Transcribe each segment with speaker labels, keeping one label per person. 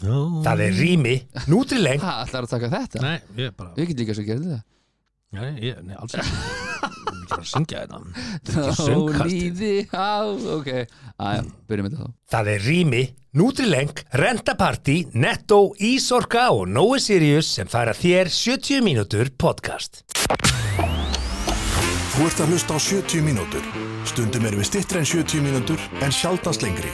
Speaker 1: Já,
Speaker 2: það er rými, nútrileng
Speaker 3: Hvað, ætlar að taka þetta?
Speaker 1: nei, ég bara
Speaker 3: Við getum líka svo að gera þetta
Speaker 1: Nei, ég, nei, alls ekki Ég er bara að syngja hérna. þetta
Speaker 3: Þá
Speaker 1: söngkastið.
Speaker 3: líði á Ok, aðja, byrjum þetta þá
Speaker 2: Það er Rými, Nutrileng, Rentaparty, Netto, Ísorka og Nói Sirius sem færa þér 70 mínútur podcast.
Speaker 4: Þú ert að hlusta á 70 mínútur. Stundum erum við stittri en 70 mínútur en sjaldast lengri.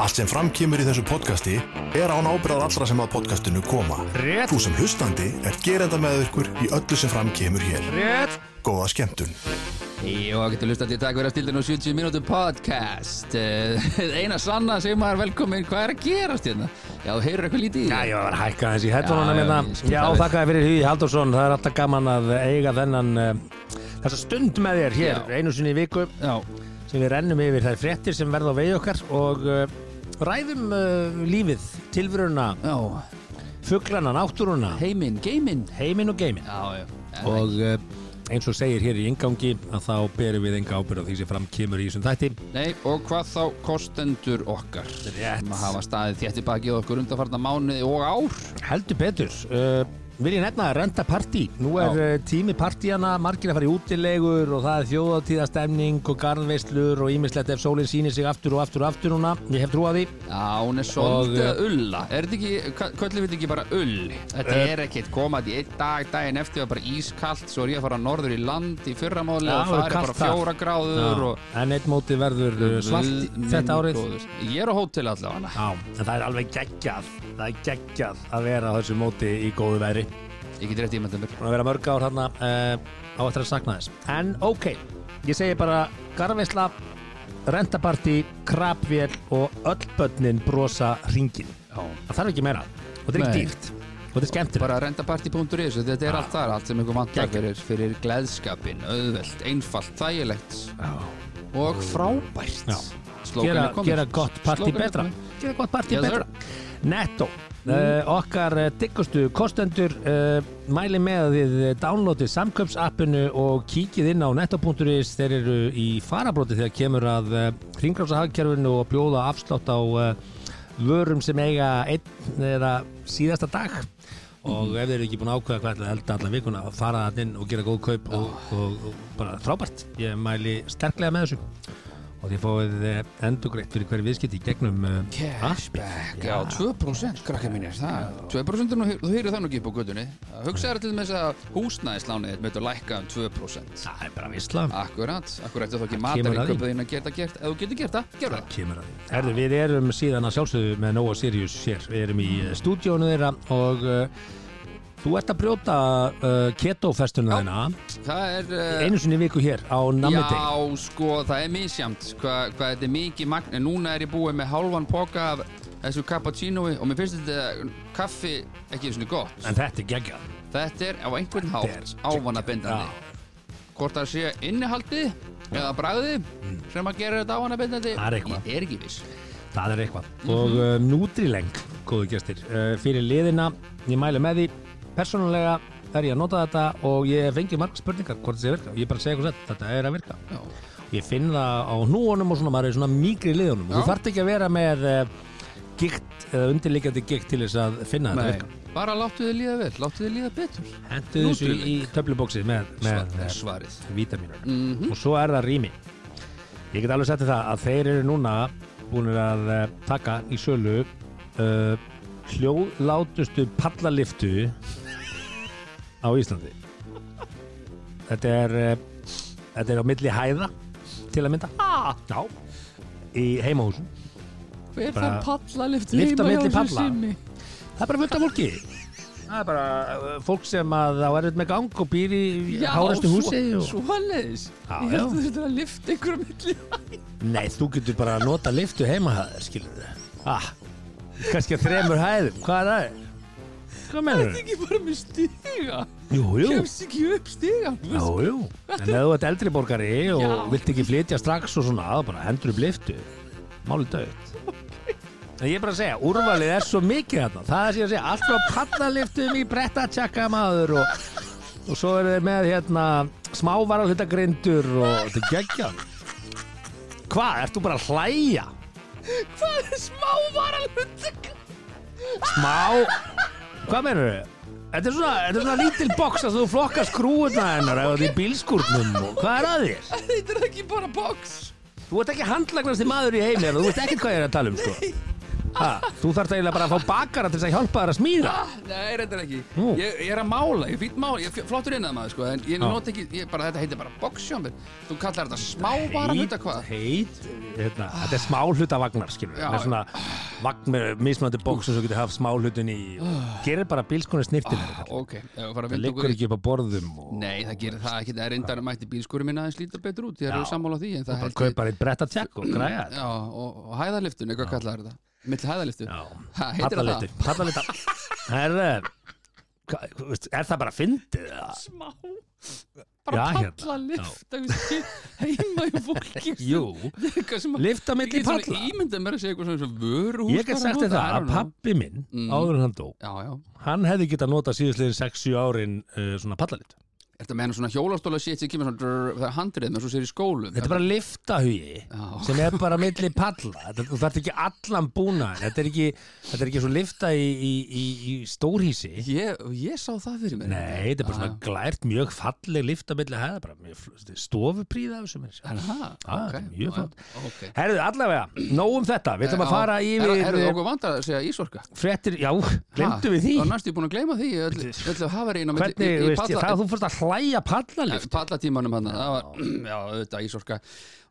Speaker 4: Allt sem framkýmur í þessu podcasti er án ábyrðar allra sem að podcastinu koma. Rétt. Þú sem hlustandi er gerenda með ykkur í öllu sem framkýmur hér. Rétt. Góða skemmtun.
Speaker 3: Jó, getur hlustandi, takk fyrir að stildin og 70 mínútum podcast Eh, Einar Sanna, segir maður velkomin Hvað er að gerast hérna? Já, þú heyrur eitthvað lítið í
Speaker 2: Já,
Speaker 3: þér?
Speaker 2: ég var að hækka þessi
Speaker 3: Já,
Speaker 2: hættunum
Speaker 3: já,
Speaker 2: hérna.
Speaker 3: ég skil
Speaker 2: Já,
Speaker 3: það vel.
Speaker 2: þakkaði fyrir Hugi Haldursson, það er alltaf gaman að eiga þennan uh, þessa stund með þér hér
Speaker 3: Já.
Speaker 2: einu sinni í viku
Speaker 3: Já,
Speaker 2: sem við rennum yfir þær fréttir sem verða á vegi okkar og uh, ræðum uh, lífið, tilveruna,
Speaker 3: já,
Speaker 2: fugglana, náttúruna,
Speaker 3: heiminn, geiminn
Speaker 2: heiminn og geiminn.
Speaker 3: Já, já, en
Speaker 2: og eh, eins og segir hér í ingangi að þá berum við enga ábyrð á því sem fram kemur í þessum þætti
Speaker 3: Nei, og hvað þá kostendur okkar
Speaker 2: Rétt.
Speaker 3: sem að hafa staðið þétti baki á okkur undanfarna mánuði og ár
Speaker 2: heldur betur uh, vil ég nefna að renta partí nú er
Speaker 3: Já.
Speaker 2: Já. tími partíana, margir að fara í útilegur og það er þjóðatíðastemning og garðveislur og ímislegt ef sólinn sýnir sig aftur og aftur og aftur núna ég hef trú að því
Speaker 3: Já, hún er
Speaker 2: Og,
Speaker 3: svolítið
Speaker 2: eh,
Speaker 3: að ulla Er þetta ekki, hva- köllum við þetta ekki bara ull? Þetta er ekkit komað í einn dag, daginn eftir var bara ískalt, svo er ég að fara norður í land í fyrramáli
Speaker 2: Já,
Speaker 3: og
Speaker 2: það var
Speaker 3: farið
Speaker 2: kalt
Speaker 3: bara
Speaker 2: þar.
Speaker 3: fjóra gráður og
Speaker 2: en eitt móti verður eh, svart í-
Speaker 3: Guð minn
Speaker 2: þetta árið
Speaker 3: góður. Ég er á hótel allavega
Speaker 2: Já, en það er alveg geggjað það er geggjað að vera á þessu móti í góðu veðri
Speaker 3: Ég get rétt ímyndað mér
Speaker 2: búin að vera mörg ár hérna uh, á eftir að sakna þess en ok, ég segi bara garfisla, rentapartí krabvél og öll börnin brosa ringin
Speaker 3: Já
Speaker 2: það þarf ekki meira og þetta er
Speaker 3: Nei.
Speaker 2: ekki dýrt og þetta er skemmtilegt
Speaker 3: bara rentaparty.is og þetta er allt þar, allt sem ykkur vantar fyrir, fyrir gleðskapin, auðvelt, einfalt, þægilegt og frábært
Speaker 2: Já.
Speaker 3: Slókan
Speaker 2: gera,
Speaker 3: er kominn.
Speaker 2: gera gott partí
Speaker 3: Slókan er
Speaker 2: betra
Speaker 3: kominn.
Speaker 2: gera gott partí
Speaker 3: Yes, Mm.
Speaker 2: betra Netto, uh, okkar uh, diggustu kostendur uh, mæli með að þið eh, downloadið samköpsappinu og kíkið inn á netto.is þeir eru í farabróti þegar kemur að uh, hringráðsahagkerfinu og bjóða afslátt á uh, vörum sem eiga einn eða síðasta dag og ef þeir eru ekki búin að ákveða hvað ætlaði elda alla vikuna að fara það inn og gera góð kaup og, og, og bara frábært ég mæli sterklega með þessu og þið fáið endur greitt fyrir hverju viðskipti í gegnum uh,
Speaker 3: Cashback, já, 2% krakkar mínir, það, 2% er nú, þú heyrið það nú ekki upp á gödunni, hugsaður til þess að húsnæðislánið mitt að lækka um 2%
Speaker 2: Það er bara vissla
Speaker 3: Akkurat, akkurat, þú ekki
Speaker 2: kemur
Speaker 3: matar
Speaker 2: að því.
Speaker 3: ykkur beðin að gera það gert, ef þú getur gert það, gerðu það
Speaker 2: kemur að því Herðu, við erum síðan að sjálfsögðu með Nóa Sirius hér Við erum í stúdíónu þeirra og uh, þú ert að brjóta uh, keto-festuna þeirna
Speaker 3: Það er... eh,
Speaker 2: einu sinni í viku hér á Nammiteg
Speaker 3: Já, sko, það er misjamt hvað hva þetta er mikið magn en núna er ég búið með hálfan poka af þessu cappuccinoi og mér finnst þetta kaffi ekki svona gott
Speaker 2: En þetta er geggjað
Speaker 3: Þetta er á einhvern hátt
Speaker 2: Þetta er-
Speaker 3: ávanabindandi Hvort það sé innihaldið eða bragðið sem að gera þetta ávanabindandi
Speaker 2: Mm. Það er eitthvað.
Speaker 3: Ég er ekki viss
Speaker 2: Það er eitthvað Og uh, Nutrileng, góðu gestir uh, Fyrir liðina, ég mæli með því Persónulega er ég að nota þetta og ég fengi marga spurningar hvort þetta sé að virka Ég bara segi eitthvað sett, þetta
Speaker 3: uh,
Speaker 2: er að virka
Speaker 3: Já,
Speaker 2: ég finn það á núunum og svona maður er svona mýkri í liðunum
Speaker 3: Já.
Speaker 2: þú þarft ekki að vera með uh, gikt eða undirleikjandi gikt til þess að finna þetta
Speaker 3: nei,
Speaker 2: virka
Speaker 3: bara láttu þið líða vel, láttu þið líða betur
Speaker 2: hentu þessu
Speaker 3: Nútrilink.
Speaker 2: í töflubóksið með, með,
Speaker 3: Svar- er
Speaker 2: með
Speaker 3: Svarið
Speaker 2: vítamínur
Speaker 3: mm
Speaker 2: og svo er það rými ég get alveg settið það að þeir eru núna búinir að uh, taka í sölu uh, hljóðlátustu pallaliftu á Íslandi þetta er uh, þetta er á milli hæða til að mynda ah, já, í heimahúsum
Speaker 3: Hver
Speaker 2: Bara-
Speaker 3: þarf pallalift
Speaker 2: Lyft á
Speaker 3: heima hjá
Speaker 2: milli
Speaker 3: sér
Speaker 2: palla.
Speaker 3: sinni?
Speaker 2: það er bara fullt af fólki það er bara uh, fólk sem að á erfitt með gang og býr í
Speaker 3: Já,
Speaker 2: hárestu húsi og...
Speaker 3: svo, Svoleiðis
Speaker 2: Já, já.
Speaker 3: Ég held að þú þurftur að lifta ykkur á milli
Speaker 2: Nei, þú getur bara að nota liftu heima hæðir, skilur þið. Ah, kannski að þremur hæðum, hvað er það? Hvað
Speaker 3: Það
Speaker 2: mennur
Speaker 3: er
Speaker 2: þið?
Speaker 3: ekki bara með stiga
Speaker 2: Jú, jú,
Speaker 3: Kemst ekki upp stiga
Speaker 2: jú, jú. En ef þú ert eldri borgari og
Speaker 3: Já.
Speaker 2: vilt ekki flytja strax og svona, þá bara hendur upp liftu. Málið dögt. En ég er bara að segja, úrvalið er svo mikið þarna. Það er sem ég að segja, allt frá pannaliftum í bretta tjekka maður og, og svo eru þeir með hérna smávarar hlutagrindur og þetta er geggjað. Hvað, ert þú bara að hlæja?
Speaker 3: Það er smá varan
Speaker 2: smá Hvað meinur þau? Þetta er svona, þetta er svona lítil box að þú flokkar skrúurna hennar eða því bílskúrnum og hvað er að þér?
Speaker 3: Þetta er ekki bara box
Speaker 2: Þú ert ekki handlagnasti maður í heimi en þú veist ekkert hvað ég er að tala um sko ha, Þú þarft eiginlega bara að fá bakara til þess að hjálpa þær að smíða
Speaker 3: Nei, reyndar ekki
Speaker 2: Nú.
Speaker 3: ég, ég er að mála, ég er fínt mála, ég er fj- flottur innað maður sko, En ég nota ekki, ég bara, þetta heitir bara boxjómbir Þú kallar þetta smávara hluta hvað
Speaker 2: heit hérna, Þetta er smá hluta vagnar skilur
Speaker 3: Já.
Speaker 2: Það er svona vagn með mismunandi bóks sem þú getur haft smá hlutin í Gerir bara hérna. bílskona snirtin
Speaker 3: Ok, ef við fara að
Speaker 2: Það
Speaker 3: vinda
Speaker 2: liggur
Speaker 3: okkur í
Speaker 2: ekki upp á borðum og
Speaker 3: Nei, það gerir það ekki, það er reyndar mætti bílskúri minna aðeins lítur betur út, ég
Speaker 2: Já.
Speaker 3: er sammála því en það
Speaker 2: bara
Speaker 3: held ég-
Speaker 2: kaupar eitt bretta tjekk og græja þetta
Speaker 3: Já, og, og hæðarliftun, eitthvað kallar þetta Mill hæðarliftun
Speaker 2: Já.
Speaker 3: ha, heitir það það?
Speaker 2: Pallaliftur, pallalifta Herre hva- þú veist, Er það bara fyndið? eða?
Speaker 3: Smá
Speaker 2: Já,
Speaker 3: Bara
Speaker 2: hérna.
Speaker 3: pallalift Heima í fólki
Speaker 2: Jú,
Speaker 3: Eitthvað sem að-
Speaker 2: lift á
Speaker 3: Ég
Speaker 2: milli
Speaker 3: get svona
Speaker 2: palla
Speaker 3: ímyndað mér að segja eitthvað svona eins og vöruhús
Speaker 2: Ég get
Speaker 3: bara
Speaker 2: sagt þér
Speaker 3: nota,
Speaker 2: það
Speaker 3: I
Speaker 2: að
Speaker 3: don't know.
Speaker 2: pappi minn
Speaker 3: Mm.
Speaker 2: áður en hann dó
Speaker 3: Já, já
Speaker 2: Hann hefði getað notað síðustliðin 6-7 árin uh, svona pallalift
Speaker 3: Er þetta með hennar svona hjólastóla shit sem kemur svona drr, það er handrið með svo sér í skólum
Speaker 2: Þetta er bara liftahugi
Speaker 3: Já.
Speaker 2: sem er bara milli palla Þetta- þú þarft ekki allan búna þetta er ekki, þetta er ekki svo lifta í, í, í, í stórhísi
Speaker 3: ég, ég sá það fyrir mér
Speaker 2: Nei, þetta er bara
Speaker 3: Já,
Speaker 2: svona glært mjög falleg lifta milli hæða bara mjög fl- þetta er stofupríða af þessu mér
Speaker 3: já. Er það?
Speaker 2: Ah,
Speaker 3: Ok,
Speaker 2: þetta er mjög
Speaker 3: já,
Speaker 2: flott.
Speaker 3: ok.
Speaker 2: Herðu, allavega, nóg um þetta Við ætlum að
Speaker 3: Já.
Speaker 2: fara
Speaker 3: Er- Er það
Speaker 2: yfir
Speaker 3: okkur vandar að segja ísorka?
Speaker 2: fréttir Já, glemdu við því
Speaker 3: Það er næstu ég búin að gleyma því Ég ætl- ég ætla að hafa reyna
Speaker 2: Hvernig, þú veist, það að þú fórst að hlæja pallalift
Speaker 3: Pallatímanum hann, það var, já, auðvitað ísorka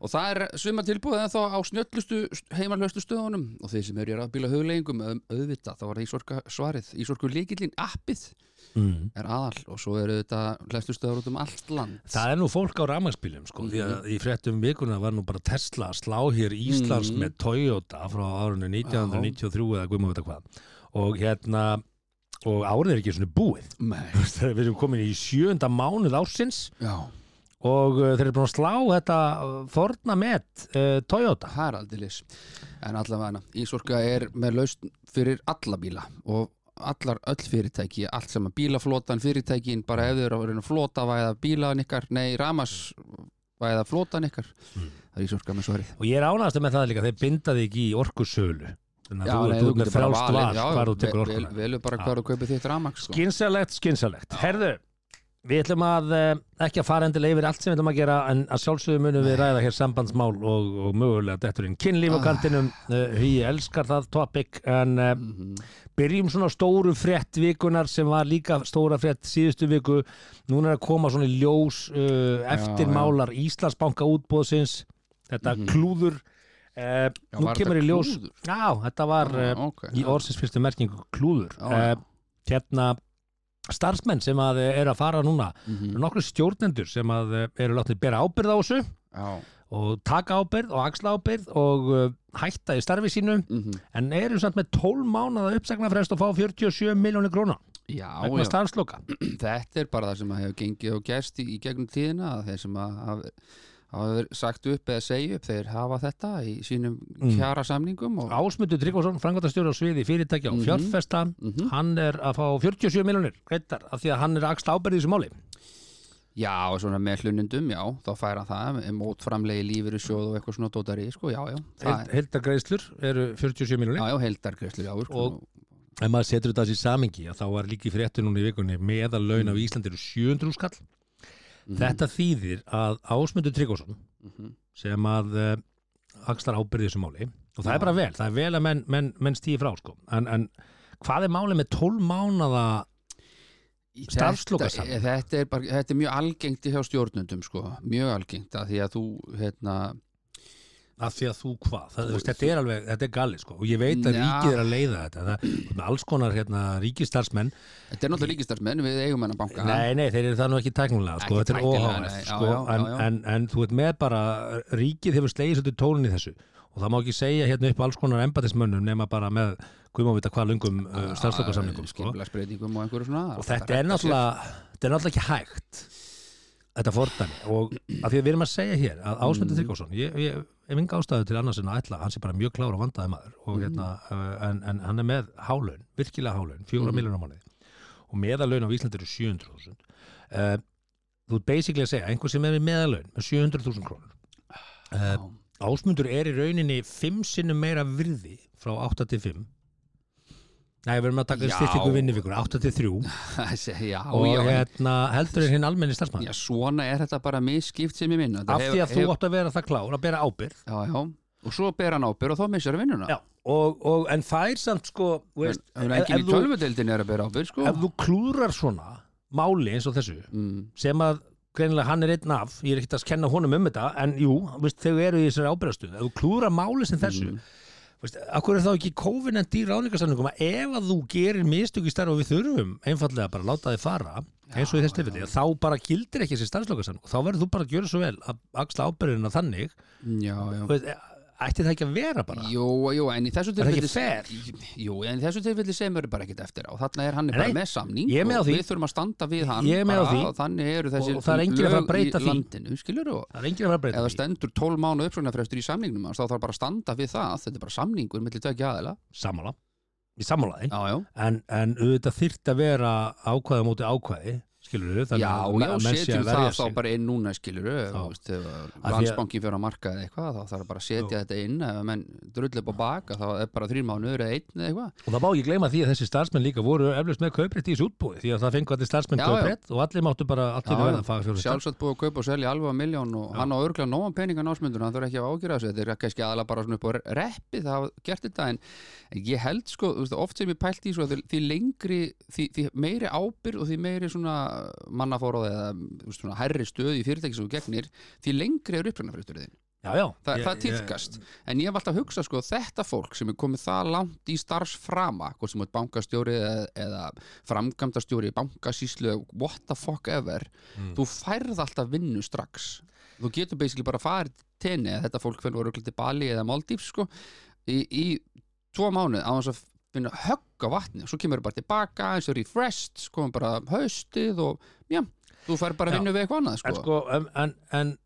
Speaker 3: Og það er svima tilbúið en þá á snjöllustu heimalöstu stöðunum Og þeir sem eru í rafbíla hugleggingum, auðvitað, þá var ísorka svarið Ísorku líkillinn appið
Speaker 2: mm.
Speaker 3: er aðal Og svo eru auðvitað hlæstu stöður út um allt land
Speaker 2: Það er nú fólk á rafmagnsbílum sko, því
Speaker 3: Mhm.
Speaker 2: að í fréttum vikuna var nú bara Tesla að slá hér Íslands
Speaker 3: Mhm.
Speaker 2: með Toyota frá árunni 1993 eða guðmum þetta hvað og hérna og árið er ekki svona búið
Speaker 3: Nei,
Speaker 2: Þegar við erum komin í sjönda mánuð ársins
Speaker 3: já,
Speaker 2: og uh, þeir eru búin að slá þetta uh, forna met uh, Toyota
Speaker 3: það er aldeilis En allavega, Ísorka er með lausn fyrir alla bíla og allar öll fyrirtæki, allt sem að bílaflotan fyrirtækin, bara ef þau eru að reyna að flota væða bílan ykkar, nei, ramas væða flotan ykkar
Speaker 2: Hmm.
Speaker 3: það er Ísorka með svarið
Speaker 2: og ég er ánægast með það líka, þeir binda þig ekki í orkusölu þannig
Speaker 3: Já,
Speaker 2: að
Speaker 3: nei,
Speaker 2: þú, þú ert með
Speaker 3: getur bara
Speaker 2: frjálst
Speaker 3: valið,
Speaker 2: val
Speaker 3: já,
Speaker 2: hvar þú tekur
Speaker 3: vel- vel-
Speaker 2: orkuna
Speaker 3: Velur bara
Speaker 2: Já.
Speaker 3: hvar þú kaupir þitt ramaks sko.
Speaker 2: Skynsalegt, skynsalegt. Herðu, við ætlum að eh, ekki að fara endilega yfir allt sem við ætlum að gera en að sjálfsögum munum við ræða hér sambandsmál og, og mögulega detturinn kynlíf á
Speaker 3: Ah.
Speaker 2: kantinum. Uh, ég elskar það topic en uh,
Speaker 3: Mhm.
Speaker 2: byrjum svona á stóru frétt vikunar sem var líka stóra frétt síðustu viku. Núna er að koma svona í ljós uh, eftirmálar Íslandsbanka útbóðsins. Þetta
Speaker 3: Mhm.
Speaker 2: klúður. Uh,
Speaker 3: Já,
Speaker 2: nú
Speaker 3: var
Speaker 2: kemur
Speaker 3: þetta
Speaker 2: í ljós.
Speaker 3: klúður?
Speaker 2: Já, þetta var... Uh,
Speaker 3: Ah, ok.
Speaker 2: í orðsins fyrstu merkingu klúður
Speaker 3: Já,
Speaker 2: uh,
Speaker 3: já.
Speaker 2: hérna starfsmenn sem að eh, eru að fara núna
Speaker 3: Mhm.
Speaker 2: mm. nokkru stjórnendur sem að eh, eru látni bera ábyrð á þessu
Speaker 3: Já,
Speaker 2: og taka ábyrð og axla ábyrð og uh, hætta í starfi sínu
Speaker 3: mhm.
Speaker 2: en eru samt með 12 mánada uppsagnarfrest og fá 47 miljónir króna
Speaker 3: Já,
Speaker 2: vegna
Speaker 3: já.
Speaker 2: starfsloka
Speaker 3: þetta er bara það sem að hefur gengið og gerst í, í gegnum tíðina að þeir sem að hafa hafa verið sagt upp eða segja upp þeir hafa þetta í sínum
Speaker 2: Mm.
Speaker 3: kjara samningum og
Speaker 2: Ásmundur Tryggvason, frangvandastjóri á sviði fyrirtækja og
Speaker 3: Mhm.
Speaker 2: fjárfesta
Speaker 3: Mhm.
Speaker 2: hann er að fá 47 miljónir greittar af því að hann er að axla ábyrð í þessu máli
Speaker 3: já, og svona með hlunundum, já, þá færa það með mótframlegi lífur í sjóð og eitthvað svona dótari, sko, já, já, það er
Speaker 2: Hildargreislur eru 47 miljónir
Speaker 3: já, já, heildargreifslur, já, sko,
Speaker 2: Og- ef maður setur þetta þessi samingi að þá var líki fréttu núna í vikunni meðalaun á Íslandi eru 700 skall þetta þýðir að Ásmundur Tryggvason
Speaker 3: Mhm.
Speaker 2: sem að uh, axlar ábyrði þessu máli og það er bara vel, það er vel að menn, menn, menn stíði frá sko. en, en hvað er máli með 12 mánada
Speaker 3: Í
Speaker 2: Starfslokasamning.
Speaker 3: þetta, þetta, er bara, þetta er mjög algengt hjá stjórnundum sko, mjög algengt að því að þú hérna,
Speaker 2: af því að þú hvað, það, þú, veist, þetta er alveg þetta er galið sko og ég veit að
Speaker 3: Já.
Speaker 2: ríkið er að leiða þetta það, með alls konar hérna, ríkistarsmenn
Speaker 3: þetta er náttúrulega ríkistarsmenn við eigum hennar banka
Speaker 2: Nei, nei, þeir eru það nú ekki tæknulega sko,
Speaker 3: Ekki
Speaker 2: þetta er
Speaker 3: tæknilega,
Speaker 2: óháðast
Speaker 3: nei, já,
Speaker 2: sko,
Speaker 3: já, já,
Speaker 2: en,
Speaker 3: já.
Speaker 2: en, en þú veit með bara ríkið hefur slegið svolítið tónin í þessu og það má ekki segja hérna upp alls konar embatismönnum nema bara með
Speaker 1: uh,
Speaker 2: guðmávita hvað lungum uh, starfslokasamningum sko. og
Speaker 3: skipulagsbreytingum og einhverju svona
Speaker 2: þetta er náttúrulega þetta er náttúrulega ekki hægt þetta fordæmi og að því að við erum að segja hér að Ásmundur Tryggvason ég, ég hef enga ástæðu til annars en að ætla hann sé bara mjög klára og vandaði maður og, hérna, uh, en, en hann er með hálaun, virkilega hálaun 4 mm. miljonar mánuði og meðalaun á Íslandi eru 700.000 uh, þú ert basically að segja einhver sem er með meðalaun með 700.000 krónur uh, Ásmundur er í rauninni 5 sinnum meira virði frá 8 til 5
Speaker 1: Nei, við erum að taka
Speaker 3: Já.
Speaker 1: styrtingu vinnuvikur, 83
Speaker 3: Þessi, já,
Speaker 1: og
Speaker 3: já, en-
Speaker 1: hérna heldur en hinn almenni starfsmann
Speaker 3: já, svona er þetta bara misskipt sem ég minna
Speaker 1: af því að þú átt að vera það klár að bera ábyrð
Speaker 3: Já, já, og svo ber hann ábyrð og þá missar hann vinnuna
Speaker 1: Já, og, og en fær samt sko þú
Speaker 3: En,
Speaker 1: veist,
Speaker 3: en
Speaker 1: ef,
Speaker 3: enginn
Speaker 1: ef,
Speaker 3: í
Speaker 1: þú,
Speaker 3: tölvudeldin er að bera ábyrð sko
Speaker 1: ef þú klúrar svona máli eins og þessu
Speaker 3: mm,
Speaker 1: sem að greinilega hann er einn af ég er ekkert að kenna honum um þetta en jú, þú veist, þau eru í þessari ábyrðastuð ef þú klúrar máli sem þessu mm. veist, akkur er þá ekki kófinandi í ráningarsamningum að ef að þú gerir mistök í starf og við þurfum einfallega bara að láta þið fara eins og í þessu tilfelli, þá bara gildir ekki þessi starfslokasamning þá verður þú bara að gjöra svo vel að axla ábyrðina þannig
Speaker 3: Já, já
Speaker 1: Þú veist, e, ætti það ekki að vera bara
Speaker 3: Jú, jú, en í þessu
Speaker 1: Er það ekki
Speaker 3: Jú, en í þessu tilfelli semur bara ekkert eftir á Þarna er hann
Speaker 1: Nei,
Speaker 3: bara með samning
Speaker 1: ég er með á
Speaker 3: og
Speaker 1: því.
Speaker 3: Við þurfum að standa við hann
Speaker 1: Ég er með á
Speaker 3: bara
Speaker 1: því.
Speaker 3: og Þannig eru þessi
Speaker 1: Og- og það er enginn að fara að breyta því.
Speaker 3: landinu, skilur þú?
Speaker 1: það er enginn að vera að breyta
Speaker 3: Ef það
Speaker 1: því.
Speaker 3: stendur 12 mánu uppsóknarfrestur í samningnum hans, þá þarf bara að standa við það, þetta er bara samningur millir tvekja aðila.
Speaker 1: sammála í sammálaði
Speaker 3: Já, já.
Speaker 1: en, en auðvitað þyrfti að vera ákvæði á móti ákvæði skilur við
Speaker 3: Já, já, setjum það þá bara inn núna skilur
Speaker 1: Já.
Speaker 3: ef
Speaker 1: að-
Speaker 3: landsbankin fyrir að marka eða eitthvað, þá þarf bara að setja þetta inn ef menn drull upp á baka, þá er bara þrír mánuður eða einn eða eitthvað.
Speaker 1: og það má ekki gleyma því að þessi starfsmenn líka voru eflust með kauprétt í þessu útbúi því að það fengu allir starfsmenn
Speaker 3: Já,
Speaker 1: kauprétt og allir máttu bara allir
Speaker 3: Já,
Speaker 1: verða
Speaker 3: já.
Speaker 1: að faga fjóru
Speaker 3: Sjálfsagt búið að kaupa og selja alveg að miljón og hann á örglega nógan peningan ásmundun, hann þarf ekki að ágjöra þessu, þetta er kannski aðalega bara svona upp á reppi það hafa gert þetta, en ég held sko, þú veist, oft sem ég pælt í svo því, því lengri, því, því meiri ábyrð og því meiri svona mannafóróð eða þú veist, svona herri stöð í fyrirtæki sem þú gegnir, því lengri er upprænafrétturðin
Speaker 1: já, já,
Speaker 3: Þa,
Speaker 1: Ég-
Speaker 3: það
Speaker 1: ég-
Speaker 3: týðkast, en ég hef alltaf að hugsa sko, þetta fólk sem er komið það langt í starfsframa, hvort sem er bankastjóri eða, eða framkvæmdastjóri bankasýslu, what the fuck ever
Speaker 1: Mm.
Speaker 3: þú færð alltaf vinnu strax þú getur basically bara farið til tenni eða þetta fólk fyrir voru örugglega til Bali eða Maldíf sko, í, í tvo mánuð á þess að finna högg á vatni og svo kemur bara tilbaka, eins og refreshed sko, komum bara haustið og já, þú færð bara
Speaker 1: Já.
Speaker 3: vinnu við eitthvað annað sko.
Speaker 1: en sko, en, en, en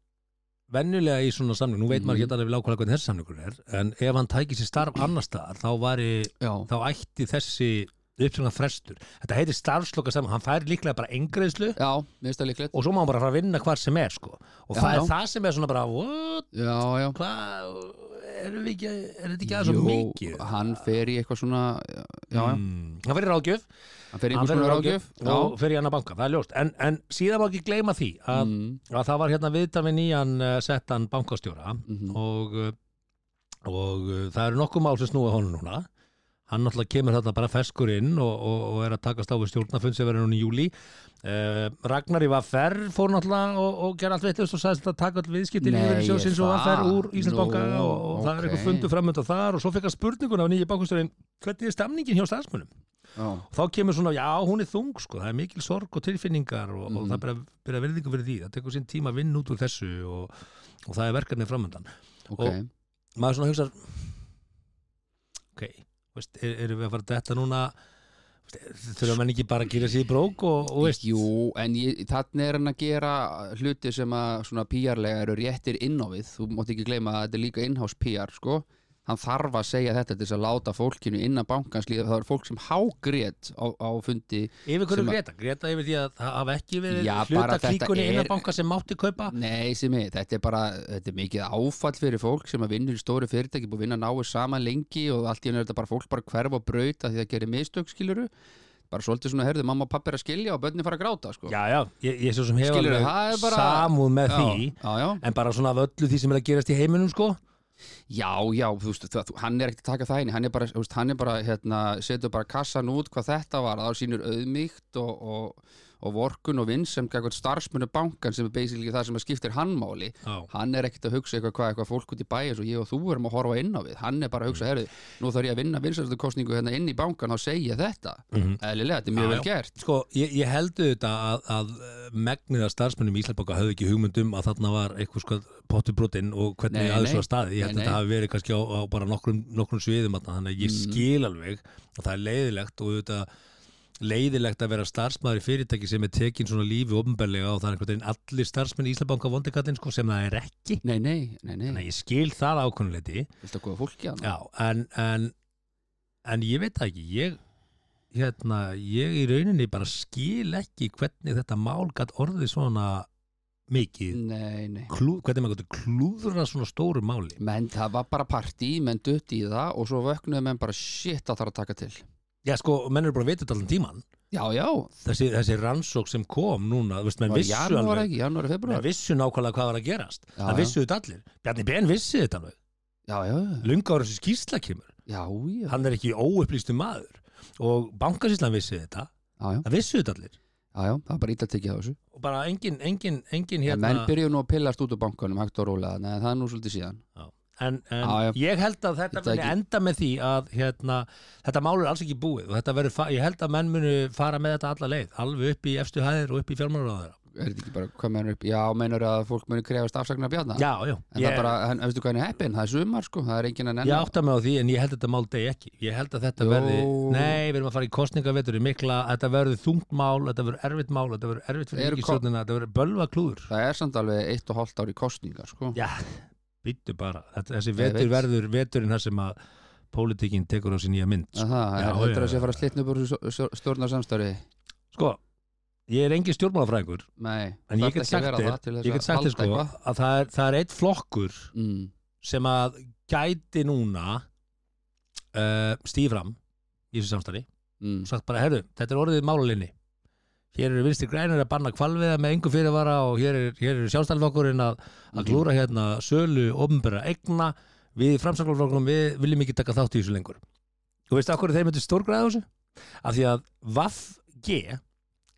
Speaker 1: venjulega í svona samning, nú veit
Speaker 3: Mhm.
Speaker 1: maður ekki alveg lákvæða hvernig þessi samningur er, en ef hann tæki sér starf annar staðar, þá væri
Speaker 3: já,
Speaker 1: þá ætti þessi uppsvöngna frestur, þetta heitir starfsloka hann fær líklega bara engreðslu
Speaker 3: já, mér finnst það líklegt
Speaker 1: og svo má hann bara fara að vinna hvar sem er sko. og
Speaker 3: Já,
Speaker 1: það
Speaker 3: já.
Speaker 1: er það sem er svona bara what,
Speaker 3: já, já
Speaker 1: hvað erum við ekki, er þetta ekki aðeins svo mikið
Speaker 3: hann fer í eitthvað svona já, já,
Speaker 1: mm, hann fyrir ráðgjöf
Speaker 3: hann fer í
Speaker 1: hann
Speaker 3: einhvers
Speaker 1: fer í
Speaker 3: konar ráðgjöf
Speaker 1: og
Speaker 3: já,
Speaker 1: fyrir í annar banka, það er ljóst en, en síðan má ekki gleyma því að,
Speaker 3: Mm,
Speaker 1: að það var hérna viðtal við nýjan uh, settan bankastjóra
Speaker 3: mhm.
Speaker 1: og, uh, og uh, það eru nokkuð mál sem snúa honum núna hann náttúrulega kemur þetta bara ferskur inn og, og, og er að takast á við stjórnafund sem verður núna í júli uh, Ragnar í Vaffer fór náttúrulega og, og gerði allt veitlust og sagðist að taka all viðskipti
Speaker 3: Nei,
Speaker 1: lífið sjóðsins og
Speaker 3: er
Speaker 1: Vaffer
Speaker 3: það?
Speaker 1: úr Íslandsbanka
Speaker 3: Nú,
Speaker 1: og, og það er
Speaker 3: ókei.
Speaker 1: eitthvað fundu framönda þar og svo fekk hann spurningun af nýju bankastjórinn hvernig er stemningin hjá starfsmunum
Speaker 3: já,
Speaker 1: þá kemur svona, já, hún er þung sko, það er mikil sorg og tilfinningar og, og
Speaker 3: Mm.
Speaker 1: það er bara, bara verðingu fyrir því, það tekur sín tíma að vinna út úr þessu og, og það er verkefni framöndan.
Speaker 3: ok
Speaker 1: Maður svona hugsar ok, veist, er, erum við að fara að detta núna veist, þurfum menn ekki bara að gera sér í brók og, og veist,
Speaker 3: Jú, en ég, þannig er hann að gera hluti sem að svona PR-lega eru réttir inn á við, þú mátt ekki gleyma að þetta er líka in-house PR, sko hann þarf að segja þetta til þess að láta fólkinu innan bankans líða, það er fólk sem hágrét á, á fundi
Speaker 1: yfir
Speaker 3: sem
Speaker 1: hverju
Speaker 3: að-
Speaker 1: Greta, Greta yfir því að það hafa ekki verið
Speaker 3: Já, bara
Speaker 1: hluta
Speaker 3: þetta
Speaker 1: klíkunni
Speaker 3: er-
Speaker 1: innan banka sem mátti kaupa
Speaker 3: Nei, sem ég, þetta er bara þetta er mikið áfall fyrir fólk sem að vinnur í stóru fyrirtæki, búið að vinna náu saman lengi og allt í henni er þetta bara fólk bara hverf og braut að því það gerir mistök, skiluru bara svolítið svona, herðu, mamma og pappi er að skilja og börnin fara að gráta, sko
Speaker 1: Já, já, ég, ég svo sem hefur
Speaker 3: Skilurðu, það er bara-
Speaker 1: samúð með
Speaker 3: já,
Speaker 1: því
Speaker 3: já, já.
Speaker 1: en bara svona af öllu því sem er að gerast í heiminum sko
Speaker 3: Já, já, þú veist, það, þú- hann er ekkert að taka það inn hann er bara, þú veist, hann er bara, hérna, setur bara kassan út hvað þetta var, þá sýnur auðmíkt og, og, og vorkun og vinn sem gækvært starfsmunni bankan sem er basically það sem að skiptir hann máli
Speaker 1: Já.
Speaker 3: hann er ekkert að hugsa eitthvað hvað eitthvað fólk út í bæja og ég og þú erum að horfa inn á við hann er bara að
Speaker 1: Mm.
Speaker 3: hugsa, herðu, nú þarf ég að vinna vinsældukostningu hérna inn í bankan og segja þetta eðlilega, þetta er mjög
Speaker 1: Mhm. Já,
Speaker 3: vel
Speaker 1: já.
Speaker 3: gert
Speaker 1: Sko, ég, ég heldu þetta að, að eh, megnið af starfsmönnum í Íslandbanka höfðu ekki hugmyndum að þarna var eitthvað sko pottubrotinn og
Speaker 3: Nei,
Speaker 1: hvernig aðeins
Speaker 3: nei.
Speaker 1: var staði. Ég held að þetta
Speaker 3: Nei, nei. Mhm.
Speaker 1: hafi verið kannski á, á bara nokkrum, nokkrum sviðum þarna, þannig að ég skil alveg og það er leiðilegt og auðvitað leiðilegt að vera starfsmæður í fyrirtæki sem er tekin svona lífi ofnbærlega og það er einhvern veginn allir starfsmenn í Íslandbanka vondikallinn sko sem það er ekki.
Speaker 3: Nei, nei, nei,
Speaker 1: Þannig að
Speaker 3: nei,
Speaker 1: ég skil það ákvönuleiti.
Speaker 3: viltu að góða fólki hann?
Speaker 1: Já, en, en, en ég veit það ekki, ég, hérna, ég í rauninni bara skil ekki hvernig þetta mál gætt orðið svona mikið,
Speaker 3: Nei, nei
Speaker 1: klú, hvernig maður gæti klúðra svona stóru máli.
Speaker 3: Menn, það var bara partí, menn dutt í það og svo vöknuðu menn bara shit að það er að taka til
Speaker 1: Já, sko, menn eru bara að vita þetta allan tíman
Speaker 3: já, já,
Speaker 1: þessi, þessi rannsók sem kom núna, þú veist, menn
Speaker 3: var
Speaker 1: vissu
Speaker 3: janúar
Speaker 1: alveg
Speaker 3: ekki, janúar
Speaker 1: menn
Speaker 3: februar
Speaker 1: vissu nákvæmlega hvað var að gerast
Speaker 3: Já,
Speaker 1: það
Speaker 3: já.
Speaker 1: vissu þetta allir, Bjarni Ben vissi þetta alveg
Speaker 3: já, já, já,
Speaker 1: lunga ára þessi skýrsla kemur
Speaker 3: já, já,
Speaker 1: hann er ekki óupplýstu maður og bankasýslan vissi þetta
Speaker 3: já, já,
Speaker 1: það vissu þetta allir
Speaker 3: já, það er bara ítla tekið á þessu
Speaker 1: og bara engin, engin, engin
Speaker 3: En menn
Speaker 1: hérna
Speaker 3: byrjuðu nú að pillast út úr bankanum hægt og rólega, neða það er nú svolítið síðan
Speaker 1: en, en
Speaker 3: Já, já.
Speaker 1: ég held að þetta
Speaker 3: Þetta
Speaker 1: muni
Speaker 3: ekki-
Speaker 1: enda með því að hérna, þetta mál er alls ekki búið og þetta verður, fa- ég held að menn muni fara með þetta alla leið, alveg upp í efstu hæðir og upp í fjármálaráðara
Speaker 3: Er þetta ekki bara, hvað mennur upp? Já, mennur að fólk muni krefast afsagnar bjarnar?
Speaker 1: já, já,
Speaker 3: En það
Speaker 1: ég,
Speaker 3: er bara, en, veistu hvað er heppin? Það er sumar sko, það er enginn að
Speaker 1: ég
Speaker 3: nennan
Speaker 1: átta mig á því en ég held að þetta mál degi ekki ég held að þetta
Speaker 3: Jó.
Speaker 1: verði, nei, við erum að fara í kostningavetur í mikla, þetta verður þungt mál þetta verður erfitt mál, þetta verður erfitt fyrir
Speaker 3: Eru ko-
Speaker 1: ríkistjórnina þetta verður bölva klúður
Speaker 3: Það er samt alveg eitt og hálft ár í kostningar sko
Speaker 1: já, býttu bara, þetta, þessi
Speaker 3: Ég
Speaker 1: vetur
Speaker 3: veit.
Speaker 1: verður veturinn þar sem að pólitíkin tekur á sér nýja mynd sko.
Speaker 3: En Það
Speaker 1: Já,
Speaker 3: er heldur
Speaker 1: já,
Speaker 3: að sé
Speaker 1: já.
Speaker 3: að fara að slitna upp úr stjórnar samstarfi
Speaker 1: sko, ég er engin stjórnmálafræðingur
Speaker 3: Nei,
Speaker 1: En ég get
Speaker 3: þarft ekki að
Speaker 1: sagt
Speaker 3: vera
Speaker 1: þér-
Speaker 3: það til þess
Speaker 1: Ég get
Speaker 3: að
Speaker 1: sagt þér
Speaker 3: halda
Speaker 1: sko
Speaker 3: eitthvað
Speaker 1: að það er, það er eitt flokkur
Speaker 3: Mm,
Speaker 1: sem að gæti núna uh, stíð fram í þessu samstarfi
Speaker 3: mm.
Speaker 1: og sagt bara, herru, þetta er orðið málalinni hér eru vinstri grænir að banna kvalviða með engu fyrirvara og hér er, hér er sjálfstæðlflokkurinn að,
Speaker 3: Mhm.
Speaker 1: að glúra hérna sölu ofnbæra egna við framsaklflokkurum, við viljum ekki taka þátt í þessu lengur og veistu akkur þeir myndir stórgræða á þessu? Af því að VAFG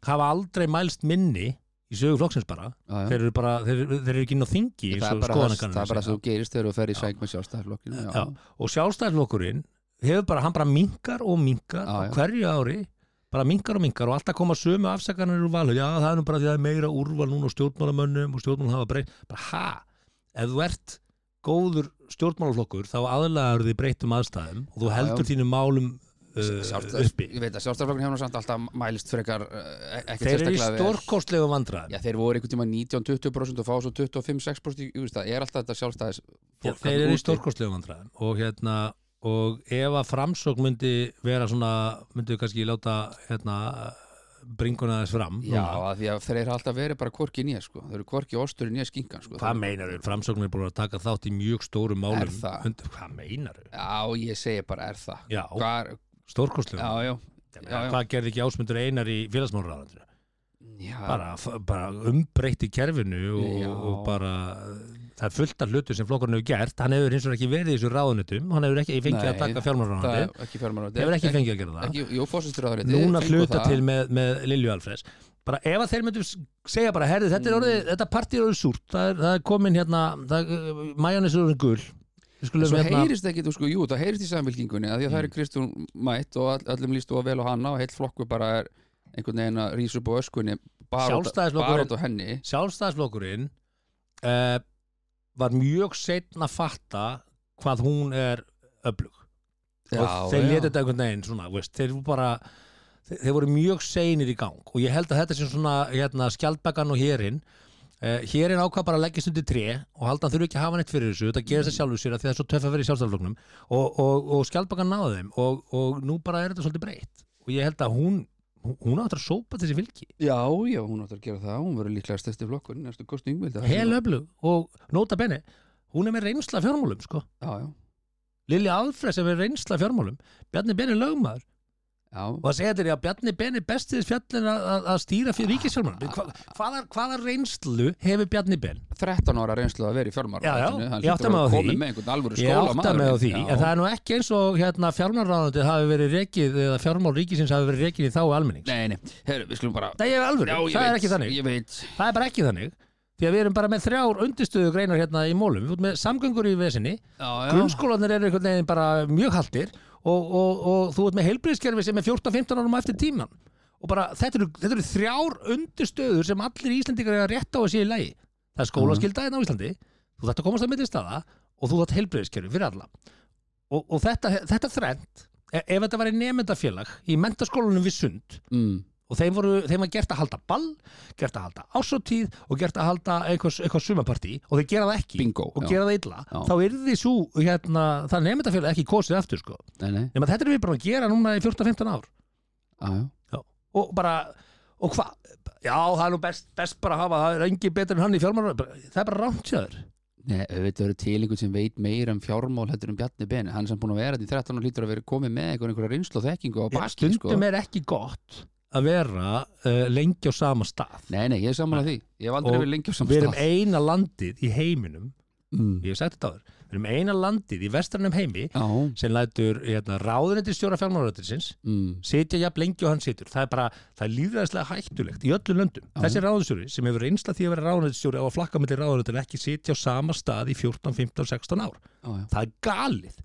Speaker 1: hafa aldrei mælst minni í sögu flokksins bara
Speaker 3: Já, já.
Speaker 1: þeir eru bara, þeir, þeir eru ekki inn á þingi eins
Speaker 3: Það er
Speaker 1: og
Speaker 3: bara það það er bara
Speaker 1: skoðanakannanir
Speaker 3: það þú
Speaker 1: segja.
Speaker 3: gerist þegar þú fer í sæk með sjálfstæðarflokkinu
Speaker 1: Já. og sjálfstæðslokkurinn hefur bara, hann bara minkar og minkar
Speaker 3: Já,
Speaker 1: á
Speaker 3: já.
Speaker 1: hverju ári, bara minkar og minkar og alltaf koma sömu afsakanir úr valhug já það er nú bara því að það er meira úrval núna á stjórnmálamönnum og stjórnmálum hafa breytt, bara ha ef þú ert góður stjórnmálaflokkur þá aðlaður þið breyttum aðstæðum og þú heldur þínum málum uh, uppi
Speaker 3: Ég veit að sjálfstæðarflokkinu hefur nú samt alltaf mælst frekar eh, ekkert
Speaker 1: þeir eru í
Speaker 3: sérstaklega vel.
Speaker 1: stórkostlegu vandræðum
Speaker 3: Já, þeir voru einhvern tíma 19-20% og fá svo 25-6% í- Þú veist, það er alltaf þetta sjálfstæðis
Speaker 1: Já, þeir eru í stórkostlegu vandræðum og hérna og ef að framsókn myndi vera svona, myndi kannski láta hérna bringuna þess fram
Speaker 3: Já,
Speaker 1: núna.
Speaker 3: að því að þeir eru alltaf verið bara hvorki nýja sko. þeir eru hvorki ostur nýja skinkan sko.
Speaker 1: hvað meinar þau? Framsókn er búin að taka þátt í mjög stórum málum
Speaker 3: Er það?
Speaker 1: Und, hvað meinar þau?
Speaker 3: Já, ég segi bara er það
Speaker 1: Já,
Speaker 3: Hvar,
Speaker 1: stórkostlegu
Speaker 3: Já, já, já, já.
Speaker 1: hvað gerði ekki ásmundur einar í félagsmálaráðandru
Speaker 3: já
Speaker 1: bara, f- bara umbreytti kerfinu og,
Speaker 3: Já.
Speaker 1: og bara það er fullt af hlutu sem flokkurinn hefur gert hann hefur hins vegar ekki verið í þessu ráðunutum hann hefur ekki fengið að
Speaker 3: Nei,
Speaker 1: taka
Speaker 3: það
Speaker 1: fjármálaráðandi
Speaker 3: er ekki fjármála
Speaker 1: hefur ekki fengið að gera það
Speaker 3: ekki, Jú, fórsættiráðuneyti
Speaker 1: núna hluta til með, með Lilju Alfres bara ef að þeir myndum s- segja bara herði þetta er orðið, þetta partí er orðið súrt það er, það er komin hérna majónis er orðin gul Við skulum
Speaker 3: Svo
Speaker 1: hérna, Mm.
Speaker 3: heyrist ekki, þú sko, jú, það heyrist í samfélkingunni að því að það er Kristján mætt og all, allum líst og vel á hana og heill flokkur bara er einhvern veginn að rís upp á öskunni bara út- bara
Speaker 1: Sjálfstæðisflokkurinn-
Speaker 3: út á henni
Speaker 1: sjálfstæðsflokkurinn uh, var mjög setn að fatta hvað hún er öflug og þeir leta þetta einhvern veginn svona, veist, þeir voru bara þeir, þeir voru mjög seinir í gang og ég held að þetta sé svona hérna, skjaldbækan og hérinn Uh, hérinn ákvað bara að leggjast undir tré og halda hann þurfi ekki að hafa neitt fyrir þessu þetta gerist það sjálfur sér að því það er svo töff að vera í sjálfstæðarfloknum og, og, og skjaldbakkan náði þeim og, og nú bara er þetta svolítið breytt og ég held að hún, hún- hún áttur að sópa þessi fylki
Speaker 3: Já, já, hún áttur að gera það, hún verður líklega stærsti flokkur í næstu kostningum held ég.
Speaker 1: hel öflug og nota bene hún er með reynsla af fjármálum sko.
Speaker 3: Já, já,
Speaker 1: Lili Alfred sem er reynsla af fjármálum Bjarni Ben er lögmaður og
Speaker 3: já
Speaker 1: það segja þér að Bjarni Ben er bestið fjallin að, að- að stýra fyrir ríkisfjármálum Hva, hvaða, hvaða reynslu hefur Bjarni Ben?
Speaker 3: 13 ára reynslu að vera í fjármála
Speaker 1: Já, já,
Speaker 3: hann
Speaker 1: ég
Speaker 3: hlýtur
Speaker 1: átta
Speaker 3: að
Speaker 1: mig á
Speaker 3: vera
Speaker 1: því.
Speaker 3: kominn með einhvern alvöru
Speaker 1: Ég
Speaker 3: skóla
Speaker 1: átta mig á því, en það er nú ekki eins og hérna, fjármálráðandi hafi verið rekið eða fjármál ríkisins hafi verið rekið í þá almennings
Speaker 3: Nei, nei, herru, við skulum bara
Speaker 1: Það er alvöru,
Speaker 3: Já, ég
Speaker 1: það
Speaker 3: veit,
Speaker 1: er ekki þannig
Speaker 3: Ég veit,
Speaker 1: Það er bara ekki þannig Því að við erum bara með þrjár undistöðu greinar hérna í mólum Við erum með samgöngur í vesinni
Speaker 3: já, já
Speaker 1: Grunnskólanir eru einhvern veginn bara mjög haldir og, og, og þú ert með heilbriðskerfi sem er 14-15 árum á eftir tíman og bara þetta eru, þetta eru þrjár undirstöður sem allir íslendingar er að rétta á að sé í lagi það er skólaskylda hérna á Íslandi þú þarft að komast að myndi staða og þú þarft heilbriðskerfi fyrir alla og, og þetta, þetta þrend ef þetta var í nefndafélag í mentaskólanum við sund
Speaker 3: mm,
Speaker 1: og þeim, voru, þeim var gert að halda ball gert að halda ásotíð og gert að halda eitthvað, eitthvað sumapartí og þeir gera það ekki
Speaker 3: Bingo,
Speaker 1: og
Speaker 3: já.
Speaker 1: gera það illa
Speaker 3: Já.
Speaker 1: þá er því svo, hérna, það nefndafélag ekki kosið aftur sko,
Speaker 3: Nei, nei,
Speaker 1: nema þetta er við bara að gera núna í 14-15 ár
Speaker 3: já, já
Speaker 1: og bara, og hvað já, það er nú best, best bara að hafa, það er engi betur en hann í fjármálar það er bara rámt hjá þér
Speaker 3: Nei, auðvitað eru til einhvern sem veit meira um fjármál heldur um Bjarni Ben hann er sem búin að vera þetta í 13 og lítur að vera komið með einhver einhverja reynslu og þekkingu á baki sko.
Speaker 2: Stundum er ekki gott að vera uh,
Speaker 1: eh,
Speaker 2: lengi á sama stað
Speaker 3: Nei, nei, ég er samanlega því Ég hef aldrei
Speaker 2: Og
Speaker 3: verið lengi á
Speaker 2: Við
Speaker 3: samstað
Speaker 2: erum eina landið í heiminum
Speaker 3: mm.
Speaker 2: Ég hef sagt þetta áður Við erum eina landið í vestrænum heimi
Speaker 3: Já,
Speaker 2: sem lætur hérna, ráðunandi stjóra fjármálarættisins
Speaker 3: mm.
Speaker 2: sitja jafn lengi og hann situr það er bara, það er líðræðislega hættulegt í öllum löndum
Speaker 3: Já.
Speaker 2: þessi ráðunstjóri sem hefur reynsla því að vera ráðunstjóri á að flakka millir ráðunstjóri ekki sitja á sama stað í 14, 15, 16 ár
Speaker 3: já, já.
Speaker 2: það er galið,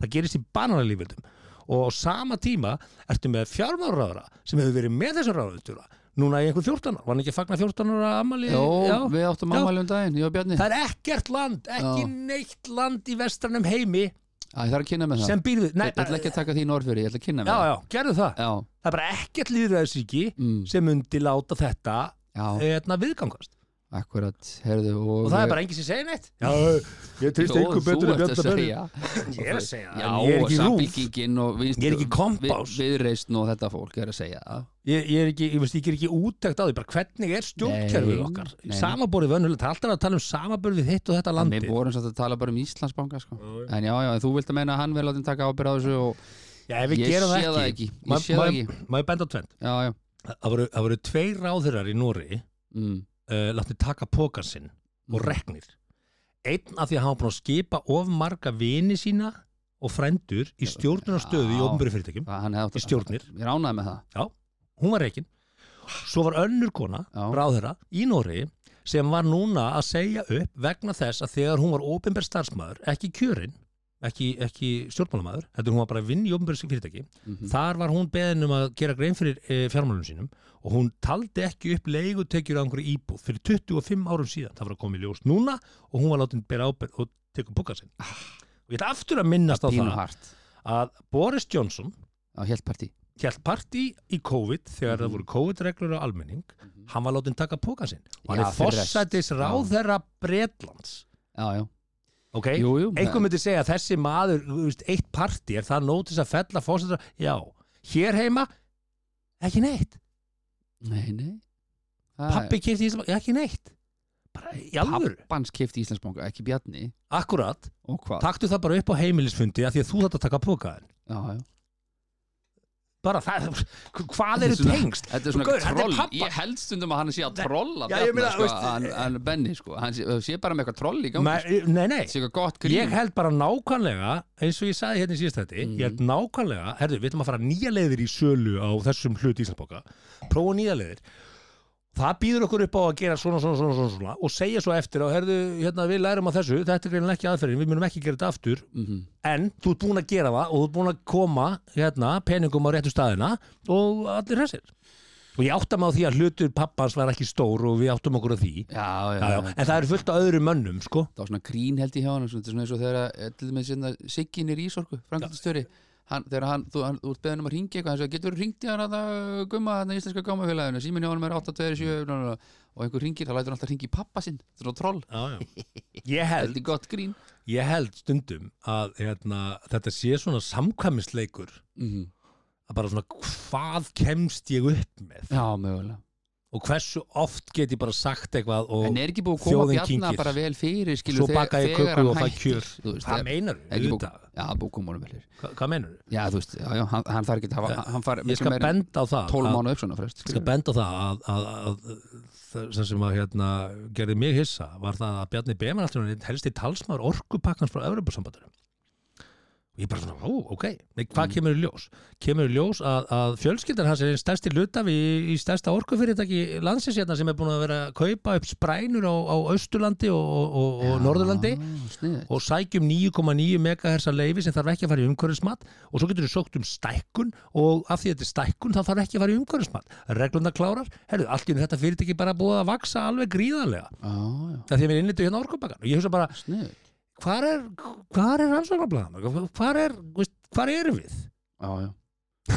Speaker 2: það gerist í bananalífjöldum og á sama tíma ertu með fjármálaráðara sem hefur verið með þessum ráðunstjóra núna í einhver 14 ár, var hann ekki að fagna 14 ára ammali
Speaker 3: Jó, við áttum
Speaker 2: Já.
Speaker 3: ámæli um daginn, ég og Bjarni Æ,
Speaker 2: það er ekkert land, ekki
Speaker 3: Já.
Speaker 2: neitt land í vestranum heimi
Speaker 3: Það er að kynna með það
Speaker 2: sem býr við, nei,
Speaker 3: Ég ég ætla ekki að taka þín orð fyrir, ég ætla að kynna með
Speaker 2: já,
Speaker 3: það
Speaker 2: já, gerðu það
Speaker 3: Já,
Speaker 2: það er bara ekkert líðræðisíki
Speaker 3: mm,
Speaker 2: sem undi láta þetta
Speaker 3: já,
Speaker 2: hérna, viðgangast
Speaker 3: akkurat, herðu og,
Speaker 2: og það er bara enginn sem segir neitt já, ég
Speaker 3: Jó, þú ert að segja
Speaker 2: ég er að segja það,
Speaker 3: Já,
Speaker 2: en ég er
Speaker 3: og
Speaker 2: ekki rúf
Speaker 3: samfylkingin og vinst,
Speaker 2: Ég er ekki kompás.
Speaker 3: við, Viðreisn og þetta fólk er að segja það
Speaker 2: ég, ég er ekki, ég veist, ég er ekki úttækt á því bara hvernig er stjórnkerfið
Speaker 3: Nei,
Speaker 2: okkar
Speaker 3: nei.
Speaker 2: samaborið vönulegt, það er alltaf að tala um samaborið við hitt og þetta
Speaker 3: En Við
Speaker 2: landi
Speaker 3: vorum satt að tala bara um Íslandsbanka sko. En já, já, en þú vilt að meina að hann verið látin taka ábyrð á þessu og
Speaker 2: já, ef við
Speaker 3: Ég
Speaker 2: gerum
Speaker 3: sé
Speaker 2: það
Speaker 3: það
Speaker 2: ekki
Speaker 3: ekki,
Speaker 2: Má-
Speaker 3: ég sé það
Speaker 2: má-
Speaker 3: ekki
Speaker 2: má ég benda á tvend
Speaker 3: Já, já,
Speaker 2: það voru, það voru tveir ráðurar í Nóri
Speaker 3: mm,
Speaker 2: uh, látni taka pókan sinn og
Speaker 3: Mm.
Speaker 2: reknir einn af því að hann var búin að skipa of marga vini sína og frendur í stjórnunarstöðu í
Speaker 3: Já.
Speaker 2: ofnbyrju fyrirtækjum
Speaker 3: það- hann hefði átt
Speaker 2: Í stjórnir.
Speaker 3: Ég ránaði með það
Speaker 2: hún var rekin svo var önnur kona,
Speaker 3: Já.
Speaker 2: ráðherra í Nóri sem var núna að segja upp vegna þess að þegar hún var ópenbær starfsmæður, ekki kjörinn ekki, ekki stjórnmálamæður heldur hún var bara að vinna í ópenbæri fyrirtæki
Speaker 3: Mhm.
Speaker 2: þar var hún beðin um að gera grein fyrir e, fjármálunum sínum og hún taldi ekki upp leigutekjur á einhverju íbúð fyrir 25 árum síðan, það var að koma í ljós núna og hún var látin bera ábyrð og tekur búka sinn og ég ætla aftur að minnast á
Speaker 3: Ah. Pínu
Speaker 2: það
Speaker 3: hart
Speaker 2: að Boris Johnson
Speaker 3: á helt partí
Speaker 2: held partí í COVID þegar það
Speaker 3: Mhm.
Speaker 2: voru COVID-reglur á almenning hann var látin taka póka sinn og hann
Speaker 3: Já,
Speaker 2: er
Speaker 3: fyrir rest.
Speaker 2: fórsætis ráðherra Bretlands
Speaker 3: Já, já,
Speaker 2: ok,
Speaker 3: jú, jú
Speaker 2: einhver myndi segja að þessi maður þú veist, eitt partí, er það nótis að fella fórsætis, já, hér heima ekki neitt,
Speaker 3: Nei, nei Það er-
Speaker 2: pappi kefti Ísland ekki neitt, bara í alvöru
Speaker 3: Pappans kefti Íslandsbanka, ekki Bjarni
Speaker 2: akkurat,
Speaker 3: Og hvað?
Speaker 2: taktu það bara upp á heimilisfundi af því að þú þátt að taka pókaðin
Speaker 3: Já, já
Speaker 2: bara það, hvað eru
Speaker 3: Þetta er svona-
Speaker 2: tengst
Speaker 3: Þetta er svona
Speaker 2: Gaur, þetta er
Speaker 3: troll,
Speaker 2: pabba.
Speaker 3: ég held stundum að hann sé að trolla
Speaker 2: Já, ég meina,
Speaker 3: Bjarna, sko,
Speaker 2: veist-
Speaker 3: hann, hann Benni, sko, hann sé, sé bara með eitthvað troll í gangi,
Speaker 2: Me- nei, nei,
Speaker 3: sko, sé eitthvað gott grín
Speaker 2: Ég held bara nákvæmlega, eins og ég sagði hérna í síðast þetta, ég held nákvæmlega, herðu, við ætlum að fara nýja leiðir í sölu á þessum hlut Íslandsbóka, prófa nýja leiðir. Það býður okkur upp á að gera svona, svona, svona, svona, svona og segja svo eftir á, herðu, hérna, við lærum að þessu, þetta er greinilega ekki aðferðin, við munum ekki gera þetta aftur,
Speaker 3: Mhm.
Speaker 2: en þú ert búin að gera það og þú ert búin að koma, hérna, peningum á réttu staðina og allir hressir. Og ég áttam á því að hlutur pappans var ekki stór og við áttum okkur á því.
Speaker 3: Já, já,
Speaker 2: Já, já, en það er fullt af öðrum mönnum, sko.
Speaker 3: það var svona grín held ég hjá hann þetta er svona eins og þegar að, eh, til með sinna Siggin er ísorku, Franklandstjóri hann, þegar hann, þú, hann, þú ert beðin um að ringi eitthvað hann sagði, getur ringt í hann að gumma þannig íslenska gámafélaginu, síminn hjá hann er
Speaker 2: Mm.
Speaker 3: 827 bla, bla, bla." og einhver ringir, þá lætur hann alltaf ringi í pappa sinn, þetta er svona troll,
Speaker 2: Já, já. Ég held
Speaker 3: þetta er gott grín
Speaker 2: Ég held stundum að hérna, þetta sé svona samkvæmisleikur
Speaker 3: mm
Speaker 2: Mhm. að bara svona hvað kemst ég upp með
Speaker 3: já, mögulega,
Speaker 2: og hversu oft get ég bara sagt eitthvað og
Speaker 3: en er ekki búið að koma
Speaker 2: þjóðin
Speaker 3: Bjarna
Speaker 2: kyngir.
Speaker 3: bara vel fyrir,
Speaker 2: Svo
Speaker 3: skilur
Speaker 2: baka ég köku og fæ kjör.
Speaker 3: þú veist,
Speaker 2: hvað
Speaker 3: það-
Speaker 2: meinar
Speaker 3: er ekki
Speaker 2: þú?
Speaker 3: búið, já, búið að koma honum vel fyrir
Speaker 2: Hvað meinar þú?
Speaker 3: já, þú veist, já, já, hann, hann þarf ekki að hafa hann far
Speaker 2: Ég skal benda á það
Speaker 3: 12
Speaker 2: að,
Speaker 3: mánu upp svona, frest,
Speaker 2: ég skal benda á það að, að, að, að sem sem að hérna, gerði mig hissa var það að Bjarni Beman alltaf einn helsti talsmaður orkupakkans frá Evropasambandinu og ég bara svona, ó, ok Nei, hvað kemur í ljós? kemur í ljós að, að fjölskyldan hans er einn stærsti hlutaf í, í stærsta orkufyrirtæki landsins hérna sem er búin að vera að kaupa upp sprænur á, á Östurlandi og, og, og, og Norðurlandi
Speaker 3: sniðið
Speaker 2: og sækjum 9,9 megahersa leifi sem þarf ekki að fara í umhverfismat og svo getur þú sókt um stækkun og af því þetta er stækkun þá þarf ekki að fara í umhverfismat reglunda klárar, herru, allt í einu þetta fyrirtæki bara búið að vaksa alveg gríðarlega
Speaker 3: já, já,
Speaker 2: það því að við innlitum hérna orkubakkan og ég hugsa bara,
Speaker 3: sniðið
Speaker 2: hvar er hvar er rannsóknarblæðan, hvar er þú veist, hvar erum við?
Speaker 3: Já, já.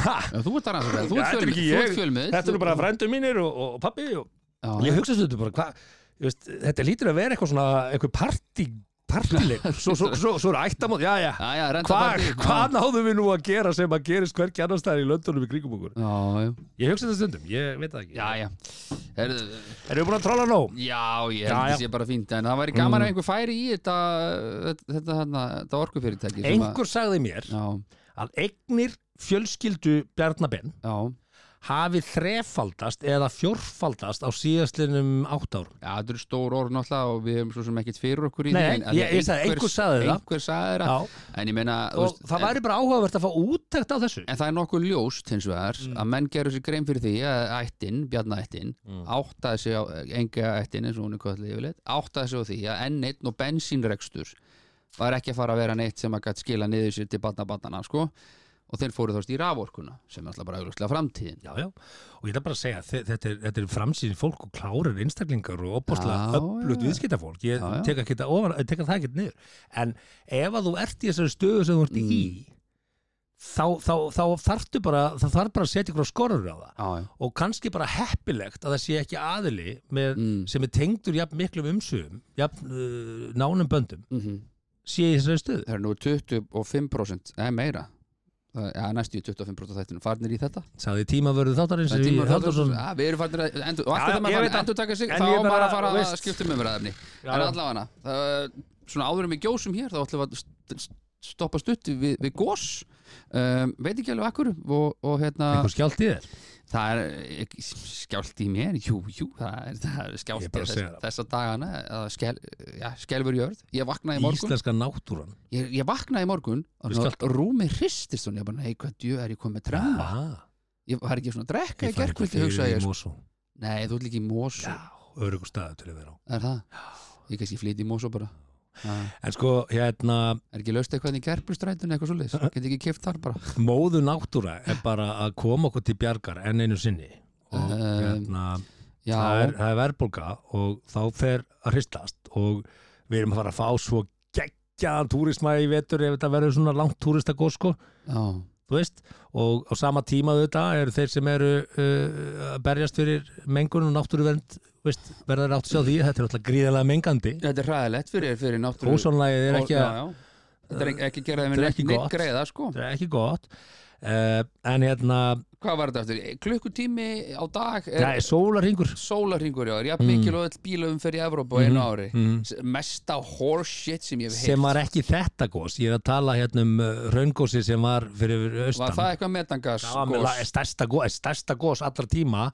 Speaker 2: Ha,
Speaker 3: já þú ert að rannsaka, þú
Speaker 2: Já, þetta er
Speaker 3: ert fjölmið,
Speaker 2: ekki
Speaker 3: þú
Speaker 2: ég.
Speaker 3: ert fjölmið.
Speaker 2: frændur mínir og, og pappi og
Speaker 3: Já,
Speaker 2: ég hugsa þetta bara, hvað, ég veist, þetta lítur að vera eitthvað svona, eitthvað partí
Speaker 1: partileg svo, svo, svo, svo er ættamót, já já
Speaker 3: Já, já,
Speaker 1: hvað
Speaker 3: rentapartí.
Speaker 1: hva náðum við nú að gera sem að gerist hverki annar staðar í löndunum í kringum okkur
Speaker 3: Já, já.
Speaker 1: ég hugsa þetta stundum, ég veit það ekki
Speaker 3: Já, já. Herðu,
Speaker 1: erum við búin að trála nóg?
Speaker 3: já,
Speaker 1: Já,
Speaker 3: ég
Speaker 1: já.
Speaker 3: held að sé bara fínt en það væri gaman að einhver færi í þetta þetta, þetta, þetta, þetta orkufyrirtæki sem að-
Speaker 1: einhver sagði mér
Speaker 3: Já,
Speaker 1: að eignir fjölskyldu Bjarnabenn
Speaker 3: já,
Speaker 1: hafi þrefaldast eða fjórfaldast á síðastlinum átt árum
Speaker 3: já, þetta eru stór orð náttúrulega og við hefum svo sem ekkert fyrir okkur í
Speaker 1: Nei,
Speaker 3: því, en- en
Speaker 1: ég- ég sagði, einhver sagði það.
Speaker 3: Einhver sagði það,
Speaker 1: Já,
Speaker 3: en ég meina þú
Speaker 1: og það
Speaker 3: en-
Speaker 1: væri bara áhugavert að fá úttækt á þessu
Speaker 3: En það er nokkuð ljóst hins vegar að menn gerur sér grein fyrir því að ættin, bjarnaættin, mm. áttaði sig á enga ættin eins og hún er kvöldið yfirleitt, áttaði sig á því að enn einn og bensínrekstur var ekki að fara að vera neitt sem að gætt skila niður sér til barnabarnana sko og þeir fóru þást í raforkuna sem er alltaf bara auglustlega framtíðin.
Speaker 1: Já, já, og ég ætla bara að segja þe- þetta er, þetta er framsýn fólk og klárir einstaklingar og
Speaker 3: Já,
Speaker 1: opaslega öflut
Speaker 3: já.
Speaker 1: viðskiptafólk ég
Speaker 3: Mm. Já, já.
Speaker 1: tek ekki þetta ofan, ég tek það ekki niður en ef að þú ert í þessari stöðu sem þú ert í
Speaker 3: Mm.
Speaker 1: þá, þá, þá þarftu bara það þarf bara að setja ykkur á skorur á það
Speaker 3: Já, já.
Speaker 1: og kannski bara heppilegt að það sé ekki aðili með,
Speaker 3: Mm.
Speaker 1: sem er tengdur jafn miklum umsöfum jafn uh, nánum böndum
Speaker 3: Mm
Speaker 1: sé í þessari stöðu
Speaker 3: Það er nú 25% eða meira, það, ja, næstu í 25% af þættinu farnir í þetta.
Speaker 1: sagði tímavörðu þáttarins
Speaker 3: Það er tíma-
Speaker 1: Sigríður Halldórsson.
Speaker 3: Já, Við erum farnir að endur, og
Speaker 1: Já,
Speaker 3: alltaf
Speaker 1: já,
Speaker 3: það
Speaker 1: ég veit
Speaker 3: maður farnir að
Speaker 1: það.
Speaker 3: endur taka sig
Speaker 1: En
Speaker 3: þá
Speaker 1: ég
Speaker 3: á maður
Speaker 1: bara,
Speaker 3: að fara að
Speaker 1: veist.
Speaker 3: skipta um umræðafni
Speaker 1: Já,
Speaker 3: en
Speaker 1: já.
Speaker 3: allavega hana svona áður en við gjósum hér þá ætlum við að st- st- stoppa stutt við, við gós um, veit ekki alveg akkur og, og hérna
Speaker 1: einhver skjált í þér
Speaker 3: það er ekki skjált í mér jú, jú, það er, það er skjált
Speaker 1: Ég
Speaker 3: í
Speaker 1: bara
Speaker 3: þess,
Speaker 1: segi það.
Speaker 3: þessa dagana eða skel, já, skelfur jörð ég vaknaði í morgun
Speaker 1: íslenska náttúran
Speaker 3: ég, ég vaknaði í morgun og
Speaker 1: Við
Speaker 3: svona
Speaker 1: skjálftum.
Speaker 3: rúmi hristist og ég bara, nei, hvað djö er ég komið með tremma
Speaker 1: ah,
Speaker 3: ég var ekki svona að
Speaker 1: ég
Speaker 3: drekka í
Speaker 1: fær eitthvað
Speaker 3: gerkvöldi
Speaker 1: fyrir
Speaker 3: hugsaði ég,
Speaker 1: í
Speaker 3: sko.
Speaker 1: Mosó
Speaker 3: nei, þú ert líka í mós
Speaker 1: Já, örugur staðu til að vera á.
Speaker 3: er það? Ég kannski flýti í Mosó bara Ha,
Speaker 1: En sko, hérna,
Speaker 3: Er ekki löst eitthvað í gerpustrætun eitthvað svoleiðis? Geti ekki kipt þar bara?
Speaker 1: móðu náttúra er bara að koma okkur til bjargar enn einu sinni. Og
Speaker 3: Um,
Speaker 1: hérna,
Speaker 3: Já,
Speaker 1: það er, það er verðbólga og þá fer að hristast og við erum að fara að fá svo geggjaðan túrisma í vetur ef þetta verður svona langt túristagóð, sko.
Speaker 3: já,
Speaker 1: Þú veist, og á sama tíma auðvitað eru þeir sem eru uh, að berjast fyrir mengun og náttúruvernd þú veist, verður átt að sjá því að þetta er alltaf gríðarlega mengandi
Speaker 3: þetta er hræðilegt fyrir, fyrir náttúru
Speaker 1: ósónlægið er ekki
Speaker 3: já,
Speaker 1: að
Speaker 3: já. Þetta er ekki- ekki gerða þeim
Speaker 1: Þetta er
Speaker 3: neitt,
Speaker 1: ekki
Speaker 3: neitt
Speaker 1: gott.
Speaker 3: greiða sko
Speaker 1: þetta er ekki gott uh, en hérna, eh,
Speaker 3: Hvað var þetta eftir? Klukkutími á dag er
Speaker 1: það er sólarhingur
Speaker 3: sólarringur já, er jafn
Speaker 1: Mm.
Speaker 3: mikil og öll bílaumferð í Evrópu á einu ári S- Mesta horseshit sem ég hef
Speaker 1: Mhm, sem
Speaker 3: heilt
Speaker 1: var ekki þetta gos ég er að tala hérna um uh, raungósi sem var fyrir austan
Speaker 3: Var það eitthvað metangas?
Speaker 1: það var með la-
Speaker 3: gos?
Speaker 1: stærsta, gos, stærsta gos allra tíma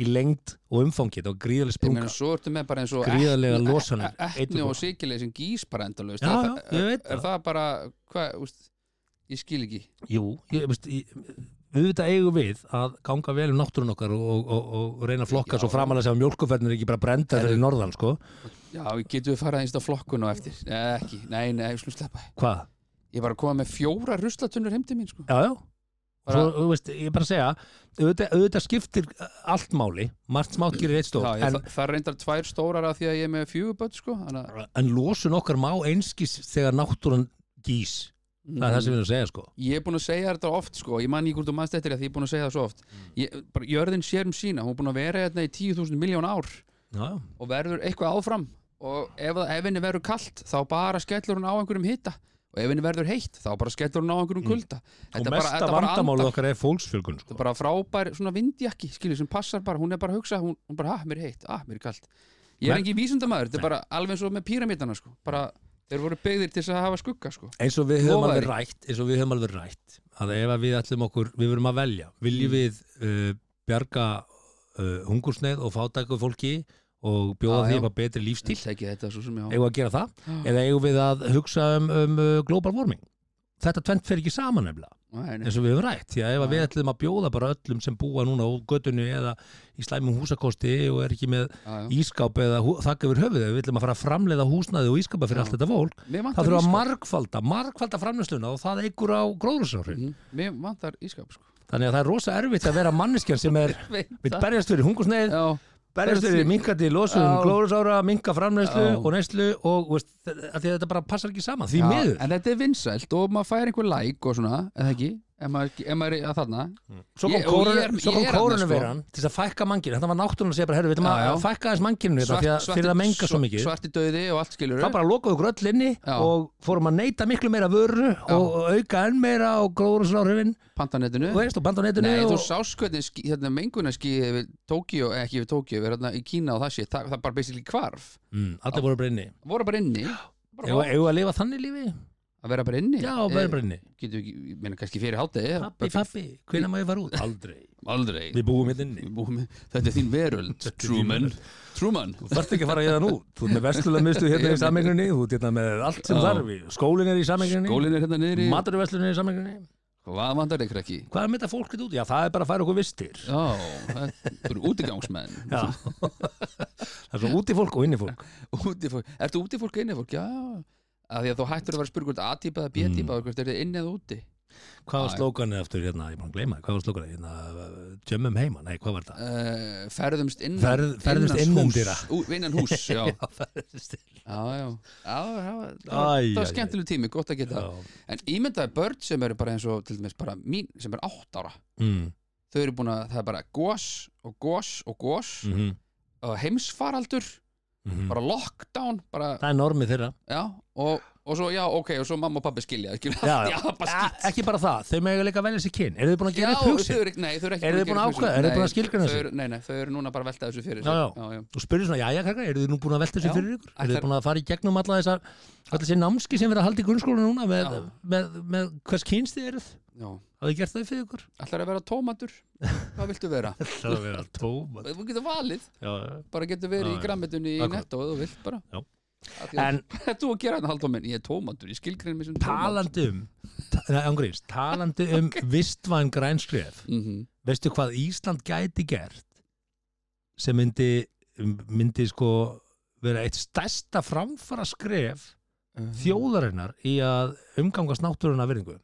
Speaker 1: í lengd og umfangi það var gríðaleg
Speaker 3: Ég meina,
Speaker 1: sprunga
Speaker 3: svo ertu með bara eins og
Speaker 1: Gríðarlega
Speaker 3: etni-
Speaker 1: losanir,
Speaker 3: e- e- etni
Speaker 1: eiturgos.
Speaker 3: og sikileg sem gís bara endalaust
Speaker 1: Já, já,
Speaker 3: Er það-
Speaker 1: ég
Speaker 3: er-
Speaker 1: veit
Speaker 3: Er
Speaker 1: það.
Speaker 3: það bara, hvað, úst, ég skil ekki
Speaker 1: jú, ég, veist, ég, auðvitað eigum við að ganga vel um náttúrun okkar og, og, og, og reyna að flokka
Speaker 3: Já.
Speaker 1: svo framalega sem mjölkuferðin er ekki bara brenda fyrir norðan sko.
Speaker 3: Já, getum við farað einsta flokkun og eftir Nei, ekki, nei, nei, slú sleppa
Speaker 1: hvað?
Speaker 3: Ég var að koma með fjóra ruslatunnur heim til mín sko.
Speaker 1: Já, já Svo,
Speaker 3: Bara-
Speaker 1: þú veist, ég er bara að segja auðvitað, auðvitað skiptir uh, allt máli margt smátt gerir eitt stór
Speaker 3: Já, ég,
Speaker 1: en,
Speaker 3: það, það reyndar tvær stórar af því að ég er með fjöguböld sko. Þannig
Speaker 1: en losun okkar má einskis þegar náttúran gís það er það sem
Speaker 3: að-
Speaker 1: við erum að segja sko
Speaker 3: Ég er búin að segja þetta oft sko. Ég man ekki hvort þú manst eftir að því ég er búin að segja það svo oft ég, bara, Jörðin sér um sína, hún er búin að vera hérna í 10.000 miljón ár
Speaker 1: já, já.
Speaker 3: og verður eitthvað áfram og ef, ef henni verður kalt þá bara skellur hún á einhverjum hita og ef henni verður heitt þá bara skellur hún á einhverjum
Speaker 1: Mm.
Speaker 3: kulda
Speaker 1: og
Speaker 3: Þetta bara-
Speaker 1: mesta
Speaker 3: þetta bara andar.
Speaker 1: vandamálið okkar er fólksfjölgun sko.
Speaker 3: þetta er bara frábær svona vindjakki skilur sem passar bara, hún er bara að hugsa hún, hún bara, ah, mér er heitt, ah, mér er kalt ég er
Speaker 1: Nei.
Speaker 3: ekki vísindamæður, þetta er bara alveg eins og með píramítana sko, bara, þeir voru byggðir til þess að hafa skugga sko,
Speaker 1: eins og við höfum
Speaker 3: Lofaði.
Speaker 1: alveg rætt eins og við höfum alveg rætt að ef að við ætlum okkur, við verum að velja viljum við uh, bjarga uh, hungursneið og fátæku fólki og bjóða
Speaker 3: Já,
Speaker 1: því
Speaker 3: já.
Speaker 1: eitthvað betri lífstíl
Speaker 3: til ekki þetta svo sem ég á
Speaker 1: eigum við að gera það, eða eigum við að hugsa um, um uh, global warming þetta tvent fer ekki saman nefnilega,
Speaker 3: Nei, nei.
Speaker 1: eins og við höfum rætt því að ef að
Speaker 3: Já,
Speaker 1: við ætlum að bjóða bara öllum sem búa núna á göttunni eða í slæmum húsakosti og er ekki með
Speaker 3: Já, já.
Speaker 1: ískáp eða hú- þakka yfir höfuð ef við ætlum að fara að framleiða húsnaði og ískapa fyrir
Speaker 3: Já.
Speaker 1: allt þetta fólk,
Speaker 3: Mér
Speaker 1: það
Speaker 3: vantar
Speaker 1: þurfa að
Speaker 3: ískap
Speaker 1: margfalda margfalda framleysluna og það eigur á gróðursári
Speaker 3: Mhm, Mér vantar ískap sko.
Speaker 1: þannig að það er rosa erfitt að vera manneskjan sem er við
Speaker 3: Það-
Speaker 1: berjast fyrir hungursneið
Speaker 3: Já,
Speaker 1: berjast fyrir minkandi
Speaker 3: Já.
Speaker 1: losun glóðursára, minka
Speaker 3: Já.
Speaker 1: framleyslu og neyslu og veist, að því að þetta bara passar ekki saman því
Speaker 3: já,
Speaker 1: miður
Speaker 3: en þetta er vinsælt og maður fær einhver like og svona, eða ekki ef maður, ef maður er að þarna
Speaker 2: Svo kom,
Speaker 3: Ég- og
Speaker 2: kórun,
Speaker 3: ég er-
Speaker 2: svo
Speaker 3: ég
Speaker 2: kom
Speaker 3: er
Speaker 2: kórunveran til þess að fækka manginu Þetta var náttúrulega að segja bara, herru, við ætlum
Speaker 3: Já,
Speaker 2: að
Speaker 3: já.
Speaker 2: að fækka aðeins manginu þetta því að-
Speaker 3: Svart-
Speaker 2: fyrir að menga
Speaker 3: svart-
Speaker 2: svo mikið
Speaker 3: svarti döði og allt skilur
Speaker 2: Þá bara lokaðu okkur öll inni
Speaker 3: Já.
Speaker 2: og fórum að neyta miklu meira vöru og auka enn meira og gróðurslárufinn
Speaker 3: pantanetinu
Speaker 2: og veist og band á netinu
Speaker 3: Nei,
Speaker 2: og...
Speaker 3: þú sást hvernig ski- hérna, mengunarski við Tókíó, eh, ekki við Tókíó, við hérna í Kína og það sé, það, það bara basically hvarf
Speaker 2: mm, Allir voru bara inni
Speaker 3: voru bara inni bara
Speaker 2: Eigum
Speaker 3: hvarf.
Speaker 2: eigum við að lifa þannig lífi?
Speaker 3: að vera bara inni
Speaker 2: Já, bara bara inni
Speaker 3: getur ekki, ég meina kannski fyrir hátegi
Speaker 2: Pappi, pappi, hvenær má ég fara út? Aldrei
Speaker 3: aldrei
Speaker 2: Við búum hérna inni
Speaker 3: Við búum- þetta er þín veröld, Truman Truman
Speaker 2: Þú þarft ekki að fara að gera nú Þú ert með verslulega mistu hérna í sameignunni Þú ert hérna með allt sem
Speaker 3: Já.
Speaker 2: þarf í- Skólinn er í sameignunni
Speaker 3: Gólin er hérna niðri,
Speaker 2: Maturverslunin er í sameignunni
Speaker 3: hvað vantar þig krakki?
Speaker 2: Hvað er með þetta fólk þetta út? í? Já, það er bara að færa okkur vistir
Speaker 3: Já, þetta eru útigangsmenn
Speaker 2: Já Það er svo úti fólk og inni fólk
Speaker 3: Útifólk, ertu útifólk eða innifólk? Já, að því að þú hættur að vera að spyrja hvort A-típa eða B-típa, mm. hvort er þið inni eða úti
Speaker 2: Hvað var
Speaker 3: Já, já.
Speaker 2: slókanið aftur hérna? Ég er búin að gleyma því. Hvað var slókanið hérna? Tjömmum heima? Nei, hvað var þetta?
Speaker 3: uh, ferðumst innan
Speaker 2: Ferð- ferðumst
Speaker 3: innans
Speaker 2: innan
Speaker 3: hús.
Speaker 2: dyra.
Speaker 3: Ú, innan hús, já, já,
Speaker 2: Ferðist-
Speaker 3: já, já, já það
Speaker 2: Æ,
Speaker 3: var- það
Speaker 2: æ, æ.
Speaker 3: var skemmtileg tími, gott að geta
Speaker 2: Já.
Speaker 3: en ímyndaði börn sem eru bara eins og til dæmis bara mín, sem er átt ára
Speaker 2: Mm,
Speaker 3: þau eru búin að, það er bara gos og gos og gos
Speaker 2: mhm,
Speaker 3: og heimsfaraldur,
Speaker 2: mhm.
Speaker 3: bara lockdown bara,
Speaker 2: Það er normið þeirra
Speaker 3: já, og, og svo, já, ok og svo mamma og pappi skilja, ekki,
Speaker 2: Já,
Speaker 3: allt í
Speaker 2: já.
Speaker 3: apa
Speaker 2: Ja,
Speaker 3: skýt
Speaker 2: ekki bara það, þau megðu líka velja sér kyn Eru þið búin að
Speaker 3: Já,
Speaker 2: gera upp
Speaker 3: þau
Speaker 2: hugsin?
Speaker 3: eru ekki, nei, þau eru ekki
Speaker 2: Eru þið
Speaker 3: að gera
Speaker 2: búin að
Speaker 3: upp hugsun.
Speaker 2: ákveða? Eru þau
Speaker 3: Nei,
Speaker 2: búin að skilgreina
Speaker 3: þau
Speaker 2: sig?
Speaker 3: eru- Nei, nei, þau eru núna bara að velta þessu fyrir
Speaker 2: Já, já.
Speaker 3: sér. Já, já.
Speaker 2: Þú spyrir svona, jæja krakkar, eru þið nú búin að velta þessu
Speaker 3: Já.
Speaker 2: fyrir ykkur? Eru
Speaker 3: Ætlar-
Speaker 2: þið búin að fara í gegnum alla þessar Alla þessi námski sem verið að halda í grunnskóla núna með,
Speaker 3: Já.
Speaker 2: með, með hvers kynst þið eruð?
Speaker 3: Já.
Speaker 2: Hafið þið gert það fyrir ykkur?
Speaker 3: Ætlar að vera tómatur? Hvað viltu vera?
Speaker 2: Það er verið að tóma
Speaker 3: Þú getur valið,
Speaker 2: Já,
Speaker 3: bara getur
Speaker 2: Já,
Speaker 3: verið í
Speaker 2: já.
Speaker 3: grammetunni í
Speaker 2: Akkurat.
Speaker 3: netto eða þú vilt bara.
Speaker 2: Já.
Speaker 3: Af því að-
Speaker 2: En-
Speaker 3: Þú að gera þetta haldum minn, ég er tómatur, ég skilgrein mér sem tómat.
Speaker 2: talandi um ta- nei, ángríns, talandi um vistvæn grænskref
Speaker 3: Mm
Speaker 2: veistu hvað Ísland gæti gert sem myndi myndi sko vera eitt stærsta framfara skref þjóðarinnar í að umgangast náttúruna af virðingu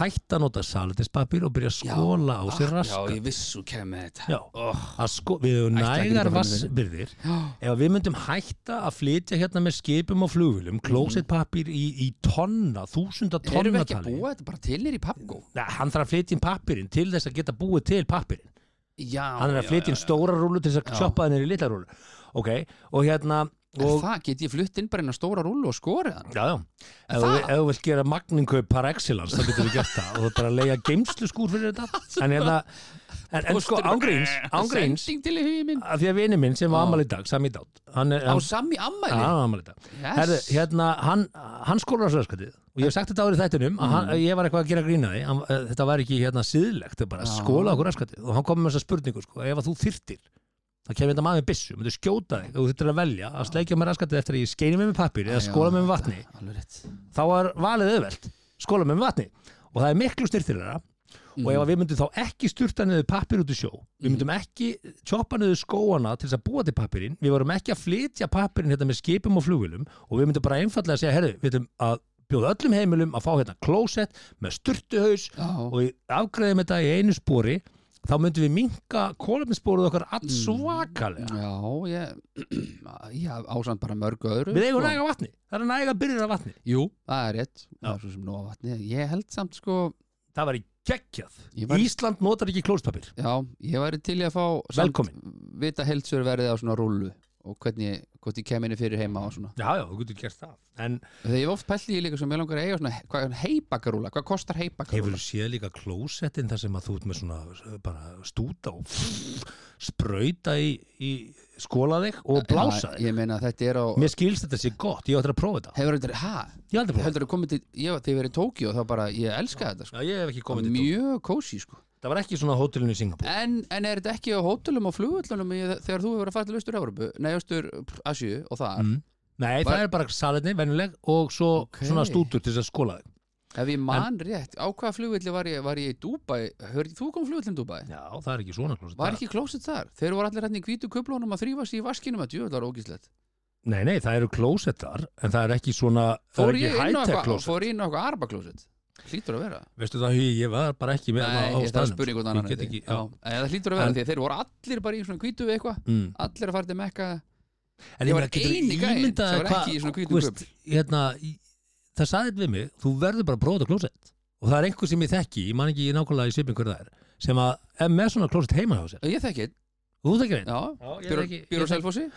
Speaker 2: hætta að nota saletispapir og byrja að
Speaker 3: Já,
Speaker 2: skóla á sér
Speaker 3: Ah, Já,
Speaker 2: raskat
Speaker 3: ég viss þú kemur þetta.
Speaker 2: Já,
Speaker 3: Oh.
Speaker 2: að sko, við höfum
Speaker 3: Ætla ekki
Speaker 2: nægar
Speaker 3: líka fram í
Speaker 2: vassbyrðir
Speaker 3: Já.
Speaker 2: ef við myndum hætta að flytja hérna með skipum og flugvillum klósettpapir í, í tonna, þúsunda
Speaker 3: Mhm. Erum við ekki að
Speaker 2: tonnatali
Speaker 3: búa þetta bara til nýri pappgó?
Speaker 2: Nei, hann þarf að flytja inn pappirinn til þess að geta búið til pappirinn
Speaker 3: Já,
Speaker 2: hann er að
Speaker 3: já,
Speaker 2: flytja
Speaker 3: já,
Speaker 2: inn stóra rúlu til þess
Speaker 3: Já.
Speaker 2: að sjoppa þennir í litla rúlu ok, og hérna
Speaker 3: já. En
Speaker 2: og,
Speaker 3: Það get ég flutt inn bara inn á stóra rúlu og skorið hann.
Speaker 2: já, já, ef þú-
Speaker 3: það?
Speaker 2: ef þú vilt gera magninkaup par excellence, þá getur við gert það og þú bara leiða geimslu skúr fyrir þetta en hérna, en, en sko ángríns
Speaker 3: Eh,
Speaker 2: ángríns,
Speaker 3: Sending til í hugið minn.
Speaker 2: af því að vini minn sem var ammali dag, sami dát hann er,
Speaker 3: Á
Speaker 2: hann,
Speaker 3: sami
Speaker 2: Já, hann
Speaker 3: ammæli.
Speaker 2: var ammali dag
Speaker 3: Yes.
Speaker 2: Herðu, hérna, hann, hann skólar á söðskatið og ég hef sagt þetta árið þættinum að hann,
Speaker 3: Mm.
Speaker 2: ég var eitthvað að gera grína því hann, eh, þetta var ekki hérna síðlegt, þetta er bara
Speaker 3: Já.
Speaker 2: skóla okkur öskatið og hann kom með þessa spurningu sko, ef að þú þyrtir þá kemur þetta maður með byssu, myndu skjóta þig og þú þyrtir að velja að sleikja með raskatið eftir að ég skeini mig með pappir eða skóla mig með vatni
Speaker 3: Alveg rétt.
Speaker 2: þá var valið auðvelt, skóla mig með vatni og það er miklu styrtilega og ef að við myndum þá ekki sturta niður pappir út í sjó við myndum ekki tjoppa niður skóana til þess að búa til pappirinn við vorum ekki að flytja pappirinn hérna með skipum og flugilum og við myndum bara einfallega að segja herðu, við myndum að bjóða öllum heimilum að fá hérna klósett með sturtuhaus
Speaker 3: Mm. Já.
Speaker 2: og við afgreðum þetta í einu spori þá myndum við minka kólefnissporuð okkar allsvakalega
Speaker 3: Já, ég, ég ásand bara mörgu öðru
Speaker 2: við eigum
Speaker 3: sko.
Speaker 2: næga vatni, það er næga byrjir af vatni
Speaker 3: Jú, það er rétt
Speaker 2: Já.
Speaker 3: Það er svo sem nóg af vatni. Ég held samt sko
Speaker 2: það var í geggjað,
Speaker 3: Ég var-
Speaker 2: Ísland notar ekki klóspapir
Speaker 3: Já, ég væri til í að fá samt
Speaker 2: velkomin,
Speaker 3: Vita heldsur verðið á svona rúlu Og hvernig, hvort ég kem inni fyrir heima og svona
Speaker 2: já já, þú getur gert það en
Speaker 3: Þegar ég hef oft pælt í því líka sem ég langar að eiga svona he- Hvað er heibakarúla? Hvað kostar
Speaker 2: Hefur þú
Speaker 3: heibakarúla?
Speaker 2: séð líka klósettin þar sem að þú ert með svona uh, bara stúta og sprauta í, í skóla þig og blása
Speaker 3: Já,
Speaker 2: þig?
Speaker 3: Ég meina að þetta er á
Speaker 2: Mér skilst þetta sé gott, ég ætla að prófa þetta.
Speaker 3: Hefur þetta, ha?
Speaker 2: Ég hef aldrei prófa þetta.
Speaker 3: Heldur þetta komið til, ég, þegar ég verið í Tókíó þá bara, ég elska þetta sko
Speaker 2: Já, ég hef ekki komið til þetta.
Speaker 3: Mjög Eh, kósi sko
Speaker 2: Það var ekki svona á hótelinu í Singapúr.
Speaker 3: En, en er þetta ekki á hótelum og flugullunum í, þegar þú hefur verið að fara til austur Evropu, nei austur Asju og þar
Speaker 2: Mm. Nei,
Speaker 3: Var-
Speaker 2: það er bara salinni, venjuleg og svo
Speaker 3: Ok.
Speaker 2: svona stútur til þess að skóla þig.
Speaker 3: Ef ég man rétt, á hvaða flugulli var ég, var ég í Dubai, hörði þú kom flugullin Dubai?
Speaker 2: Já, það er ekki svona klósett.
Speaker 3: Var ekki klósett þar? Þeir voru allir hérna í hvítu köflunum að þrýfa sig í vaskinum að djöðlar ógíslegt
Speaker 2: Nei, nei, það eru klósettar, en það er ekki svona, það
Speaker 3: Fór
Speaker 2: er
Speaker 3: ég
Speaker 2: ekki
Speaker 3: inn á
Speaker 2: high-tech
Speaker 3: eitthvað,
Speaker 2: klósett.
Speaker 3: fór ég inn á eitthvað arba klósett? Hlýtur að vera
Speaker 2: Veistu það, Hugi, ég var bara ekki með
Speaker 3: Nei,
Speaker 2: á
Speaker 3: ég þarf að
Speaker 2: staðnum,
Speaker 3: spurja
Speaker 2: sko.
Speaker 3: einhvern annan
Speaker 2: Ég get
Speaker 3: held
Speaker 2: ekki,
Speaker 3: ég.
Speaker 2: já.
Speaker 3: Já, eða Það hlýtur að vera
Speaker 2: En-
Speaker 3: því að þeir voru allir bara í svona hvítu við eitthvað
Speaker 2: Mm.
Speaker 3: Allir að fara til Mekka
Speaker 2: En ég
Speaker 3: Ég var
Speaker 2: meina, getur
Speaker 3: eini gæinn sem
Speaker 2: ímyndað
Speaker 3: var
Speaker 2: hvað,
Speaker 3: ekki í svona hvítum
Speaker 2: þú veist, hérna, í- það saði við mig, þú verður bara að prófa þetta klósett og það er einhver sem ég þekki, ég man ekki nákvæmlega í svipin hver það er, sem að er með svona klósett heima hjá sér,
Speaker 3: Ég þekki einn,
Speaker 2: þú þekkir einn?
Speaker 3: já,
Speaker 2: Já, ég
Speaker 3: býr
Speaker 2: þekki-
Speaker 3: býr á
Speaker 2: ég þekki-
Speaker 3: Selfossi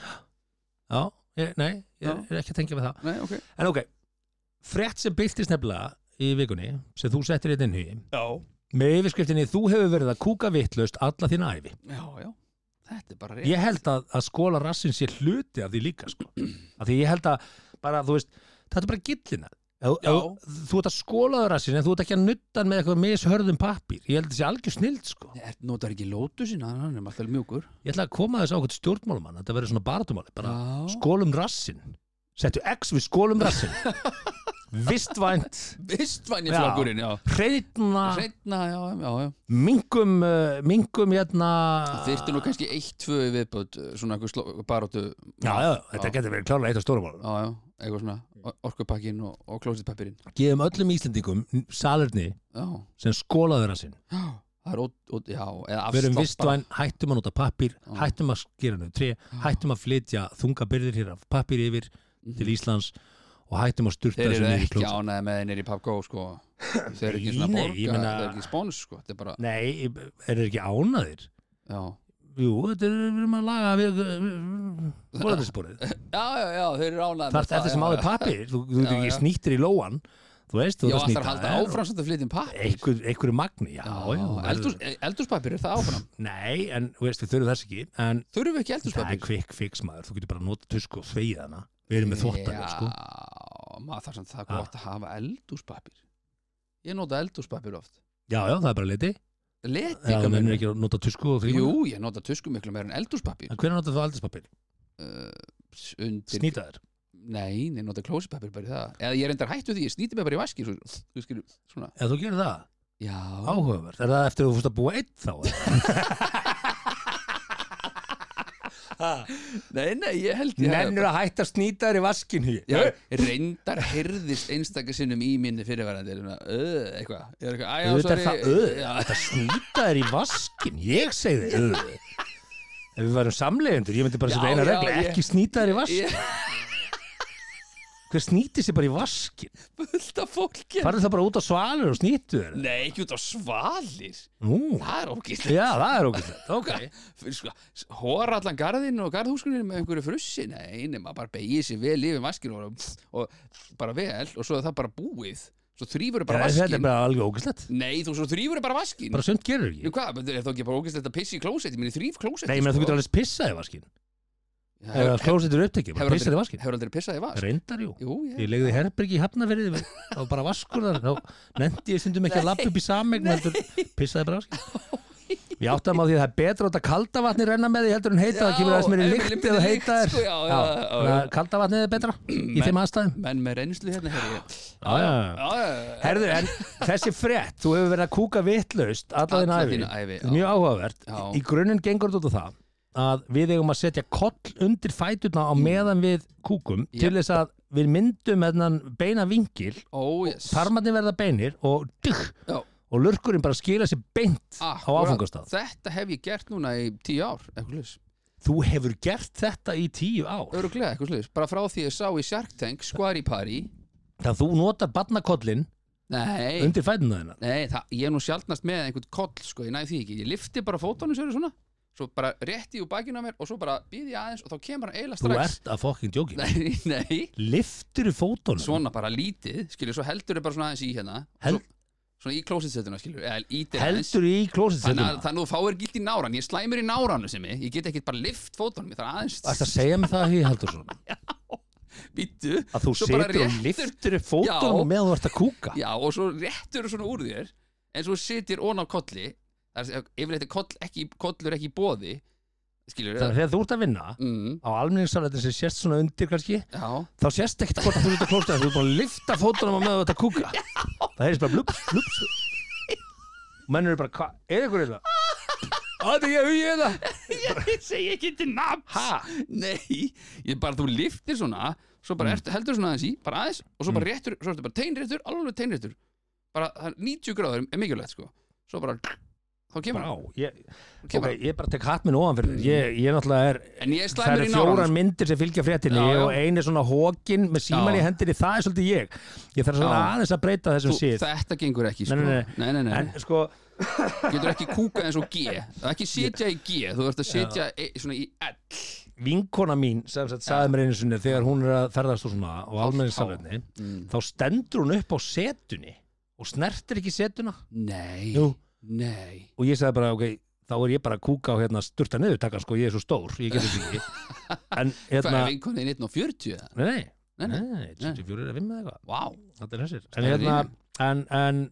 Speaker 2: Já, ég, nei, ég
Speaker 3: Já.
Speaker 2: er ekki að tengja með það
Speaker 3: Nei, ok
Speaker 2: En ok, frétt sem byltist nefnilega í vikunni sem þú settir þetta inn í
Speaker 3: Já,
Speaker 2: með yfirskriftinni þú hefur verið að kúka vittlaust alla þína æfi.
Speaker 3: já, já. Þetta er bara rétt
Speaker 2: Ég held að, að skóla rassin sé hluti af því líka sko. af því ég held að bara, þú veist, þetta er bara gillina Ef-
Speaker 3: Já.
Speaker 2: ef- Þú ert að skólaða rassin en þú ert ekki að nutta hann með eitthvað mishörðum pappír Ég held að þetta sé algjör snild sko.
Speaker 3: Er- Notar ekki lótu sína, hann er alltaf mjúkur
Speaker 2: Ég ætla að koma þess á okkur stjórnmálumann þetta verður svona baratumáli bara
Speaker 3: Já.
Speaker 2: skólum rassin Settu X við skólum rassin Vistvænt
Speaker 3: Vistvæni
Speaker 2: Já.
Speaker 3: flokkurinn, já
Speaker 2: Hreitna
Speaker 3: Seinna, já, já, já
Speaker 2: mingum, uh, mingum hérna
Speaker 3: Þyrfti nú kannski eitt, tvö í viðböð Svona einhver sló, baróttu
Speaker 2: Já, já, þetta getur verið klárlega eitt af stórum málum.
Speaker 3: Já, já, eitthvað svona Orkupakkin og, og klósitpappirinn
Speaker 2: Gefum öllum Íslendingum salerni
Speaker 3: Já,
Speaker 2: sem skólaður að sinn.
Speaker 3: já Það er ótt, ótt, já eða
Speaker 2: Verum
Speaker 3: afslátt bara.
Speaker 2: vistvæn, hættum að nota pappír, hættum að skera nöðu tré, hættum að flytja þungabyrðir hér af pappír yfir til Íslands og hættum að sturta
Speaker 3: Mhm. Þeir eru
Speaker 2: niður í
Speaker 3: ekki
Speaker 2: klósett.
Speaker 3: ánæði með þeir í PubGo sko Þeir eru ekki
Speaker 2: Nei,
Speaker 3: svona
Speaker 2: nei,
Speaker 3: borga,
Speaker 2: ég meina-
Speaker 3: þeir eru ekki spónus sko Þetta er bara,
Speaker 2: Nei, er þeir ekki ánaðir?
Speaker 3: já
Speaker 2: Jú, þetta er við erum að laga við eh, fóræðisborðið.
Speaker 3: Já, já, já, þeir eru ánæði
Speaker 2: Þar eftir sem áður pappír, þú þú ert
Speaker 3: Já,
Speaker 2: ekki
Speaker 3: já.
Speaker 2: snýttir í lóan, þú veist, þú
Speaker 3: Já,
Speaker 2: ert að
Speaker 3: það er
Speaker 2: snýta.
Speaker 3: að um halda
Speaker 2: en-
Speaker 3: áfram sem þetta flytjum pappir
Speaker 2: einhver, einhverju magni, já, já,
Speaker 3: eldús, Eldúspapir, e, er það áfram?
Speaker 2: Nei, en þú veist, við þurfum þess ekki en
Speaker 3: Þurfum við ekki
Speaker 2: það er
Speaker 3: eldúspapir?
Speaker 2: quick fix maður, þú getur bara að nota tusku og þvegið hana við erum með þvóttavél, sko Ah.
Speaker 3: Já, maður þarf samt það er gott að hafa eldúspapir Ég nota eldúspapir oft
Speaker 2: Já, já, það er bara liti Já,
Speaker 3: Leti
Speaker 2: það mennir ekki að nota tusku og þvegið
Speaker 3: Jú,
Speaker 2: hana.
Speaker 3: ég nota tusku miklu meira en eldúspapir
Speaker 2: En hvernig notar þú aldurspapir?
Speaker 3: Undir
Speaker 2: Snýtaður
Speaker 3: Nei, ég nota klósipapir bara í það Eða ég er endar hættu því, ég snýti mig bara í vaski svo, Þú skilur, svona
Speaker 2: Ef þú gerir það,
Speaker 3: Já,
Speaker 2: áhugavert Er það eftir að þú fórst að búa einn þá?
Speaker 3: nei, nei, ég held ég hafi
Speaker 2: að hætta snýtaður í vaskinu
Speaker 3: Já, reyndar herðist einstakar sinnum í minni fyrirverandi uh, eitthvað, ég er eitthvað, æjá,
Speaker 2: Þetta er
Speaker 3: sorry
Speaker 2: það öð Þetta snýtaður í vaskin Ég segi þið öð Ef við værum samlegendur, ég myndi bara
Speaker 3: Já,
Speaker 2: setja eina
Speaker 3: já,
Speaker 2: regla
Speaker 3: ég-
Speaker 2: Ekki snýtaður í vaskin
Speaker 3: Ég
Speaker 2: Hver snýtir sér bara í vaskin?
Speaker 3: fullt af fólki
Speaker 2: Farðu það bara út á svalur og snýttu þér
Speaker 3: Nei, ekki út á svalir
Speaker 2: Nú,
Speaker 3: Það er ógæslega
Speaker 2: já, það er ógæslegt, ok
Speaker 3: sko, Hóra allan garðinn og garðhúskunir með einhverju frussi Nei, nema bara beigir sér vel yfir vaskinu og, og bara vel og svo er það bara búið Svo þrýfur bara
Speaker 2: Nei, Þetta er
Speaker 3: vaskin
Speaker 2: bara alveg ógæslegt
Speaker 3: Nei, þú svo þrýfur bara vaskin
Speaker 2: Bara sumt gerur
Speaker 3: Nú
Speaker 2: ekki
Speaker 3: hvað, er það ekki bara ógæslega að pissi í klósetti Minni þrýf klósetti
Speaker 2: Nei, ég menn þú getur alveg pissað í vaskin Ef klósið er upptekið, bara pissað í vaskin
Speaker 3: Hefur aldrei pissað í vask?
Speaker 2: Reyndar, jú
Speaker 3: Jú, ég
Speaker 2: Ég legði herbergi í hafnafyrði Það var bara vaskur þar Þá nefndi ég stundum ekki að lappa upp í sameign heldur Pissaði bara á vaskin Ég átti að maður því að það er betra að láta kalda vatni renna með því heldur en heita Það
Speaker 3: Já,
Speaker 2: kemur aðeins meiri
Speaker 3: ef
Speaker 2: lykt
Speaker 3: minni
Speaker 2: eða
Speaker 3: lykt,
Speaker 2: heita
Speaker 3: sko,
Speaker 2: þér
Speaker 3: já, já,
Speaker 2: Já,
Speaker 3: já, já.
Speaker 2: þannig að Kalda vatnið er betra í þeim aðstæðum
Speaker 3: menn með reynslu hérna herri
Speaker 2: Já, já, já
Speaker 3: Já, já, já.
Speaker 2: Herðu, en þessi frétt, þú hefur verið að kúka vitlaust alla þín
Speaker 3: Alla
Speaker 2: æfi,
Speaker 3: þína ævi,
Speaker 2: Þetta er mjög áhugavert
Speaker 3: Já.
Speaker 2: í grunninn gengur þetta út á það að við eigum að setja koll undir fæturna á meðan við kúkum til
Speaker 3: Jep.
Speaker 2: þess að við myndum hennan beina vingil,
Speaker 3: Ó, yes
Speaker 2: farmarnir verða beinir og dugg,
Speaker 3: Já.
Speaker 2: og lurkurinn bara skila sér beint á
Speaker 3: Akkúrat.
Speaker 2: áfangastað
Speaker 3: Þetta hef ég gert núna í tíu ár eitthvað slis,
Speaker 2: Þú hefur gert þetta í tíu ár
Speaker 3: öruglega eitthvað slis bara frá því ég sá í Shark Tank Squari Pari
Speaker 2: þannig að þú notar barnakollin
Speaker 3: Nei,
Speaker 2: undir fæturna þína
Speaker 3: nei það, ég er nú sjaldnast með einhvern koll sko, ég næði því ekki, ég lifti bara fótunum sér svona, svo bara rétti úr bakinu á mér og svo bara býði ég aðeins og þá kemur hann eiginlega
Speaker 2: Þú
Speaker 3: strax
Speaker 2: ert að fokkin djóki
Speaker 3: Nei, nei,
Speaker 2: Liftur í fótunum
Speaker 3: svona bara lítið skilur, svo heldur þau bara svona aðeins í hérna
Speaker 2: Hel-
Speaker 3: svo, svona í klósitsettuna skilur, eða ítir aðeins
Speaker 2: heldur í
Speaker 3: Þannig að
Speaker 2: klósitsetuna
Speaker 3: þannig að þú fáir gilt í náran, ég slæmur í náranu sem ég, ég get ekki bara lift fótunum, ég þarf aðeins
Speaker 2: Það er að segja mig það, Hí Haldursson
Speaker 3: býttu
Speaker 2: að þú
Speaker 3: Svo bara
Speaker 2: setur og
Speaker 3: réttur-
Speaker 2: liftur upp fótunum
Speaker 3: Já.
Speaker 2: meðan þú ert að kúka
Speaker 3: Já, og svo réttur svona úr þér en svo sitir ón á kolli það er yfirleitt er koll, ekki, kollur ekki í bóði skilur
Speaker 2: þannig að þegar þú ert að vinna
Speaker 3: mm,
Speaker 2: á almenningssalætin sem sést svona undir kannski
Speaker 3: Já,
Speaker 2: þá sést ekkert hvort að þú ert að klósta þú ert búin að lifta fótunum á meðan þú ert að kúka það heyrðist bara blups, blups og menn eru bara, hvað, er ykkur eða? Það er ég, ég eða
Speaker 3: ég segi ekki til naps Nei, ég bara þú liftir svona svo
Speaker 2: Mm.
Speaker 3: bara ertu, heldur svona aðeins í bara aðeins og svo bara réttur, svo ertu bara teinréttur alveg teinréttur, bara það er 90 gráður er mikilvægt sko, svo bara þá kemur
Speaker 2: Vá,
Speaker 3: hann.
Speaker 2: ég,
Speaker 3: Kemur
Speaker 2: ok, ég bara tek hatt minn ofan fyrir þér. ég, ég náttúrulega er
Speaker 3: En ég er
Speaker 2: það
Speaker 3: slæmur
Speaker 2: eru
Speaker 3: í sko.
Speaker 2: fjórar
Speaker 3: náran
Speaker 2: myndir sem fylgja fréttinni
Speaker 3: Já, já.
Speaker 2: og ein er svona hókin með síman
Speaker 3: Já.
Speaker 2: í hendinni, það er svolítið ég ég þarf svona
Speaker 3: Já.
Speaker 2: aðeins að breyta þessum síð
Speaker 3: Þetta gengur ekki
Speaker 2: Nei,
Speaker 3: sko.
Speaker 2: nei,
Speaker 3: nei, nei, nei.
Speaker 2: en sko,
Speaker 3: Getur ekki kúka eins og G Það er ekki setja í G, þú ert að setja e, svona í L
Speaker 2: vinkona mín sem sagt sagði mér einu sinni þegar hún er að ferðast og svona og almenni salverni þá stendur hún upp á setunni og snertir ekki setuna
Speaker 3: Nei,
Speaker 2: Jú.
Speaker 3: nei
Speaker 2: og ég sagði bara ok, þá er ég bara að kúka og hérna sturta niður takkan sko, ég er svo stór ég getur ekki en
Speaker 3: Hvað
Speaker 2: hérna,
Speaker 3: er vinkoninn 1.40? eða?
Speaker 2: nei, nei
Speaker 3: Nei, nei,
Speaker 2: Nei, 24 eða 5 eða eitthvað
Speaker 3: vá
Speaker 2: Þetta er þessir En,
Speaker 3: Stærri
Speaker 2: hérna, en, en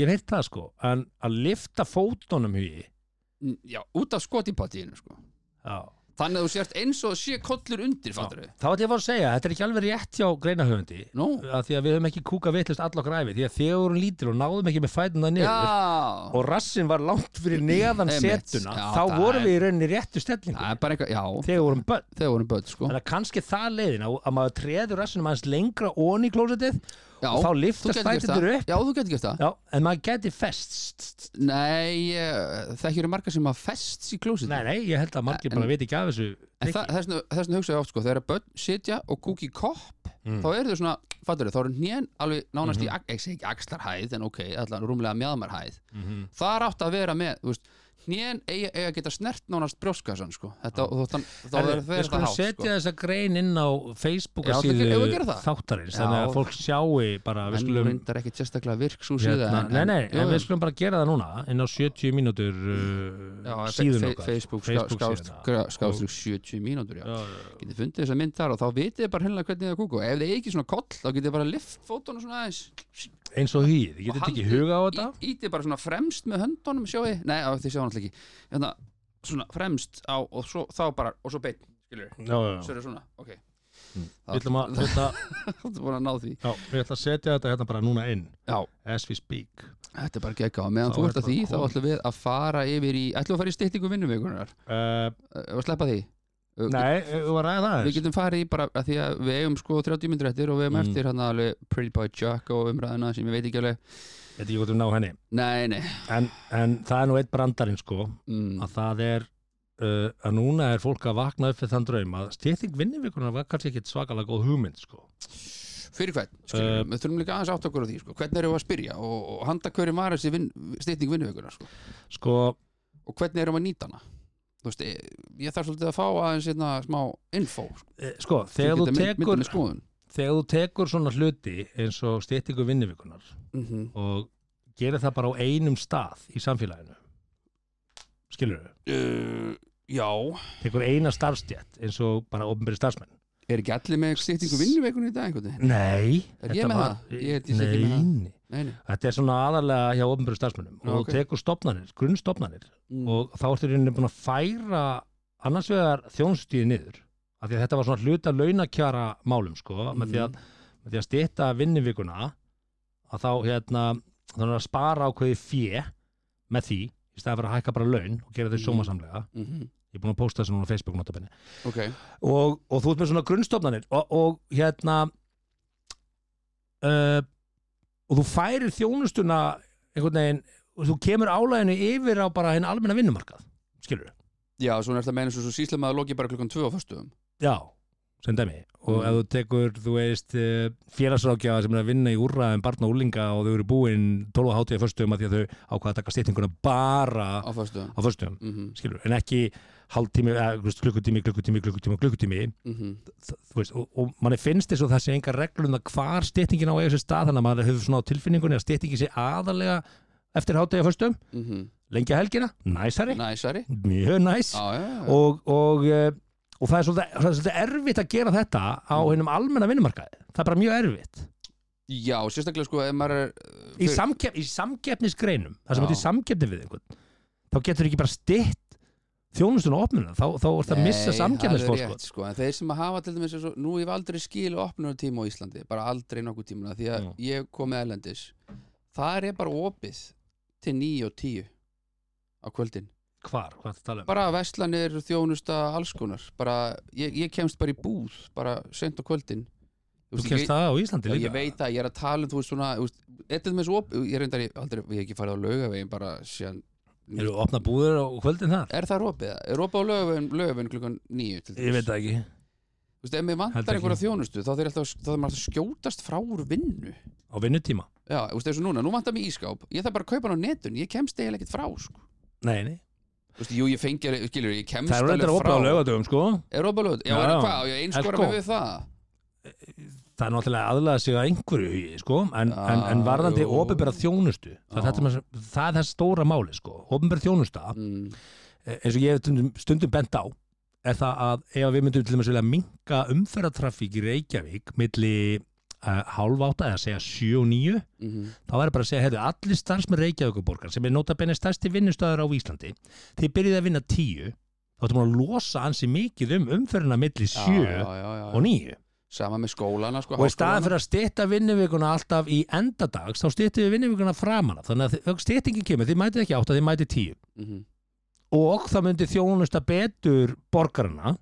Speaker 2: ég veit það sko En að lifta fótunum hugi
Speaker 3: Mm, Já, út af skotipatíinu sko
Speaker 2: Já
Speaker 3: Þannig að þú sért eins og sé kollur undir, fattur við
Speaker 2: Þá ætlum ég að fara að segja, þetta er ekki alveg rétt hjá greinahöfundi
Speaker 3: Nú,
Speaker 2: að því að við höfum ekki kúka vitlust all okkar æfi því að þegar við vorum lítil og náðum ekki með fætuna
Speaker 3: já
Speaker 2: niður og rassin var langt fyrir neðan
Speaker 3: Einmitt.
Speaker 2: setuna
Speaker 3: Já,
Speaker 2: þá
Speaker 3: það
Speaker 2: vorum
Speaker 3: er-
Speaker 2: við í rauninni í réttu stellingu
Speaker 3: Það er bara eitthvað, já,
Speaker 2: þegar við vorum börn
Speaker 3: þegar vorum börn sko
Speaker 2: þannig að kannski það leiðin að, að maður treður rassinum aðeins lengra onni í klósetið
Speaker 3: Já,
Speaker 2: og þá
Speaker 3: þú
Speaker 2: liftast
Speaker 3: getur gert það
Speaker 2: fætindur upp
Speaker 3: Já, þú getur gert það
Speaker 2: Já, en maður geti fest
Speaker 3: Nei, eh, það eru margar sem að fest í klósið
Speaker 2: Nei, nei, ég held að margir bara
Speaker 3: En-
Speaker 2: veit ekki af þessu
Speaker 3: En þa- þess vegna- þess vegna hugsa ég oft sko, þegar að börn sitja og kúki kopp
Speaker 2: Mm.
Speaker 3: þá eru þau svona, fattur þau, þá eru hnén alveg nánast í, ak- ég segi ekki axlarhæð en ok, allan rúmlega mjaðmarhæð
Speaker 2: Mhm.
Speaker 3: Það er átt að vera með, þú veist hnén eiga, eiga að geta snert nánast brjóskassan sko, þetta, og þóttan, þá
Speaker 2: Herðu,
Speaker 3: verður
Speaker 2: Við
Speaker 3: það
Speaker 2: skulum
Speaker 3: hátt
Speaker 2: setja
Speaker 3: sko.
Speaker 2: þessa grein inn á Facebook
Speaker 3: Já,
Speaker 2: síðu
Speaker 3: það- eigum við að gera það?
Speaker 2: þáttarins
Speaker 3: Já.
Speaker 2: þannig að fólk sjái bara við
Speaker 3: En
Speaker 2: skulum,
Speaker 3: reyndar ekki sérstaklega virk svo síða
Speaker 2: hérna, nei, nei,
Speaker 3: jú,
Speaker 2: en við
Speaker 3: jú.
Speaker 2: skulum bara gera það núna inn á 70 mínútur uh,
Speaker 3: Já, fe-
Speaker 2: síðun
Speaker 3: fe-
Speaker 2: okkar
Speaker 3: Facebook, Facebook
Speaker 2: síðuna.
Speaker 3: skástrug 70 mínútur já.
Speaker 2: Já, já, já.
Speaker 3: getið fundið þess að mynd þar og þá vitið þið bara hennilega hvernig það kúku og ef þið eigið ekki svona koll þá getið þið bara lift fótunum svona aðeins
Speaker 2: eins og hýð, ég
Speaker 3: Og
Speaker 2: getið ekki
Speaker 3: haldið-
Speaker 2: huga á þetta
Speaker 3: Í- ítið bara svona fremst með höndunum sjóði, nei á, þið sjáum náttúrulega ekki hérna, svona fremst á og svo, þá bara, og svo beinn, skilur við
Speaker 2: Já, já, já.
Speaker 3: svo er það svona, ok
Speaker 2: Við ætlum að, hérna- þetta,
Speaker 3: þú ert búin að ná því
Speaker 2: já, við ætlum að setja þetta hérna bara núna inn
Speaker 3: já,
Speaker 2: as we speak
Speaker 3: þetta er bara gegga og meðan
Speaker 2: Þá
Speaker 3: þú
Speaker 2: er
Speaker 3: ert að
Speaker 2: bara
Speaker 3: því þá
Speaker 2: komið.
Speaker 3: ætlum við að fara yfir í ætlum við að fara í styttingu vinnumvikunar
Speaker 2: uh,
Speaker 3: og sleppa því Uh,
Speaker 2: Nei, við varum að ræða það
Speaker 3: Við getum farið í bara að því að við eigum sko 30 myndir eftir og við eigum
Speaker 2: Mm.
Speaker 3: eftir hann alveg Pretty Boy Jack og umræðina sem ég veit ekki alveg
Speaker 2: Þetta er ekki gott um ná henni
Speaker 3: Nei, nei
Speaker 2: en, en það er nú eitt brandarinn sko
Speaker 3: mm.
Speaker 2: að það er uh, að núna er fólk að vakna upp fyrir þann draum að stýrting vinnivikunar var kannski ekkit svakalega góð hugmynd sko.
Speaker 3: Fyrir hvern, skilur,
Speaker 2: Eh,
Speaker 3: við við þurfum líka aðeins átt okkur á því sko. Hvernig erum við að spyrja og, og handa hverjum var þessi vin, stytning vinnuvikunar sko.
Speaker 2: sko,
Speaker 3: og hvernig erum við að nýta hana Þú veist, ég, ég þarf svolítið að fá aðeins einna smá info sko,
Speaker 2: eh, sko
Speaker 3: sem
Speaker 2: þegar, þú
Speaker 3: geta mynd- sko.
Speaker 2: tekur,
Speaker 3: myndað mér skoðun.
Speaker 2: þegar þú tekur svona hluti eins og stýrtingu vinnivikunar
Speaker 3: Mhm.
Speaker 2: og gerir það bara á einum stað í samfélaginu skilur við,
Speaker 3: uh, Já,
Speaker 2: tekur eina starfstjætt eins og bara ofnbyrði starfsmenn
Speaker 3: er ekki allir með stytningu vinnuvikunar í dag einhvern veginn
Speaker 2: Nei,
Speaker 3: Er ég með það? Ég- ég sé ekki með það.
Speaker 2: Nei,
Speaker 3: Nei, nei,
Speaker 2: þetta er svona aðalega hjá ofnbyrði starfsmennum
Speaker 3: Já,
Speaker 2: og
Speaker 3: ok.
Speaker 2: okay. tekur stopnarnir, grunnstopnarnir
Speaker 3: Mm.
Speaker 2: og þá ertu í rauninni búin að færa annars vegar þjónustíði niður af því að þetta var svona hluta launakjara málum sko, með því
Speaker 3: Mm.
Speaker 2: að, með því að stýtta vinnivikuna að þá hérna, þannig að spara ákveði fé með því í staði að vera að hækka bara laun og gera þau
Speaker 3: Mhm.
Speaker 2: sómasamlega
Speaker 3: Mhm.
Speaker 2: ég er búin að posta þessu núna á Facebook notabenni
Speaker 3: Ok,
Speaker 2: og, og þú ert með svona grunnstofnanir og, og hérna uh, og þú færir þjónustuna einhvern veginn og þú kemur álæginu yfir á bara hinn almenna vinnumarkað skilur
Speaker 3: já, svona er það meina eins og svo síslum að loki bara klukkan 2 á föstuðum
Speaker 2: Já, sem dæmi og
Speaker 3: Mm.
Speaker 2: ef þú tekur, þú veist eh, félagsrákjafa sem er að vinna í úrraðum barna og úlinga og þau eru búin 12 og hátíða föstum að því að þau ákvaða að taka stýtinguna bara
Speaker 3: á föstuðum
Speaker 2: á föstum,
Speaker 3: mm -hmm.
Speaker 2: skilur, en ekki hálftími, eða, þú veist, klukkutími, klukkutími, klukkutími, klukkutími,
Speaker 3: Mhm.
Speaker 2: Þ- þú veist, og, og manni finnst þess og það sé engar reglur um það hvar stýtingin á eiga sér stað, þannig að maður hefur svona á tilfinningunni að stýtingin sé aðalega eftir hátíða föstum,
Speaker 3: Mhm.
Speaker 2: lengja helgina, næsari,
Speaker 3: Næsari
Speaker 2: mjög næs
Speaker 3: Já, já, já.
Speaker 2: og, og, eh, og það er svolítið, það er svolítið erfitt að gera þetta á
Speaker 3: Mm.
Speaker 2: hennum almenna vinnumarkaði það er bara mjög erfitt
Speaker 3: Já, sérstaklega sko ef maður er uh,
Speaker 2: í,
Speaker 3: fyrir-
Speaker 2: samkef, í samkeppnisgreinum það sem
Speaker 3: Já.
Speaker 2: þetta í samkeppni við einhvern þá getur ekki bara stitt þjónustun og opnuna, þá, þá er það að missa
Speaker 3: Nei, það er rétt,
Speaker 2: samkeppnisfórskot
Speaker 3: sko, en þeir sem að hafa til dæmis svo, nú hef aldrei skilu opnunartíma á Íslandi bara aldrei nokkuð tímuna því að
Speaker 2: Já.
Speaker 3: ég kom með ælendis þar er bara opið til 9 og 10 á kvöldin
Speaker 2: hvar, hvað það tala um
Speaker 3: bara veslanir, þjónusta, alls konar bara, ég, ég kemst bara í búð bara sent á kvöldin Þú
Speaker 2: þú
Speaker 3: veist, ég
Speaker 2: kemst
Speaker 3: veit-
Speaker 2: það á Íslandi
Speaker 3: Já,
Speaker 2: líka
Speaker 3: ég veit að ég er að tala um þú veist svona þú veist, þetta er með svo opið, ég reyndar ég aldrei, ég hef ekki farið á laugavegin bara síðan
Speaker 2: Eru að opna búður á kvöldin þar?
Speaker 3: Er það ropið? Er ropið á lögum, lögum klukkan níu til
Speaker 2: Ég veit það ekki
Speaker 3: Þú veist, ef mér
Speaker 2: Held
Speaker 3: vantar
Speaker 2: ekki.
Speaker 3: einhverja þjónustu þá þarf alltaf, þá þarf maður alltaf að skjótast frá úr vinnu
Speaker 2: Á vinnutíma?
Speaker 3: Já, þú veist, eins og núna, nú vantar mér ískáp Ég þarf bara að kaupa hann á netun, ég kemst eiginlega ekkert frá sko.
Speaker 2: Nei, nei
Speaker 3: Þú veist, jú, ég fengi, skilur, ég kemst
Speaker 2: Það eru
Speaker 3: alveg
Speaker 2: reyndar að
Speaker 3: frá
Speaker 2: opna á lögadögum sko
Speaker 3: Er ropið á lögum? Já,
Speaker 2: Já,
Speaker 3: er
Speaker 2: já.
Speaker 3: hvað, á ég einskora
Speaker 2: Elko.
Speaker 3: mig við það
Speaker 2: Það er náttúrulega aðlaða sig að einhverju hugi, sko, en,
Speaker 3: Já,
Speaker 2: en, en varðandi
Speaker 3: jú.
Speaker 2: ofinbæra þjónustu, það, er
Speaker 3: Já.
Speaker 2: þetta maður sem- það er það stóra máli, sko, ofinbæra þjónusta,
Speaker 3: mm.
Speaker 2: eh, eins og ég hef stundum, stundum bent á, er það að ef við myndum til dæmis vilja minka umferðartraffík í Reykjavík milli uh, hálfáta eða segja 7 og 9,
Speaker 3: Mm
Speaker 2: þá er bara að segja, heyrðu, allir starfsmenn Reykjavíkuborgar sem er notabenni stærsti vinnustöður á Íslandi, þeir byrjuði að vinna 10, þá ættum að losa ansi mikið um umferðina milli 7
Speaker 3: já, já, já,
Speaker 2: og 9.
Speaker 3: Sama með skólana, sko,
Speaker 2: og í staðan
Speaker 3: háskólana.
Speaker 2: fyrir að stýtta vinnuvikuna alltaf í endadags þá stýttum við vinnuvikuna framan af. þannig að stýttingin kemur, þið mætið ekki átt að þið mætið tíu
Speaker 3: Mhm,
Speaker 2: og það myndi þjónusta betur borgarna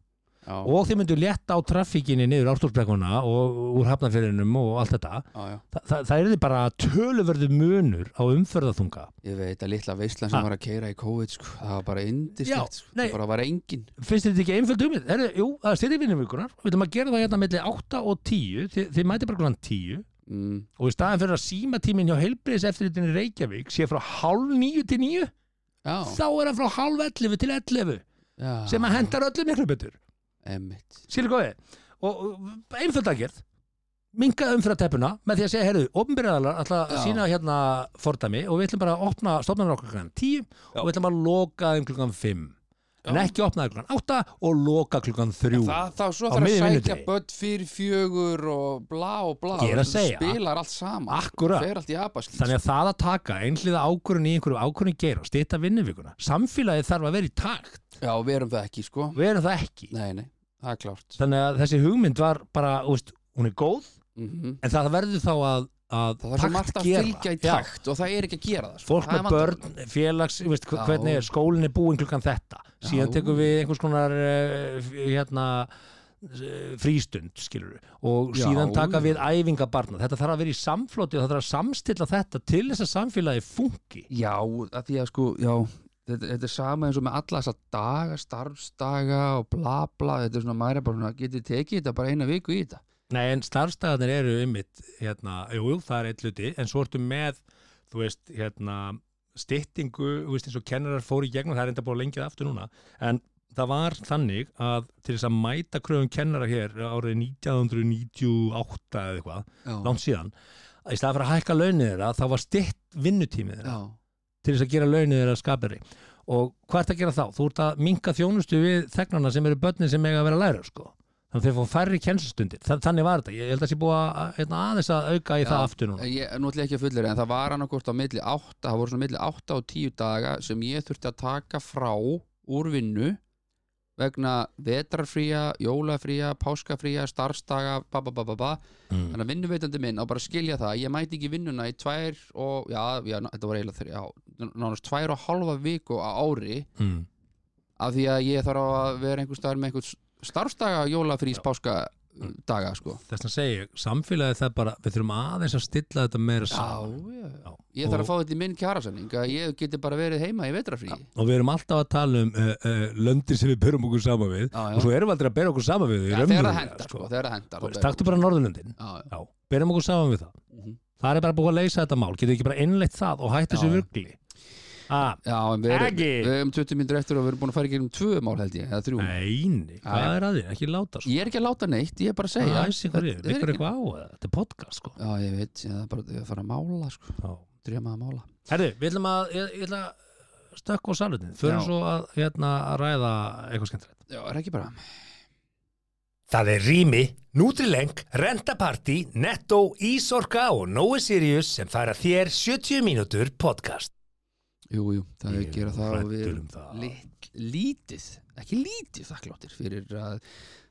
Speaker 3: já,
Speaker 2: og þið myndi létta á traffíkinni niður ártúrsbrekkuna og úr hafnafyririnum og allt þetta
Speaker 3: já, já.
Speaker 2: Þa, það, það er þið bara töluverðu munur á umferðathunga
Speaker 3: Ég veit að litla veislan sem
Speaker 2: Ha.
Speaker 3: var að keira í COVID sko, það var bara
Speaker 2: Já,
Speaker 3: indislegt sko.
Speaker 2: nei.
Speaker 3: það bara var engin
Speaker 2: finnst þið þetta ekki einföld umið? Er, jú, það er stýtti vinnuvikunar við ætlum að gera það hérna milli 8 og 10 þið, þið mætið bara glan 10
Speaker 3: mm,
Speaker 2: og í staðan fyrir að símatíminn hjá heilbriðis í Reykjavík sé frá hálf 9 til 9
Speaker 3: Já,
Speaker 2: þá er hann frá halv 11 til 11
Speaker 3: já
Speaker 2: sem að hendar öllum miklu betur
Speaker 3: Emmitt
Speaker 2: skilur góði og og einföld aðgerð minga umfyrir teppuna með því að segja, heyrðu, ofnbyrjaðalar ætla að
Speaker 3: Já.
Speaker 2: sína hérna fordæmi og við ætlum bara að opna stofnarnar okkur klukkan 10 og við ætlum að loka þeim klukkan 5 en ekki opna þeim klukkan 8 og loka klukkan 3
Speaker 3: Það þá svo
Speaker 2: Á
Speaker 3: þarf að
Speaker 2: miðjum
Speaker 3: sækja
Speaker 2: vinnudegi.
Speaker 3: börn fyrir fjögur og bla og bla
Speaker 2: Ég er að
Speaker 3: Þú
Speaker 2: segja.
Speaker 3: Spilar allt saman
Speaker 2: Akkúrat.
Speaker 3: Fer allt í abaskýt
Speaker 2: þannig að það að taka einhliða ákvörun í einhverju ákvörun geira, stýta vinnuvikuna samfélagið þarf að vera í takt
Speaker 3: Já, við erum það ekki sko
Speaker 2: við erum það ekki
Speaker 3: Nei, nei, það er klárt
Speaker 2: þannig að þessi hugmynd var bara, þú veist, hún er góð
Speaker 3: mm
Speaker 2: En það verður þá að, að
Speaker 3: Það þarf svo margt að fylgja í takt og það er ekki að gera það
Speaker 2: Já,
Speaker 3: sko.
Speaker 2: fólk
Speaker 3: Það er
Speaker 2: með
Speaker 3: vandamál.
Speaker 2: börn, félags, þú veist, hv-
Speaker 3: Já.
Speaker 2: hvernig er, skólinn er búinn klukkan þetta. Síðan
Speaker 3: Já.
Speaker 2: tekum við einhvers konar uh, f- hérna, eh, frístund, skilur við. Og
Speaker 3: Já.
Speaker 2: síðan taka við æfinga barna. Þetta þarf að vera í samfloti og það þarf að samstilla þetta til þess að samfélagi funki.
Speaker 3: Já, að því að sko, já þetta, þetta er sama eins og með alla þessa daga starfsdaga og bla bla þetta er svona, maður er bara svona, getið tekið þetta bara eina viku í þetta
Speaker 2: Nei, en starfstæðanir eru ymmit, hérna, jú, jú, það er eitt hluti, en svo ertu með, þú veist, hérna, styttingu, þú veist, eins og kennarar fóru í gegnum, það er enda búið að lengja það aftur núna, en það var þannig að til þess að mæta kröfum kennara hér árið 1998 eða eitthvað,
Speaker 3: Já,
Speaker 2: langt síðan, að í staða fyrir að hækka launið þeirra, þá var stytt vinnutímið þeirra
Speaker 3: já,
Speaker 2: til þess að gera launið þeirra skapari. Og hvað ert að gera þá? Þú ert að minka þjónustu við þegnarna sem eru börnin sem eiga að vera að læra, sko. Þannig að þeir fá færri kennslustundir. Þa- Þannig var þetta. Ég held að sé búið að- að hérna, aðeins að auka í
Speaker 3: Já,
Speaker 2: það aftur núna.
Speaker 3: ég nú ætla ég ekki að fullur en það var annarkort á milli átta það voru svona milli átta og tíu daga sem ég þurfti að taka frá úr vinnu vegna vetrarfría, jólafría, páskafría starfsdaga, ba ba ba ba ba
Speaker 2: Mm.
Speaker 3: þannig að vinnuveitandi minn á bara að skilja það ég mæti ekki í vinnuna í tvær og já, já, þetta var eiginlega þrjá nánast tvær og halva viku á ári
Speaker 2: Mm.
Speaker 3: af því að ég þarf að vera einhver staðar með einhvern starfsdaga jólafrís páska daga sko
Speaker 2: Þess vegna segi ég, samfélagið það bara, við þurfum aðeins að stilla þetta meira saman.
Speaker 3: já.
Speaker 2: Já.
Speaker 3: ég
Speaker 2: Og-
Speaker 3: þarf að fá þetta í minn kjarasamning að ég geti bara verið heima í vetrafrí já,
Speaker 2: Og við erum alltaf að tala um uh, uh, löndin sem við berum okkur saman við
Speaker 3: Já, já.
Speaker 2: og svo erum við aldrei að bera okkur saman við.
Speaker 3: þegar það hendar sko, þegar það hendar þá ber-
Speaker 2: Staktu bara Norðurlöndin.
Speaker 3: já, já.
Speaker 2: Já, berum okkur saman við það
Speaker 3: Mhm.
Speaker 2: Það er bara búið að leysa þetta mál, getur ekki bara innleitt það og hætti þessu
Speaker 3: Já.
Speaker 2: vörgli ah,
Speaker 3: já, en við erum,
Speaker 2: Ekki.
Speaker 3: við erum 20 minnur eftir og við erum búin að fara í gegnum tvö mál held ég, eða þrjú
Speaker 2: Neini, hvað
Speaker 3: Já.
Speaker 2: er að því, ekki láta svo
Speaker 3: ég er ekki að láta neitt, ég er bara að
Speaker 2: Það
Speaker 3: segja
Speaker 2: er sér hverju,
Speaker 3: Þetta er
Speaker 2: vikur
Speaker 3: ekki-
Speaker 2: eitthvað á eða? þetta er podcast sko
Speaker 3: já, ég veit, ég er bara ég er að fara að mála sko,
Speaker 2: Já.
Speaker 3: drema að mála
Speaker 2: Herðu, við ætlum að, ég, ég ætla að stökku á salutin, förum
Speaker 3: Já.
Speaker 2: svo að, hérna, að ræða eitthvað skemmtilegt
Speaker 3: Já, er ekki bara
Speaker 2: Það er Rými, Nutrileng, Rentaparty, Netto, Ísorka og Nói Sirius sem færa þér 70 mínútur podcast.
Speaker 3: Jú, jú, það er að gera það og við erum
Speaker 2: um það.
Speaker 3: lit, lítið, ekki lítið þakkláttir fyrir að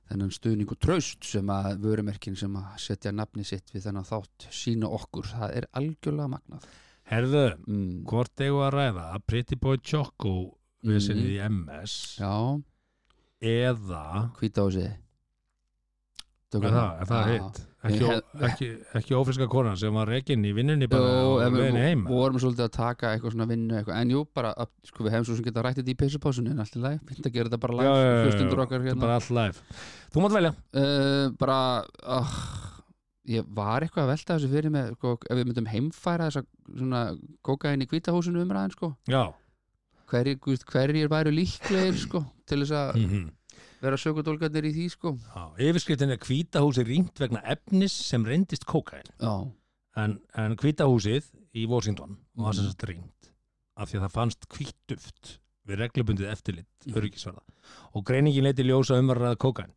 Speaker 3: þennan stuðning og traust sem að vörumerkin sem að setja nafni sitt við þennan þátt sína okkur, það er algjörlega magnað
Speaker 2: Herðu,
Speaker 3: mm.
Speaker 2: Hvort eigum við að ræða Pretty Boy Choco vissinni
Speaker 3: Mhm.
Speaker 2: í MS
Speaker 3: Já,
Speaker 2: eða
Speaker 3: hvita á sig tökum
Speaker 2: Er það, er það
Speaker 3: Já.
Speaker 2: hitt? Ekki,
Speaker 3: Ég
Speaker 2: ó- ekki, ekki ófriska konan sem var reikinn í vinnunni
Speaker 3: Jú,
Speaker 2: bara og
Speaker 3: en
Speaker 2: leiðinni
Speaker 3: við
Speaker 2: heima.
Speaker 3: vorum svolítið að taka eitthvað svona vinnu eitthvað. en jú, bara, að, sko, við hefum svo sem geta rættið í peysupásunni en allt í lagi, fint að gera þetta bara
Speaker 2: Já, já, já,
Speaker 3: live
Speaker 2: já.
Speaker 3: hlustundur
Speaker 2: Þetta
Speaker 3: okkar
Speaker 2: er
Speaker 3: hérna
Speaker 2: bara
Speaker 3: bara,
Speaker 2: all live. Þú mátt velja.
Speaker 3: uh, bara uh, ég var eitthvað að velta þessu fyrir með sko, ef við myndum heimfæra þessa svona kokain í kvítahúsinu umræðin sko.
Speaker 2: Já.
Speaker 3: hverjir guðst, hverjir væru líklegir sko, til þess að
Speaker 2: Mm -hmm.
Speaker 3: vera sökudólgarnir í því sko.
Speaker 2: Yfirskriftin er kvítahúsi ringt vegna efnis sem reyndist kókain.
Speaker 3: já,
Speaker 2: En, en kvítahúsið í Washington var sem sagt ringt af því að það fannst kvítduft við reglubundið eftirlit öryggisverða og greiningin leiti ljósa umvarðað kókain.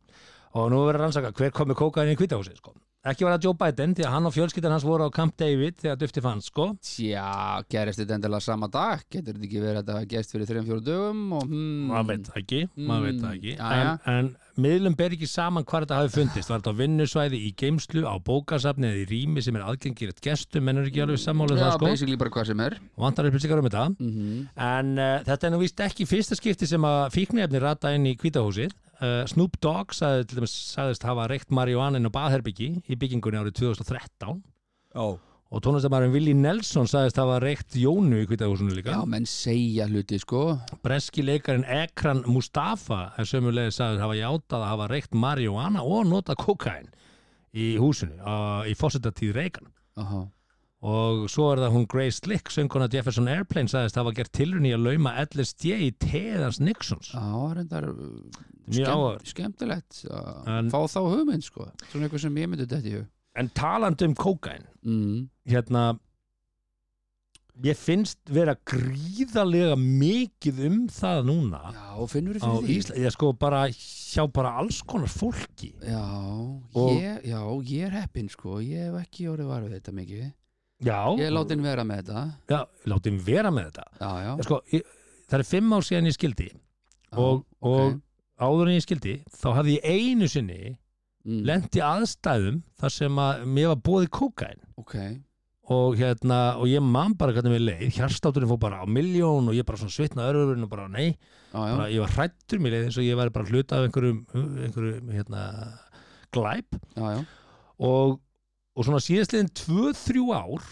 Speaker 2: Og nú verður rannsaka hver kom með kókain í kvítahúsið sko. Ekki var það Joe Biden því að hann og fjölskyldan hans voru á Camp David þegar dufti fannst sko.
Speaker 3: tjá, gerist þetta endilega sama dag getur þetta ekki verið að þetta gerist fyrir 3-4 dögum og hmm,
Speaker 2: maður veit það ekki, maður veit það ekki.
Speaker 3: Mm, jæja.
Speaker 2: en, en miðlum ber ekki saman hvar þetta hafi fundist, var þetta á vinnusvæði í geimslu, á bókasafni eða í rými sem er aðgengilegt gestum, menn er ekki alveg sammálið
Speaker 3: já,
Speaker 2: það sko,
Speaker 3: basically bara hvað sem er
Speaker 2: vantar upplýsingar um þetta
Speaker 3: mm
Speaker 2: en uh, þetta er nú víst ekki fyrsta skipti sem að fíknefni rata inn í kvítahúsið uh, Snoop Dogg sagði, til dæmis, sagðist hafa reykt marihuanin á baðherbyggi í byggingunni árið 2013
Speaker 5: Já.
Speaker 2: og tónlistamærin Willi Nelson sagðist hafa reykt Jónu í kvítahúsinu líka
Speaker 3: Já, menn segja hluti, sko
Speaker 2: Breski leikarinn Ekran Mustafa er sömulegði sagður hafa játað að hafa reykt marihuana og notað kokain í húsinu uh, í fósitatíð Reagan
Speaker 3: Aha.
Speaker 2: og svo er það hún Grace Slick sönguna Jefferson Airplane sagðist hafa gert tilrunni að lauma LSD í teðans Nixons
Speaker 3: Já, reyndar uh,
Speaker 2: Mjög áhugavert.
Speaker 3: skemmtilegt að
Speaker 2: En-
Speaker 3: fá þá hugmynd, sko Svona eitthvað sem ég myndi þetta í hug
Speaker 2: en talandi um kokain
Speaker 3: mm.
Speaker 2: hérna ég finnst vera gríðarlega mikið um það núna
Speaker 3: Já, finnur
Speaker 2: á
Speaker 3: fyrir því
Speaker 2: Ísla, ég sko bara hjá bara alls konar fólki
Speaker 3: Já,
Speaker 2: Og-
Speaker 3: ég, já, ég er heppinn, sko Ég hef ekki orðið varfið þetta mikið
Speaker 2: já,
Speaker 3: Ég er látin vera með þetta
Speaker 2: já, látum vera með þetta
Speaker 3: Já, já,
Speaker 2: Já, sko, ég, það er fimm ár síðan ég skildi
Speaker 3: já
Speaker 2: og, Mm. og
Speaker 3: ok.
Speaker 2: áður en ég skildi þá hafði ég einu sinni
Speaker 3: mm.
Speaker 2: lent í aðstæðum þar sem að mér var bóði kókain
Speaker 3: Ok,
Speaker 2: og, hérna, og ég man bara hvernig mér leið hjarstátturinn fór bara á miljón og ég bara svona svitna örfurinn og bara nei
Speaker 3: já, já,
Speaker 2: bara, ég var hrættur mér leið eins og ég væri bara hluta af einhverjum, einhverjum hérna, glæp
Speaker 3: já, já
Speaker 2: og, og svona síðastliðin 2-3 ár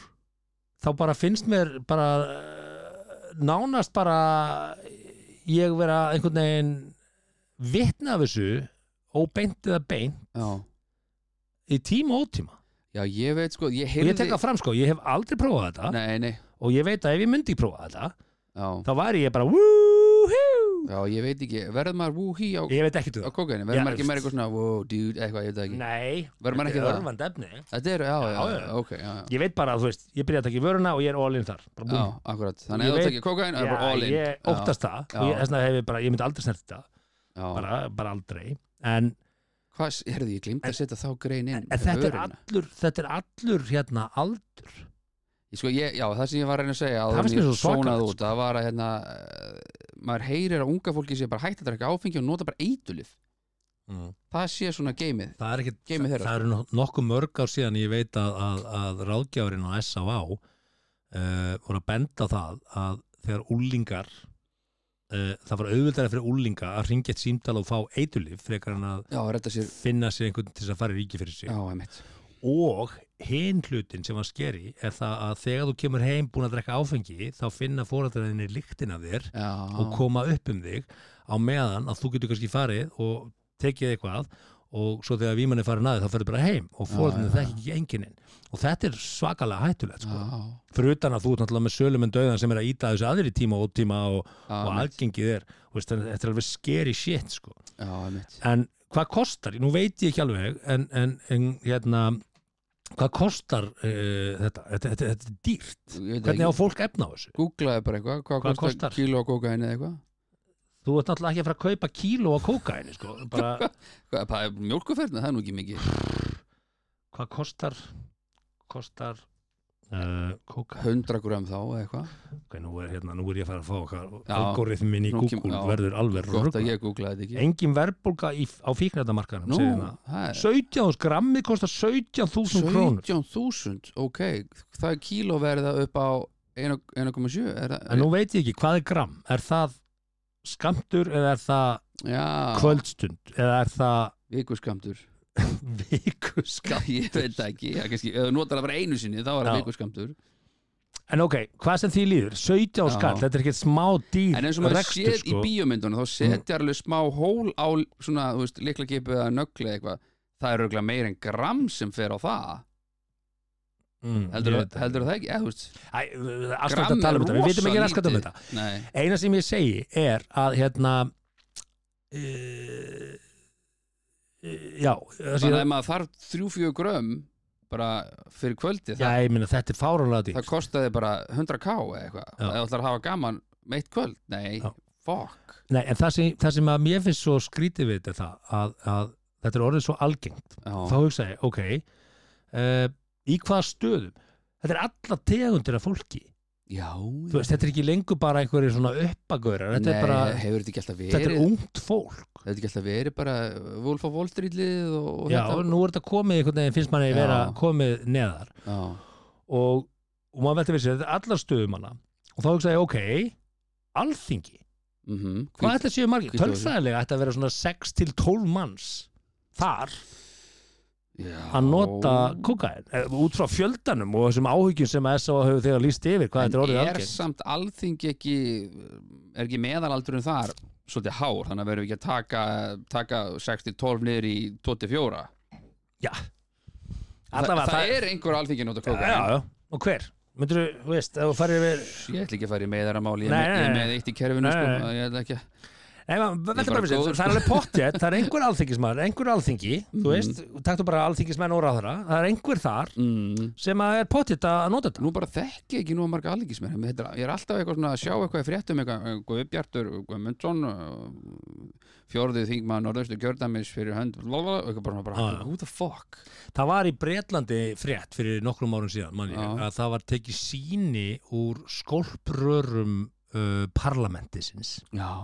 Speaker 2: þá bara finnst mér bara eh, nánast bara ég vera einhvern veginn vitna af þessu óbeint eða beint
Speaker 3: Já,
Speaker 2: í tíma og ótíma
Speaker 3: já ég veit, sko Ég
Speaker 2: og
Speaker 3: heyrði
Speaker 2: ég tek það fram sko, ég hef aldrei prófað þetta
Speaker 3: Nei, nei,
Speaker 2: og ég veit að ef ég myndi prófa þetta
Speaker 3: já
Speaker 2: þá væri ég bara woohoo
Speaker 3: Já, ég veit ekki, verður maður wúhí á,
Speaker 2: ég veit ekki
Speaker 3: á
Speaker 2: það
Speaker 3: kókaini,
Speaker 2: Já,
Speaker 3: verður maður ekki meira
Speaker 2: veist.
Speaker 3: eitthvað svona wow, dude, eitthvað, ég veit það ekki
Speaker 2: nei,
Speaker 3: Verður maður
Speaker 2: þetta
Speaker 3: ekki
Speaker 2: er
Speaker 3: það?
Speaker 2: örvand efni
Speaker 3: Þetta er, já,
Speaker 2: já,
Speaker 3: já, já,
Speaker 2: já.
Speaker 3: ok, já, já,
Speaker 2: ég veit bara að þú veist, ég byrja að taka í vöruna og ég er all in þar bara
Speaker 3: já,
Speaker 2: búm.
Speaker 3: akkurat Þannig
Speaker 2: Ég
Speaker 3: að þú
Speaker 2: veit-
Speaker 3: tekið kókain, það er bara all in
Speaker 2: ég óttast það
Speaker 3: Já.
Speaker 2: og ég, þessna, hef ég, bara, ég myndi aldrei snert þetta
Speaker 3: Já,
Speaker 2: bara, bara aldrei en,
Speaker 3: hvað, herðu, ég glimt
Speaker 2: En-
Speaker 3: að setja þá grein inn
Speaker 2: en, en þetta, er
Speaker 3: vöruna.
Speaker 2: allur, þetta er allur hérna aldur
Speaker 3: Ég Sko, ég, já, það sem ég var að reyna að segja áður
Speaker 2: Það finnst
Speaker 3: en
Speaker 2: mér
Speaker 3: ég
Speaker 2: svo svakalegt,
Speaker 3: sónaði
Speaker 2: sko.
Speaker 3: út, Það var að, hérna, eh, maður heyrir að unga fólki sé bara hægt að drekka áfengi og nota bara eitulif Það sé svona geimið
Speaker 2: það er ekki
Speaker 3: Geymið
Speaker 2: Mm. það,
Speaker 3: þeirra.
Speaker 2: eru nok- nokkuð mörg ár síðan ég veit að, að, að ráðgjafurinn á S.A.V. Uh, eh, voru að benda á það að þegar úlingar uh, það var auðvöldara fyrir úlinga að ringja eitt símtal og fá eitulif frekar en að
Speaker 3: Já, redda sér,
Speaker 2: finna sér einhvern til þess að fara í ríki fyrir sig
Speaker 3: já, emitt
Speaker 2: og hinn hlutin sem var skeri er það að þegar þú kemur heim búin að drekka áfengi þá finna fóræðinni líktin af þér og
Speaker 3: Já,
Speaker 2: koma upp um þig á meðan að þú getur kannski farið og tekið eitthvað og svo þegar vímann er farin aðeins þá ferður bara heim og fóræðinni
Speaker 3: Já, já,
Speaker 2: þekki ekki enginin og þetta er svakalega hættulegt sko.
Speaker 3: já,
Speaker 2: fyrir utan að þú ert náttúrulega með sölum en döðan sem er að íta þessu aðri tíma og ótíma og, og
Speaker 3: já,
Speaker 2: aðgengið er og veist, þannig að þetta er alveg skeri shit sko
Speaker 3: emitt
Speaker 2: en hvað kostar, nú veit ég ekki alveg en, en, en hérna hvað kostar uh, þetta? Þetta, þetta, þetta er dýrt hvernig á fólk efna á þessu?
Speaker 3: Googlaði bara eitthvað, hvað,
Speaker 2: Hvað kostar?
Speaker 3: kostar kíló og kókain eða eitthvað
Speaker 2: Þú ert náttúrulega ekki að fara að kaupa kíló á kókaini sko. bara,
Speaker 3: Hvað, það er mjólkuferðna, það er nú ekki mikið
Speaker 2: hvað kostar kostar uh, kókaini?
Speaker 3: 100 gram þá eða eitthvað
Speaker 2: Okay, nú, er, hérna, nú er ég að fara að fá okkar
Speaker 3: Já.
Speaker 2: algoritmin í
Speaker 3: Nú kem-
Speaker 2: Google
Speaker 3: já.
Speaker 2: verður alveg
Speaker 3: Gott
Speaker 2: rugl
Speaker 3: að ég googlaði þetta ekki
Speaker 2: engin verðbólga í- á fíknættamarkanum
Speaker 3: Nú, eh,
Speaker 2: segir hérna. það
Speaker 3: það er
Speaker 2: 17 þús grammið kostar 17.000 krónur
Speaker 3: 17.000, ok Það er kílóverða upp á 1,7 er það-
Speaker 2: en nú veit ég ekki, hvað er gramm? Er það skamtur eða er það
Speaker 3: Já, Ah.
Speaker 2: kvöldstund eða er það
Speaker 3: vikuskamtur
Speaker 2: Vikuskam
Speaker 3: ég veit það ekki, já, kannski, ef þú notar það bara einu sinni þá er það
Speaker 2: Já.
Speaker 3: vikuskamtur
Speaker 2: En ok, hvað sem því líður, 17
Speaker 3: Já.
Speaker 2: skall Þetta er ekkert smá dýr
Speaker 3: en eins og maður
Speaker 2: rekstur, sko. Mm.
Speaker 3: séð í bíómyndunum þá setjar alveg smá hól á svona, þú veist, liklakipu eða nögli eða eitthvað það er auðvitað meir en gram sem fer á það
Speaker 2: mm,
Speaker 3: heldur,
Speaker 2: ég
Speaker 3: yeah.
Speaker 2: veit það.
Speaker 3: heldur það ekki, eða þú veist
Speaker 2: Æ, Askat að tala um þetta, við vitum ekki askat um þetta
Speaker 3: nei,
Speaker 2: Eina sem ég segi er að hérna uh, e, Já það sé-
Speaker 3: þannig að ef maður þarf þrjú fjögur grömm bara fyrir kvöldi
Speaker 2: Já,
Speaker 3: það,
Speaker 2: ég minna, þetta er fárónlega dýr
Speaker 3: það kostaði bara 100k eða eitthvað
Speaker 2: Já.
Speaker 3: eða ætlar að hafa gaman meitt kvöld, nei,
Speaker 2: Já.
Speaker 3: fuck
Speaker 2: Nei, en það sem, það sem að mér finnst svo skrítið við þetta er það að, að þetta er orðið svo algengt þá
Speaker 3: já,
Speaker 2: hugsa ég, ok uh, í hvaða stöðum þetta er alla tegundir af fólki
Speaker 3: já
Speaker 2: Þú veist, þetta er ekki lengur bara einhverjir svona uppagörar þetta
Speaker 3: nei,
Speaker 2: er bara,
Speaker 3: hefur þetta ekki alltaf
Speaker 2: þetta er
Speaker 3: verið
Speaker 2: ungt fólk
Speaker 3: þetta er ekki alltaf verið bara Wolf of Wall Street liðið og, og
Speaker 2: Já, nú er þetta komið einhvern veginn finnst manni
Speaker 3: Já.
Speaker 2: vera komið neðar
Speaker 3: já,
Speaker 2: og, og maður velti við sér, þetta er allar stöðum hana og þá hugsa ég, ok alþingi,
Speaker 3: mhm mm
Speaker 2: hvað ætla séu margir?
Speaker 3: hvítu húsi.
Speaker 2: Tölfræðilega ætti að vera svona 6 til 12 manns þar
Speaker 3: já,
Speaker 2: að nota kokain eh, út frá fjöldanum og þessum áhyggjum sem S.A. hefur þegar líst yfir hvað þetta er orðið
Speaker 3: en er
Speaker 2: algengt
Speaker 3: samt alþingi ekki er ekki meðalaldurinn þar svolítið hár, þannig að verðum við ekki að taka, taka 6-12 niður í 24
Speaker 2: Já,
Speaker 3: Þa,
Speaker 2: allavega
Speaker 3: það, er einhver alþingi að nota
Speaker 2: Já,
Speaker 3: kóka
Speaker 2: já, já. og hver? Myndur þú, veist, ef þú farir við
Speaker 3: ég ætla ekki að fara í meðaramáli ég,
Speaker 2: Nei,
Speaker 3: er með-
Speaker 2: nei,
Speaker 3: ég er
Speaker 2: nei.
Speaker 3: með eitt í kerfinu
Speaker 2: Nei,
Speaker 3: sko,
Speaker 2: nei.
Speaker 3: ég ætla ekki að-
Speaker 2: Nei, maður, veltu
Speaker 3: bara
Speaker 2: bara fyrir sér,
Speaker 3: góður, sko.
Speaker 2: það er alveg pottjett það er einhver alþingismæður, einhver alþingi
Speaker 3: Mhm.
Speaker 2: þú veist, taktu bara alþingismenn og ráðara það er einhver þar
Speaker 3: mm.
Speaker 2: sem að er pottjett að nota þetta
Speaker 3: nú bara þekki ég ekki nú að marga alþingismenn Þetta er- ég er alltaf eitthvað svona að sjá eitthvað í fréttum eitthvað eh, Guðbjartur Guðmundsson eh, fjórðið þingmaður norðaustu kjördæmis fyrir hönd blablabla, og eitthvað bara, bara
Speaker 2: Já, já.
Speaker 3: who the fuck
Speaker 2: Það var í Bretlandi frétt fyrir nokkrum árum síðan, mann ég,
Speaker 3: Já.
Speaker 2: að það var tekið síni úr skolprörum uh, parlamentisins
Speaker 3: já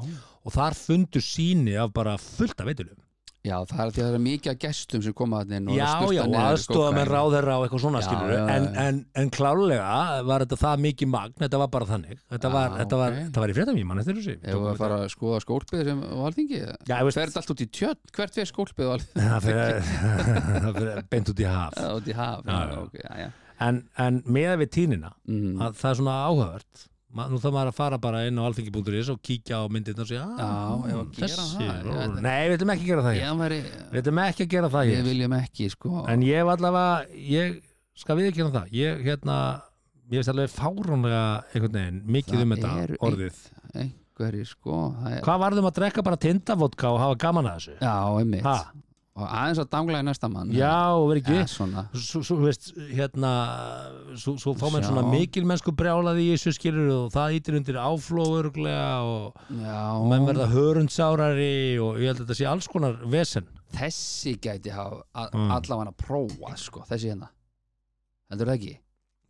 Speaker 2: og þar fundu síni af bara fullt af veitulum
Speaker 3: Já, það er því að það er mikið af gestum sem koma að inn og
Speaker 2: já,
Speaker 3: sturta
Speaker 2: já, og
Speaker 3: niður
Speaker 2: aðstofa með
Speaker 3: kókaín.
Speaker 2: ráðherra og eitthvað svona
Speaker 3: Já,
Speaker 2: skilur
Speaker 3: já, já.
Speaker 2: en, en, en klálega var þetta það mikið magn þetta var bara þannig, þetta
Speaker 3: Já,
Speaker 2: var, þetta var,
Speaker 3: ok.
Speaker 2: þetta var í fréttam ég mann eftir þessu
Speaker 3: Ef við að fara að skoða skólpið sem á alþingi
Speaker 2: Já, ég veist,
Speaker 3: Fer þetta allt út í tjörn, hvert fer skólpið á alþingi
Speaker 2: það fyrir, það fyrir beint út í haf
Speaker 3: Já, Út í haf,
Speaker 2: Já,
Speaker 3: já,
Speaker 2: já.
Speaker 3: ok, já, já
Speaker 2: en, en meða við tínina
Speaker 3: Mm.
Speaker 2: að það er svona áhugavert Ma, nú þarf maður að fara bara inn á alþengi.is og kíkja á myndirnar og segja "Ah,
Speaker 3: Já, ef að gera
Speaker 2: þessi,
Speaker 3: það, ég veit
Speaker 2: ó, nei, við ætlum ekki að gera það
Speaker 3: Ég,
Speaker 2: hér
Speaker 3: væri,
Speaker 2: við ætlum ekki að gera það
Speaker 3: ég
Speaker 2: hér
Speaker 3: viljum ekki, sko
Speaker 2: en ég var allavega ég skal við ekki hérna það ég hérna ég veist alveg fárónlega einhvern veginn mikið
Speaker 3: Það
Speaker 2: um þetta
Speaker 3: eru ein-
Speaker 2: orðið
Speaker 3: Einhverjir, sko það er,
Speaker 2: hvað varðum að drekka bara tindavodka og hafa gaman að þessu
Speaker 3: Já, einmitt
Speaker 2: ha,
Speaker 3: Og aðeins að dangla í næsta mann
Speaker 2: já og verið
Speaker 3: ja,
Speaker 2: ekki
Speaker 3: svona
Speaker 2: svo, svo veist hérna svo, svo fá menn
Speaker 3: Sjá.
Speaker 2: svona mikil mennsku brjálaði í þessu skilur og það ítir undir áflóðurglega og
Speaker 3: Já,
Speaker 2: menn verða hörundsárari og ég held að þetta sé alls konar vesen
Speaker 3: Þessi gæti hafa
Speaker 2: Mm.
Speaker 3: mm. allavega að prófa, sko Þessi hérna Heldur það ekki?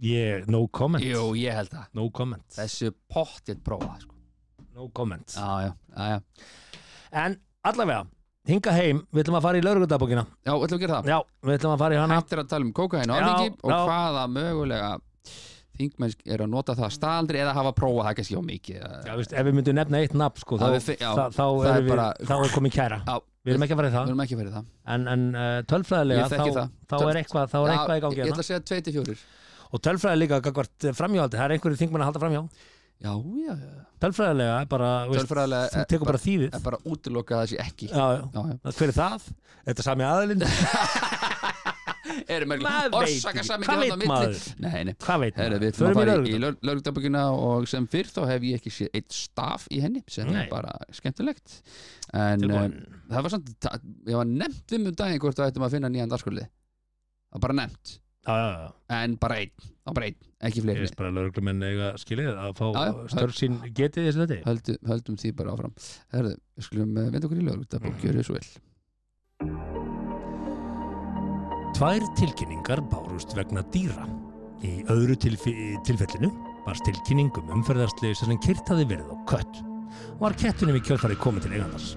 Speaker 2: ég, no comment
Speaker 3: Jú, ég held það
Speaker 2: no comment
Speaker 3: Þessi pottið prófa, sko
Speaker 2: no comment
Speaker 3: Já, já, já, já.
Speaker 2: en allavega hinga heim, við ætlum að fara í laurugundabókina
Speaker 3: Já, ætlum við að gera það.
Speaker 2: Já, við ætlum að fara í hana
Speaker 3: Hættir að tala um kókain og
Speaker 2: Já,
Speaker 3: alþingi og
Speaker 2: já.
Speaker 3: hvaða mögulega þingmennsk er að nota það staðaldri eða hafa prófað það kannski á mikið.
Speaker 2: Já, veist, ef við myndum nefna eitt nafn sko,
Speaker 3: Já,
Speaker 2: þá,
Speaker 3: við fi- já,
Speaker 2: þá, þá,
Speaker 3: það
Speaker 2: er
Speaker 3: er
Speaker 2: við,
Speaker 3: bara-
Speaker 2: þá er komin kæra
Speaker 3: Já,
Speaker 2: Við erum ekki að fara í
Speaker 3: Við
Speaker 2: það
Speaker 3: erum ekki fyrir það.
Speaker 2: En, en uh,
Speaker 3: Ég
Speaker 2: tölfræðilega
Speaker 3: þekki
Speaker 2: þá,
Speaker 3: það.
Speaker 2: þá
Speaker 3: Töl-
Speaker 2: er eitthvað, þá er eitthvað í gangi
Speaker 3: ég
Speaker 2: hérna.
Speaker 3: ætla að segja 24.
Speaker 2: Og tölfræðilega gagvart framhjóhaldi Það er einhverju þingmenn að halda framhjá
Speaker 3: Já, já, já.
Speaker 2: Tölfræðilega er bara, veist,
Speaker 3: Tölfræðilega
Speaker 2: þú
Speaker 3: er
Speaker 2: tekur bara þýðið
Speaker 3: En bara útiloka það sé ekki.
Speaker 2: Já, já,
Speaker 3: Já, já.
Speaker 2: fyrir það Þetta er sami aðalind
Speaker 3: Erum
Speaker 2: Maður
Speaker 3: ekki
Speaker 2: veit
Speaker 3: orsaka
Speaker 2: ekki.
Speaker 3: samin
Speaker 2: Hvað veit maður?
Speaker 3: Nei, nei.
Speaker 2: Hvað veit
Speaker 3: Herra,
Speaker 2: maður?
Speaker 3: við
Speaker 2: Förum í
Speaker 3: erum að fara í,
Speaker 2: lögregluna.
Speaker 3: í lögdabökuna og sem fyrr þá hef ég ekki séð eitt staf í henni sem
Speaker 2: Nei.
Speaker 3: er bara skemmtilegt en uh,
Speaker 2: Tilbúin.
Speaker 3: það var samt það, ég var nefnt um um daginn hvort það ættum að finna nýjan dagskurli það var bara nefnt
Speaker 2: Já, já, já
Speaker 3: en bara einn, það var bara einn, ekki
Speaker 2: Ég
Speaker 3: fleiri
Speaker 2: veist bara lögreglumenn eiga skilið að fá
Speaker 3: Já, já.
Speaker 2: störf sín getið þessu þetta
Speaker 3: höldum, höldum því bara áfram Herðu, við skulum uh, vinda okkur í lögdabökuna og gjöru svo vel
Speaker 2: Tvær tilkynningar bárust vegna dýra. Í öðru tilf tilfellinu barst tilkynning um umferðarsleysa sem kyrt hafði verið á kött. Var kettunum í kjölfari komið til eigandars.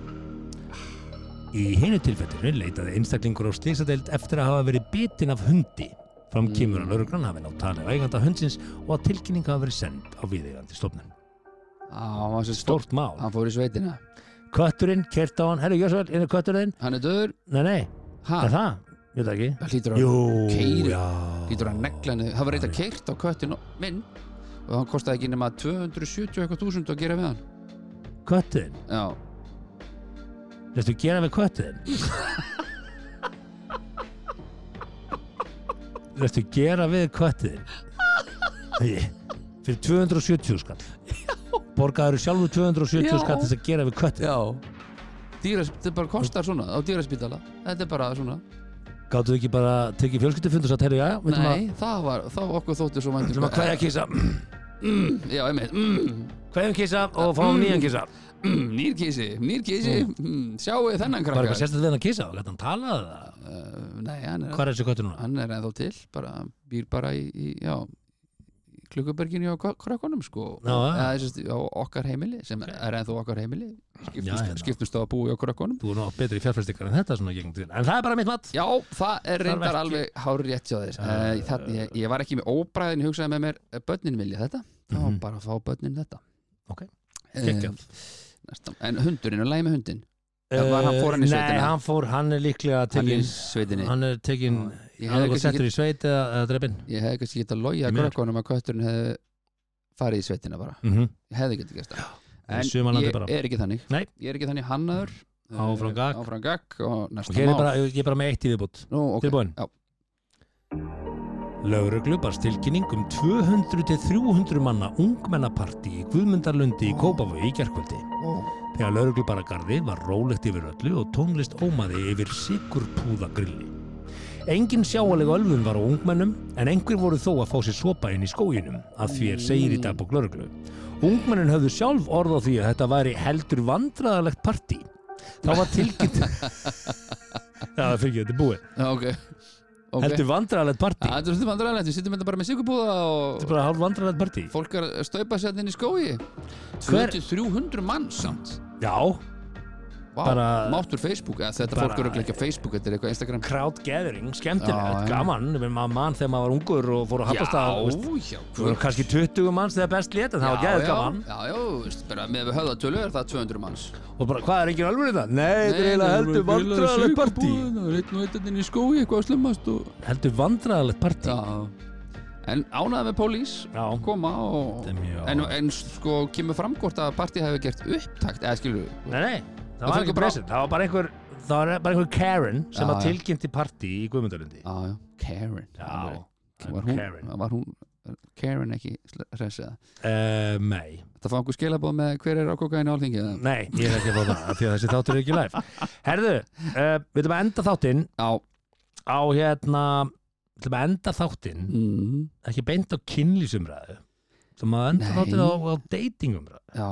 Speaker 2: Í hinu tilfellinu leitaði einstaklingur á sleysadeild eftir að hafa verið bitin af hundi. Fram kemur að lauruglan hafi nátt talið á eiganda hundsins og að tilkynning hafi verið send á viðeigandi stofnun.
Speaker 3: Á, hann var sem stór-
Speaker 2: Stórt mál.
Speaker 3: hann fór í sveitina
Speaker 2: Kötturinn, kert á hann, herru, gjör svo vel, inn er kötturinn.
Speaker 3: hann er döður,
Speaker 2: Nei, nei,
Speaker 3: Ha,
Speaker 2: Er það? Ég veit það ekki.
Speaker 3: það hlýtur að,
Speaker 2: Jú,
Speaker 3: keyri-
Speaker 2: já.
Speaker 3: hlýtur að negla henni það var reynda keirt á köttin og- minn og hann kostaði ekki nema 270 eitthvað þúsund að gera við hann
Speaker 2: Köttin.
Speaker 3: já,
Speaker 2: Lestu gera við köttin? Lestu gera við köttin? Nei, Fyrir 270 skall. Borgaður sjálfur 270
Speaker 3: Já.
Speaker 2: skall til þess að gera við köttin.
Speaker 3: já. Dýras, þetta bara kostar svona á dýraspítala þetta er bara svona
Speaker 2: Gáttu þau ekki bara tekið fjölskyldufund og sagt, herru, já, veitum að,
Speaker 3: nei, það var, þá okkur þóttu svo um-
Speaker 2: veitum að hverja kísa,
Speaker 3: já, einmitt, mm,
Speaker 2: hverjum kísa og fáum nýjan kísa.
Speaker 3: mm, nýrkísi, nýrkísi mm, sjáu þennan
Speaker 2: Var eitthvað
Speaker 3: krakkar
Speaker 2: sérstaklega þennan kísa? Gæti hann talað það?
Speaker 3: uh, nei, hann er,
Speaker 2: Hvað er þessi köttur núna?
Speaker 3: hann er ennþá til bara, býr bara í, í já í klukkuberginu á kra- krakkunum sko
Speaker 2: Já, já.
Speaker 3: Eða, sem sagt, á okkar heimili sem er ennþá okkar heimili skiptust,
Speaker 2: Já, já.
Speaker 3: skiptust á að búa í okkar krakkunum
Speaker 2: Þú er nú betri fjárfæstingar en þetta svona gegn til. En það er bara mitt mat.
Speaker 3: Já, það er reyndar
Speaker 2: ekki-
Speaker 3: alveg hár rétt hjá þér uh, það, ég, ég var ekki með óbræðin hugsaði með mér, eh, börnin vilja þetta þá
Speaker 2: Mhm.
Speaker 3: bara fá börnin þetta
Speaker 2: Ok.
Speaker 3: Eh,
Speaker 2: Geggjað.
Speaker 3: næsta- En hundurinn, og lægi með hundin Eh, var hann- fór hann
Speaker 2: Nei,
Speaker 3: í sveitina?
Speaker 2: hann fór, hann er líklega
Speaker 3: Hann er í
Speaker 2: tekinn
Speaker 3: sveitinni
Speaker 2: Hann er tekinn
Speaker 3: Ég hefði
Speaker 2: annarkoð
Speaker 3: kannski
Speaker 2: settur í sveit eða, eða drefin
Speaker 3: Ég hefði kannski getað logið að
Speaker 2: Því miður.
Speaker 3: krökkunum að kötturinn hefði farið í sveitina bara
Speaker 2: mm -hmm.
Speaker 3: Ég hefði getað gert það
Speaker 2: í sumarlandi
Speaker 3: ég
Speaker 2: bara.
Speaker 3: er ekki þannig
Speaker 2: Nei.
Speaker 3: Ég er ekki þannig hannaður eh,
Speaker 2: Áfram gakk.
Speaker 3: Áfram gakk og
Speaker 2: Og
Speaker 3: næsta
Speaker 2: hér er
Speaker 3: mál.
Speaker 2: bara, ég er bara með eitt í viðbútt
Speaker 3: Nú, ok.
Speaker 2: Tilbúin.
Speaker 3: Já.
Speaker 2: Lauruglu barst tilkynning um 200-300 manna ungmennaparti í Guðmundarlundi í Kópavogi í gerkvöldi Þegar lauruglu bara garði var rólegt yfir öllu og tónlist ómaði yfir sigurpúðagrilli Engin sjáaleg ölfun var á ungmennum en einhver voru þó að fá sér sopa inn í skóginum að því er segir í dagbók lauruglu Ungmennin höfðu sjálf orð á því að þetta væri heldur vandræðalegt partí. Þá var tilkynnt... Já, það fyrir þetta er búið.
Speaker 3: Já, ok Ok.
Speaker 2: Heldur vandræðalegt partí.
Speaker 3: Ja, Þetta er svolítið vandræðilegt, við sittum þetta bara með sigurbúða
Speaker 2: Þetta
Speaker 3: og
Speaker 2: er bara hálf vandræðalegt partí.
Speaker 3: fólk er að staupa sér inn í skói
Speaker 2: Hver-
Speaker 3: 200-300 mann samt
Speaker 2: Já,
Speaker 3: Vá,
Speaker 2: Bara-
Speaker 3: Máttur Facebook, eða þetta
Speaker 2: Bara-
Speaker 3: fólk eru örugglega ekki á Facebook, þetta er eitthvað Instagram
Speaker 2: crowd gathering, skemmtilegt,
Speaker 3: Já, já.
Speaker 2: gaman. Ég meina, Maður mann þegar maður var ungur og fór að hafnast að... veist,
Speaker 3: já,
Speaker 2: Það voru kannski 20 manns þegar best létt en það var gæðið gaman.
Speaker 3: Já, já, veist, bara með við höfðatölu er það 200 manns
Speaker 2: Og bara, hvað er engin alveg þetta? Nei, þetta er eiginlega heldur vandræðalegt partí.
Speaker 3: Það er einn og einn inn í skói, eitthvað að slummast og...
Speaker 2: Heldur vandræðalegt partí.
Speaker 3: Já, en ánaði með pólís
Speaker 2: Já.
Speaker 3: koma og
Speaker 2: Þetta er mjög
Speaker 3: en,
Speaker 2: áhugavert.
Speaker 3: en sko kemur fram hvort að partí hefur gert upptakt eða skilur
Speaker 2: Nei, nei, það
Speaker 3: Það
Speaker 2: var
Speaker 3: fór
Speaker 2: ekki
Speaker 3: bara-
Speaker 2: bresen Það var bara einhver, það var bara einhver Karen sem
Speaker 3: Já,
Speaker 2: að
Speaker 3: já.
Speaker 2: tilkynnti partí í Guðmundalundi
Speaker 3: Já, já, Karen
Speaker 2: Já,
Speaker 3: var hún,
Speaker 2: Karen.
Speaker 3: var hún Karen ekki hressið
Speaker 2: uh, Nei,
Speaker 3: Það fá einhver skilabóð með hver er á kokainu álþingi eða?
Speaker 2: nei, ég er ekki að fá það af Því að þessi þáttur er ekki live Herðu, uh, við ætlum að enda þáttinn
Speaker 3: Já
Speaker 2: á hérna Við ætlum að enda þáttinn
Speaker 3: mm,
Speaker 2: ekki beint á kynlýsumræðu sem að enda
Speaker 3: Nei.
Speaker 2: þáttinn á, á datingumræðu
Speaker 3: Já,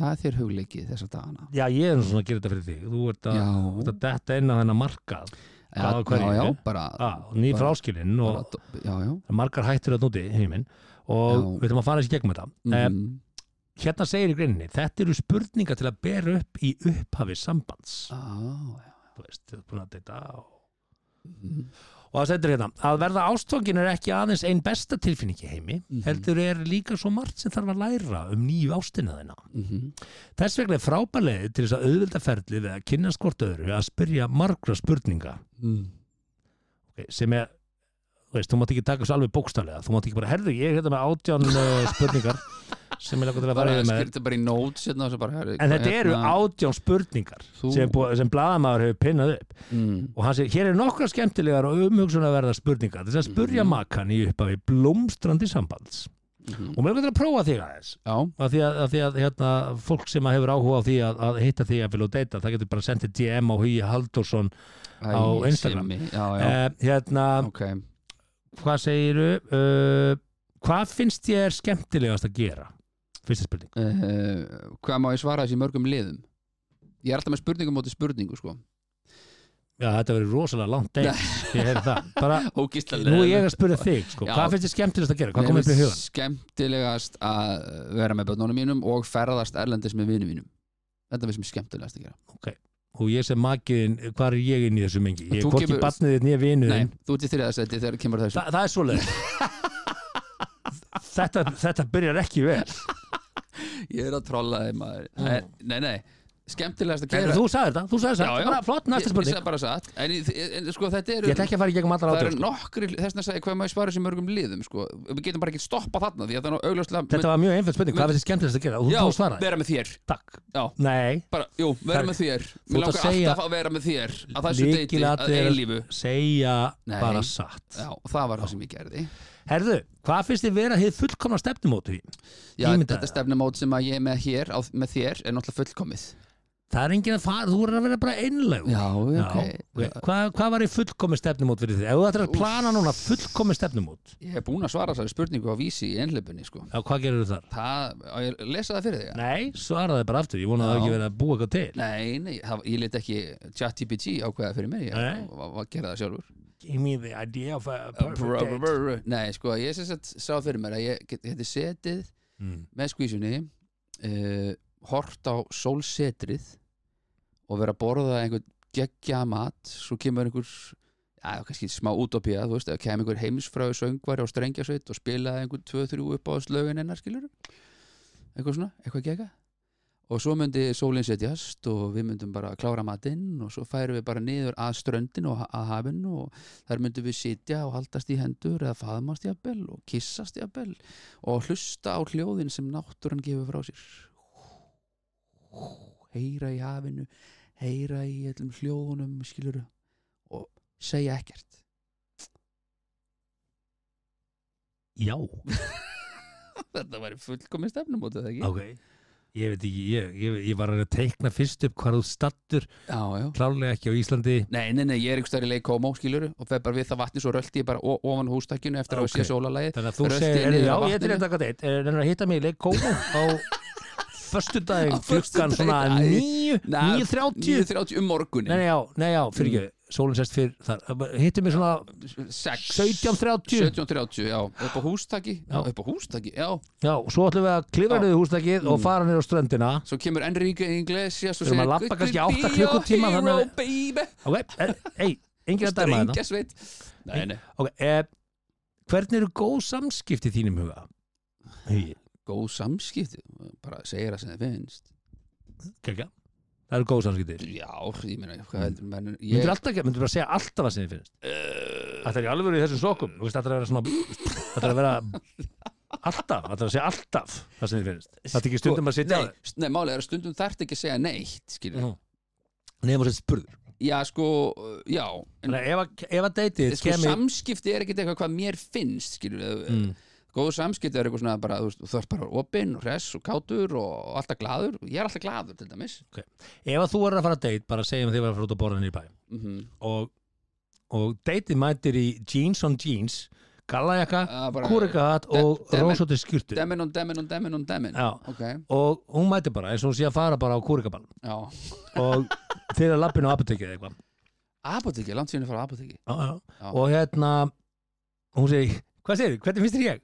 Speaker 3: það er þér hugleikið þessa dagana
Speaker 2: Já, ég er nú svona að gera þetta fyrir þig Þú ert að, þú ert
Speaker 3: Já,
Speaker 2: að detta inn á þennan markað
Speaker 3: já,
Speaker 2: á hverju?
Speaker 3: já, já, bara
Speaker 2: ah, og ný
Speaker 3: Bara-
Speaker 2: fráskilinn og
Speaker 3: bara- Já, já
Speaker 2: það er margar hættur að núti heiminn og
Speaker 3: Já.
Speaker 2: við ætlum að fara þessi gegnum þetta mm
Speaker 3: mm,
Speaker 2: hérna segir í greininni þetta eru spurningar til að bera upp í upphafi sambands
Speaker 3: á, já,
Speaker 2: þú veist, þið er búin að deyta og...
Speaker 3: mm,
Speaker 2: og það stendur hérna að verða ástfangin er ekki aðeins ein besta tilfinning í heimi
Speaker 3: Mhm.
Speaker 2: heldur er líka svo margt sem þarf að læra um nýju ástina þina
Speaker 3: mm,
Speaker 2: þess vegna er frábærlega til þess að auðvelda ferli við að kynna skort öðru að spyrja margra spurninga
Speaker 3: mm.
Speaker 2: Ok, sem er þú veist, þú mátt ekki taka þessu alveg bókstaflega þú mátt ekki bara, herðu, ég er hérna með átján uh, spurningar sem ég lakka til að fara
Speaker 3: Bara
Speaker 2: yfir með þér.
Speaker 3: skilta bara í notes hérna, og svo bara, herri,
Speaker 2: En
Speaker 3: hvað
Speaker 2: þetta eru
Speaker 3: hérna?
Speaker 2: átján spurningar
Speaker 3: Þú-
Speaker 2: sem, búa- sem blaðamaður hefur pinnað upp
Speaker 3: mm,
Speaker 2: og hann segir, hér er nokkra skemmtilegar og umhugsunarverðar spurningar til þess að
Speaker 3: Mhm.
Speaker 2: spurja makan í upphafi blómstrandi sambands
Speaker 3: mm,
Speaker 2: og mér er að prófa þig aðeins
Speaker 3: Já,
Speaker 2: af því að, af því að hérna, fólk sem að hefur áhuga á því að, að hitta því að vilja og deyta það getur bara sendið DM á Hugi Halldórsson
Speaker 3: æ,
Speaker 2: Á Instagram.
Speaker 3: Simmi, Já, já,
Speaker 2: eh, hérna,
Speaker 3: ok
Speaker 2: hvað segiru uh, hvað finnst ég er skemmtilegast að gera fyrsta spurning
Speaker 3: uh, hvað má ég svara þessi mörgum liðum ég er alltaf með spurningum móti spurningu sko
Speaker 2: Já, þetta verið rosalega langt date Ég heyri það Bara,
Speaker 3: ógistalega
Speaker 2: nú er ég að spyrja þig sko.
Speaker 3: Já.
Speaker 2: Hvað finnst þið skemmtilegast að gera? Hvað kom upp í hugan?
Speaker 3: skemmtilegast að vera með börnunum mínum og ferðast erlendis með vinum mínum þetta finnst mér skemmtilegast að gera
Speaker 2: Og ég sem makiðin, hvað er ég inn í þessu mengi? Ég
Speaker 3: Þú
Speaker 2: er hvorki
Speaker 3: kemur-
Speaker 2: barnið þitt nýja
Speaker 3: Nei,
Speaker 2: vinuðin
Speaker 3: þú ert í þriðastætti þegar kemur þessu
Speaker 2: Þa, Það er svoleið þetta, þetta byrjar ekki vel
Speaker 3: ég er að trolla þeim maður nei, nei, nei skemmtilegast að
Speaker 2: Þegar
Speaker 3: gera
Speaker 2: þú sagði þetta, þú sagði
Speaker 3: Já, já.
Speaker 2: þetta, bara flott, næsta
Speaker 3: Ég- Ég
Speaker 2: spurning
Speaker 3: sagði bara satt En, í- en sko, þetta eru
Speaker 2: Ég ætla ekki að fara í gegnum allar
Speaker 3: Það eru
Speaker 2: átjóð sko.
Speaker 3: nokkri, þess að segja hvað maður svarar sem mörgum liðum sko. Við getum bara ekki stoppað þarna Því að það er nú augljóslega
Speaker 2: Þetta var mjög einföld spurning, hvað finnst þið skemmtilegast að gera? Og
Speaker 3: Já,
Speaker 2: Þú þú svaraði,
Speaker 3: vera með þér
Speaker 2: takk
Speaker 3: Já,
Speaker 2: Nei,
Speaker 3: bara, jú, vera
Speaker 2: Það-
Speaker 3: með þér
Speaker 2: ert
Speaker 3: Mér
Speaker 2: að
Speaker 3: langar
Speaker 2: segja-
Speaker 3: alltaf að vera með þér Að þessu deiti, að
Speaker 2: líkilatir
Speaker 3: eilífu
Speaker 2: segja
Speaker 3: Nei.
Speaker 2: bara satt
Speaker 3: Já, og það var það sem ég gerði
Speaker 2: Herðu, hvað finnst þið vera hið fullkomna stefnumótu í?
Speaker 3: Já,
Speaker 2: Ímyndaðu
Speaker 3: þetta
Speaker 2: þér.
Speaker 3: stefnumót sem að ég er með hér á, Með þér er náttúrulega fullkomið
Speaker 2: Það er enginn að fara, þú verður að vera bara einleg
Speaker 3: já,
Speaker 2: ok. Hvað, hvað var í fullkomi stefnumót fyrir þið? Ef þú ættir að plana núna fullkomi stefnumót
Speaker 3: Ég hef búin að svara þessari spurningu á vísi í einhleipunni sko.
Speaker 2: Já, hvað gerir þar?
Speaker 3: Það, á ég að lesa það fyrir þig
Speaker 2: Nei, svaraði bara aftur, ég vona að það
Speaker 3: Já.
Speaker 2: hafi ekki verið að búa eitthvað til
Speaker 3: Nei, nei, það, ég let ekki ChatGPT ákveða fyrir mér Ég
Speaker 2: Nei.
Speaker 3: var var að gera það sjálfur
Speaker 2: Give me the idea of a
Speaker 3: Brr, brr,
Speaker 2: perfect date
Speaker 3: brr. Nei, sko, ég sem sagt sá fyrir mér að ég get- geti setið
Speaker 2: Mm.
Speaker 3: með skvísunni uh, hort á sólsetrið og vera að borða einhvern geggja mat, svo kemur einhver já, kannski smá útopía, þú veist eða kemur einhver heimsfræðu söngvari á strengjasveit og spilaði einhvern 2-3 upp á slögin hennar skilur eitthvað svona, eitthvað gegga og svo myndi sólinn setjast og við myndum bara klára matinn og svo færum við bara niður að ströndin og ha- að hafinn og þar myndum við sitja og haldast í hendur eða faðmast í abel og kissast í abel og hlusta á hljóðin sem náttúran gefur frá sér heyra í hafinu heyra í öllum hljóðunum skilur og segja ekkert
Speaker 2: Já,
Speaker 3: þetta væri fullkomin stefnum út af það ekki
Speaker 2: ok Ég veit ekki, ég, ég, ég var að reyna að teikna fyrst upp hvað þú stattur
Speaker 3: já, já.
Speaker 2: klárlega ekki á Íslandi
Speaker 3: Nei, nei, nei, ég er einhver stær í leik komo skilur og fer bara við það vatni svo rölti ég bara o- ofan hústakkinu eftir að
Speaker 2: Ok.
Speaker 3: okay. sé sólalægið
Speaker 2: Þannig að þú
Speaker 3: Rölti
Speaker 2: segir,
Speaker 3: niður
Speaker 2: er,
Speaker 3: að
Speaker 2: já, ég er til
Speaker 3: vatninu.
Speaker 2: að taka deitt Þannig að hitta mig í leik kóma á
Speaker 3: Á
Speaker 2: föstudaginn klukkan
Speaker 3: föstudaginn,
Speaker 2: svona
Speaker 3: æ.
Speaker 2: 9,
Speaker 3: Nei,
Speaker 2: 9.30
Speaker 3: 9.30 um morgunin
Speaker 2: Nei, nei, já, nei, já, fyrir ekki Sólinn sest fyrr þar Hittum við svona
Speaker 3: 6
Speaker 2: 17.30
Speaker 3: 17.30, já, upp á hústakki já, upp á hústakki, já
Speaker 2: Já, svo ætlum við að klifa niður húsdækið og fara niður á ströndina
Speaker 3: Svo kemur Enrique Iglesias og
Speaker 2: Við erum að labba kannski átta klukkutíma,
Speaker 3: Hero,
Speaker 2: þannig að-
Speaker 3: baby
Speaker 2: Ok, er- ei, engin að dæma þetta
Speaker 3: Strengja sveit Nei, nei,
Speaker 2: Ok, eh, hvernig eru góð samskipti í þínum huga? Hugi,
Speaker 3: góð samskipti Bara segir það sem þið finnst
Speaker 2: kekja Það eru góð samskipti
Speaker 3: Já, ég meina,
Speaker 2: Mm.
Speaker 3: hvað heldur menn
Speaker 2: Myndur
Speaker 3: Ég,
Speaker 2: alltaf, myndur bara segja alltaf það sem þið finnst Þetta er í alveg í þessum sokum Þú veist, þetta er að vera svona Þetta er að vera alltaf, þetta er að segja alltaf það sem þið finnst Sko, Þetta er ekki stundum að sitja
Speaker 3: Sko, nei, st- nei, málið er að stundum þarft ekki að segja neitt Skilur
Speaker 2: Mhm. Nefnum að setja spurður
Speaker 3: Já, sko, já en,
Speaker 2: Þannig að ef að- ef að deytið
Speaker 3: sko,
Speaker 2: kemur
Speaker 3: Samskipti er ekkit eitthvað hvað mér finnst Skilur mm.
Speaker 2: Mm.
Speaker 3: Góð samskipti er eitthvað svona bara þú veist, Þú þarf bara opinn og hress og kátur og alltaf glaður Ég er alltaf glaður til dæmis
Speaker 2: Ef að þú er að fara að deyt, bara segjum að þið var að fara út að borða niður í bæ
Speaker 3: mm
Speaker 2: og, og deytið mætir í jeans on jeans gallajakka, kúrikahat og
Speaker 3: Dem- demen-
Speaker 2: rósóttir skýrtu
Speaker 3: Demin on demin on demin on demin
Speaker 2: Já.
Speaker 3: Ok,
Speaker 2: og hún mætir bara eins og hún sé að fara bara á kúrikaball
Speaker 3: já
Speaker 2: og þeirra lappinu á apotekið eitthvað
Speaker 3: Apotekki, langt síðan að fara á apotekki
Speaker 2: Já, já.
Speaker 3: Já.
Speaker 2: og hérna hún segir, hvað segir þið, hvernig finnst þér ég?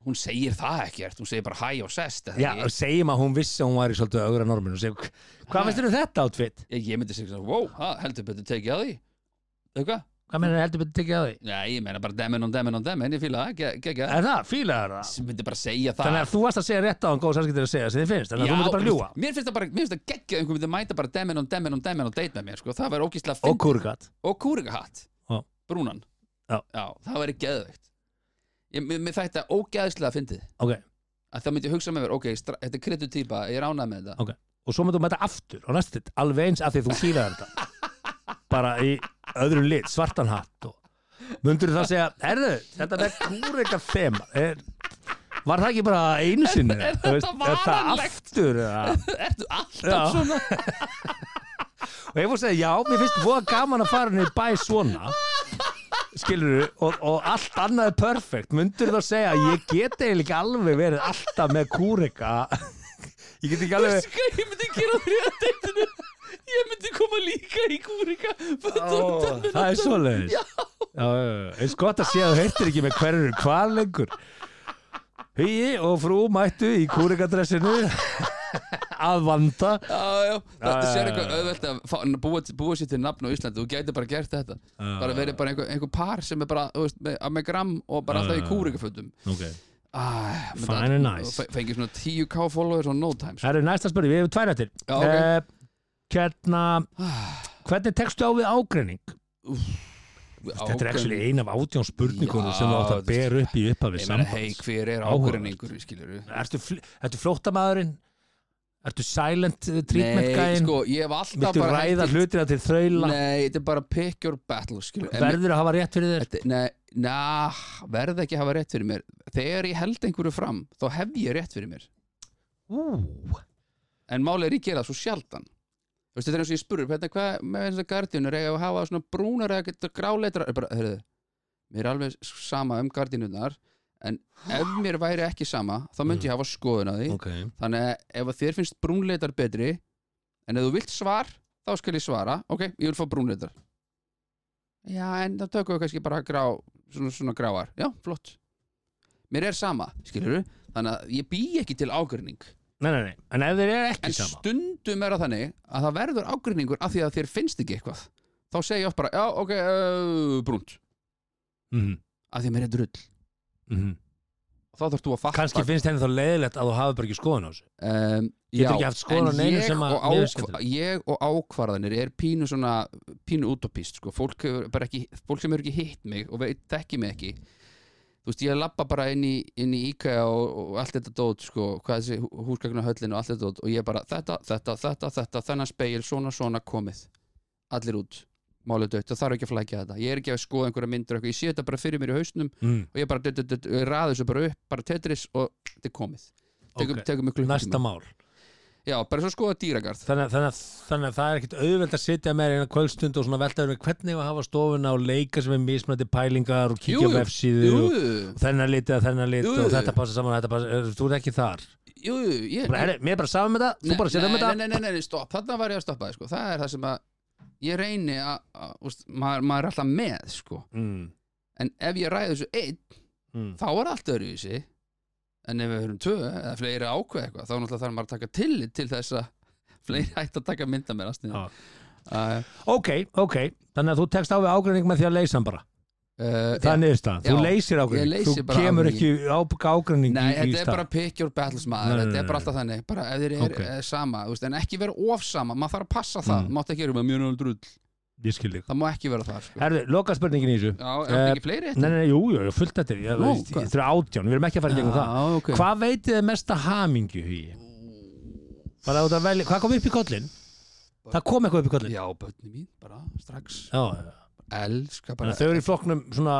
Speaker 3: Hún segir það ekkert, hún segir bara hæ og sest eða
Speaker 2: Já,
Speaker 3: ekki?
Speaker 2: og segjum að hún vissi að hún var í svolítið augra norminu og segir,
Speaker 3: Ha.
Speaker 2: hvað finnst þér um þetta outfit?
Speaker 3: ég, ég myndi segja svona, wow, ha, heldur betur tekið að því Eitthvað?
Speaker 2: Hvað meina heldur betur tekið að því?
Speaker 3: Nei, ég meina bara demin on demin on demin, ég fíla það, ge- gegja
Speaker 2: Er það, fílaður það?
Speaker 3: Ég myndi bara segja það
Speaker 2: Þannig að þú varst að segja rétt á hann góð sannskiptir að segja sem þið finnst, þannig að þú myndir bara ljúa
Speaker 3: Mér finnst það bara, mér finnst það gegja einhver myndi mæta bara demin on demin on demin og date með mér, sko Það væri ógíslega
Speaker 2: og
Speaker 3: fynd
Speaker 2: kúrikat
Speaker 3: Og kúrikahatt,
Speaker 2: Já.
Speaker 3: brúnan
Speaker 2: Já.
Speaker 3: það væri geðveikt Ég, mér, mér þætti það ógeðslega fyndið
Speaker 2: Ok,
Speaker 3: að það myndi ég hugsa með mér, ok, stra- þetta er kredutýpa ég er ánað með þetta,
Speaker 2: ok Og svo myndir þú mæta aftur á næstu þitt alveg eins af því að þú fílaður þetta bara í öðrum lit, svartan hatt og myndir þú þá segja Erðu, þetta er kúrikat þema er, Var það ekki bara einu sinni?
Speaker 3: Er- er
Speaker 2: Þú veist,
Speaker 3: þetta
Speaker 2: er það
Speaker 3: varanlegt?
Speaker 2: aftur? eða?
Speaker 3: ertu alltaf
Speaker 2: Já.
Speaker 3: svona
Speaker 2: Og ég fór að segja, já, mér finnst voða gaman að fara niður bæ svona skilur og, og allt annað er perfekt myndur þú að segja, ég get eiginlega ekki alveg verið alltaf með kúrika ég get ekki alveg
Speaker 3: Veistu hvað ég myndi gera á þriða deitinu Ég myndi koma líka í kúrika
Speaker 2: Ó, það er svoleiðis já. Já, já, já. eins gott að sé að þú heyrtir ekki með hverjur hvað lengur Hugi og frú mættu í kúrikadressinu að vanda
Speaker 3: Þetta
Speaker 2: já,
Speaker 3: sér
Speaker 2: já,
Speaker 3: eitthvað
Speaker 2: já.
Speaker 3: auðvelt að fá, búa, búa sér til nafn á Íslandi Þú gæti bara gert þetta Bara verið bara einhver, einhver par sem er bara þú veist, með, með gram og bara alltaf í kúrikafötum
Speaker 2: okay.
Speaker 3: ah,
Speaker 2: Fine and nice.
Speaker 3: Fengið svona 10k followers on no time sko.
Speaker 2: Það eru næsta spurning, við hefum tvær eftir
Speaker 3: Já, ok.
Speaker 2: Eh, hérna, hvernig tekstu á við ágreining? Þetta er ekki ein af átján spurningunum
Speaker 3: Já,
Speaker 2: sem þú átt að
Speaker 3: þú veist,
Speaker 2: bera upp í upphafi
Speaker 3: Ég meina, hei,
Speaker 2: sambands.
Speaker 3: hver er
Speaker 2: Áhugavert.
Speaker 3: ágreiningur, skilur við?
Speaker 2: Ertu, fl- ertu flóttamæðurinn? Ertu silent eh, treatment
Speaker 3: Nei,
Speaker 2: gæinn?
Speaker 3: sko, ég hef alltaf
Speaker 2: Viltu
Speaker 3: bara
Speaker 2: ræða
Speaker 3: haldið-
Speaker 2: hlutina til þraula?
Speaker 3: Nei, þetta er bara pick your battle, skilur En-
Speaker 2: Verður að hafa rétt fyrir þér?
Speaker 3: Þetta- Nei, na, verð ekki að hafa rétt fyrir mér Þegar ég held einhverju fram, þá hef ég rétt fyrir mér
Speaker 2: Ú,
Speaker 3: En máli er ég gera það svo sjaldan Þú veist, Þetta er eins og ég spurur, hvernig hvað með þess að gardínur eiga að hafa svona brúnar eða geta gráleitra bara, heyrðu, Mér er alveg sama um gardínurnar En ef mér væri ekki sama, þá myndi ég hafa skoðun á því
Speaker 2: ok.
Speaker 3: Þannig að ef að þér finnst brúnleitar betri En ef þú vilt svar Þá skal ég svara, ok, ég vil fá brúnleitar Já, en þá tökum við kannski bara grá, svona, svona gráar Já, flott Mér er sama, skilur Þannig að ég bý ekki til ágrinning
Speaker 2: Nei, nei, nei. En ef þeir eru
Speaker 3: En
Speaker 2: ekki sama?
Speaker 3: stundum er það þannig að það verður ágrinningur Af því að þér finnst ekki eitthvað Þá segi ég oft bara, já, ok, uh, brúnt
Speaker 2: Mhm,
Speaker 3: Af því að mér er drull
Speaker 2: mhm.
Speaker 3: Þá þarf þú að fatta
Speaker 2: Kanski finnst henni þá leiðilegt að þú hafi bara ekki skoðun á þessu.
Speaker 3: um,
Speaker 2: Getur ekki haft skoðun á neinu sem að mér er skemmtilegt.
Speaker 3: ég og ákvarðanir er pínu svona pínu utopist sko. fólk, hefur bara ekki, fólk sem hefur ekki hitt mig og veit ekki mig ekki þú veist ég lappa bara inn í, inn í IKEA og, og allt þetta dót sko, hvað þessi húsgagna höllin og allt þetta dót og ég bara þetta, þetta, þetta, þetta, þennan speil svona, svona komið, allir út málið dött, það þarf ekki að flækja þetta ég er ekki að skoða einhverja myndir og eitthvað, ég sé þetta bara fyrir mér í hausnum
Speaker 2: Mm.
Speaker 3: og ég bara dutt, dutt, dutt, ræði þessu bara upp, bara tetris og þetta er komið tekum,
Speaker 2: Ok.
Speaker 3: tekum mig klukkutíma.
Speaker 2: Næsta mál.
Speaker 3: Já, bara svo skoða dýragarð
Speaker 2: Þannig, að- þannig, að- þannig að það er ekkit auðveld að sitja með eina kvöldstund og svona velta verið hvernig við hafa stofuna og leika sem er mismunandi pælingar og kíkja
Speaker 3: Jú,
Speaker 2: á
Speaker 3: jú.
Speaker 2: vefsíðu
Speaker 3: Jú,
Speaker 2: og þennan litið að þennan
Speaker 3: Jú,
Speaker 2: litið
Speaker 3: jú.
Speaker 2: og þetta passa saman og þetta passa, er- þú er ekki þar.
Speaker 3: jú, ég
Speaker 2: Bara, herri, mér er bara saman með það, þú bara setja
Speaker 3: nei,
Speaker 2: með það.
Speaker 3: nei, nei, nei, nei, stopp, þarna var ég að stoppa þig, sko. Það er það sem að ég reyni að, að úst, maður, maður er alltaf með sko.
Speaker 2: Mm,
Speaker 3: En ef ég ræði þessu einn
Speaker 2: mm.
Speaker 3: þá er allt öðruvísi En ef við höfum tvö eða fleiri ákveð eitthvað þá náttúrulega þarf maður að taka tillit til þess að fleiri hægt að taka mynda mér að
Speaker 2: Já.
Speaker 3: sniða uh,
Speaker 2: Ok, ok, þannig að þú tekst á við ágreining með því að leysa hann bara.
Speaker 3: eh,
Speaker 2: Það er niðurstaðan, þú
Speaker 3: Já.
Speaker 2: leysir
Speaker 3: Ég
Speaker 2: ágreining,
Speaker 3: leysi
Speaker 2: þú
Speaker 3: bara
Speaker 2: kemur ekki
Speaker 3: ágreining.
Speaker 2: á ágreining í,
Speaker 3: Nei,
Speaker 2: í
Speaker 3: þetta er
Speaker 2: stað.
Speaker 3: bara pick your battles maður,
Speaker 2: Nei, nei,
Speaker 3: þetta er bara
Speaker 2: nei,
Speaker 3: alltaf þannig bara ef þeir eru
Speaker 2: Ok.
Speaker 3: okay. sama, þú veist, en ekki vera of sama maður þarf að passa það,
Speaker 2: Mm.
Speaker 3: mm. mátt ekki vera með mjög náttúrulega drull,
Speaker 2: Ég skil þig.
Speaker 3: það má ekki vera það sko.
Speaker 2: Herðu, loka spurningin í þessu.
Speaker 3: Já, er það
Speaker 2: Eh,
Speaker 3: ekki fleiri
Speaker 2: Nei, nei, nei, jú, jú, jú, fullt eftir. Ég-
Speaker 3: Nú,
Speaker 2: ég-
Speaker 3: hvað?
Speaker 2: Þetta er átján, við erum ekki að fara í gegnum það.
Speaker 3: Já, ok
Speaker 2: Hvað veitið þið mesta hamingju hugi? Bara út að velja, hvað kom upp í kollin? Það kom eitthvað upp í kollin.
Speaker 3: Já, börni mín, bara strax
Speaker 2: Já,
Speaker 3: Elska
Speaker 2: þannig
Speaker 3: bara
Speaker 2: að þau eru í flokknum svona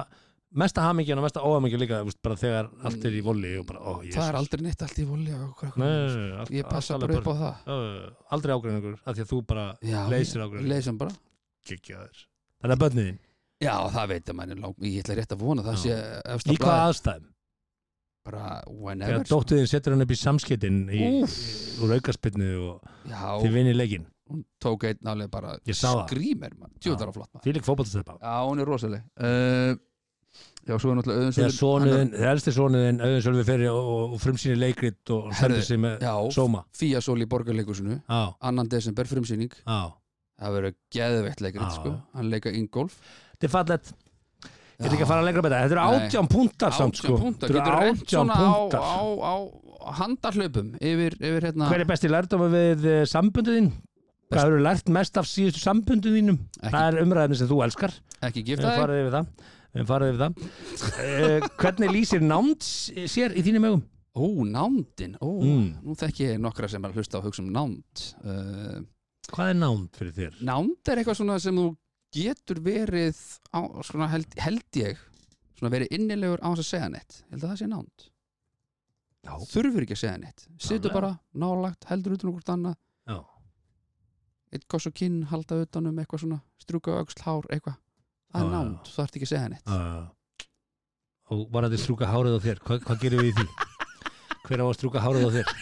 Speaker 2: mesta hamingjan og mesta óhamingjan líka, þú veist, bara þegar allt er í voli og bara, ó, jésus.
Speaker 3: Það er aldrei neitt allt í voli á
Speaker 2: Nei,
Speaker 3: krökkum
Speaker 2: nei, nei, allt,
Speaker 3: Ég passa bara upp á það
Speaker 2: Aldrei ágreiningur, af því að þú bara
Speaker 3: Já,
Speaker 2: leysir ágreiningur.
Speaker 3: Leysum bara
Speaker 2: Gekkjaður. Þannig að börniðin,
Speaker 3: Já, það veit að mann er langt Ég ætla rétt að vona það
Speaker 2: Já.
Speaker 3: sé efst á
Speaker 2: í hvaða
Speaker 3: blaði.
Speaker 2: aðstæðum?
Speaker 3: Bara
Speaker 2: Þegar
Speaker 3: whenever sko.
Speaker 2: dóttuðin setur hann upp í samskettin í,
Speaker 3: Úff.
Speaker 2: í- úr aukarspinnu og þið
Speaker 3: Já,
Speaker 2: vinni leikinn.
Speaker 3: hún tók einn alveg bara
Speaker 2: Ég sá það.
Speaker 3: Skrýmer, mann, djóðar á flott maður
Speaker 2: Því lík fótballstöpa.
Speaker 3: Já, hún er rosaleg
Speaker 2: Eh,
Speaker 3: uh, Já, svo er náttúrulega Auðun
Speaker 2: þegar
Speaker 3: Sölvi-
Speaker 2: sonuðin, þegar elsti sonuðin auðvins öllu fyrir og, og, og frumsýni leikrit og
Speaker 3: Herðu,
Speaker 2: stendur sig með
Speaker 3: Já,
Speaker 2: sóma
Speaker 3: Fía Sól í borgarleikusinu
Speaker 2: á,
Speaker 3: 2. desember frumsýning
Speaker 2: á.
Speaker 3: Það verður geðveitt leikrit
Speaker 2: Já.
Speaker 3: sko Hann leika Ingolf
Speaker 2: þetta er fallet ég ætla ekki að fara lengra með þetta, þetta eru
Speaker 3: Nei.
Speaker 2: átján púntar samt sko,
Speaker 3: punktar
Speaker 2: þetta
Speaker 3: Getur
Speaker 2: eru
Speaker 3: reynt
Speaker 2: átján
Speaker 3: svona
Speaker 2: púntar
Speaker 3: á, á, á handahlaupum yfir, yfir hérna
Speaker 2: hver er besti lærdom við eh, sambunduðinn hvað hefur lært mest af síðustu sambunduðinum
Speaker 3: Ekki.
Speaker 2: það er umræðin sem þú elskar
Speaker 3: Ekki
Speaker 2: við
Speaker 3: gifta
Speaker 2: höfum
Speaker 3: þig
Speaker 2: farið yfir það, við höfum farið yfir það. Eh, hvernig lýsir námt sér í þínum augum
Speaker 3: Ó, nándin Ó,
Speaker 2: Mm.
Speaker 3: nú þekki ég nokkra sem er að hlusta og hugsa um nánd uh,
Speaker 2: hvað er námt fyrir þér
Speaker 3: Nánd er eitthvað svona sem þú getur verið á, svona held, held ég svona verið innilegur á þess að segja neitt Held að það sé nánd
Speaker 2: Já.
Speaker 3: Þurfur ekki að segja neitt Situr
Speaker 2: Nálega.
Speaker 3: bara nálagt, heldur utan okkur annað
Speaker 2: já,
Speaker 3: eitt koss og kinn, halda utanum eitthvað svona, strúka öxl, hár, eitthvað það er
Speaker 2: Já, já, já.
Speaker 3: nánd, þú þarft ekki að segja neitt
Speaker 2: uh, og varandi strúka hárið á þér hvað, hvað gerum við í því? hver á að strúka hárið á þér?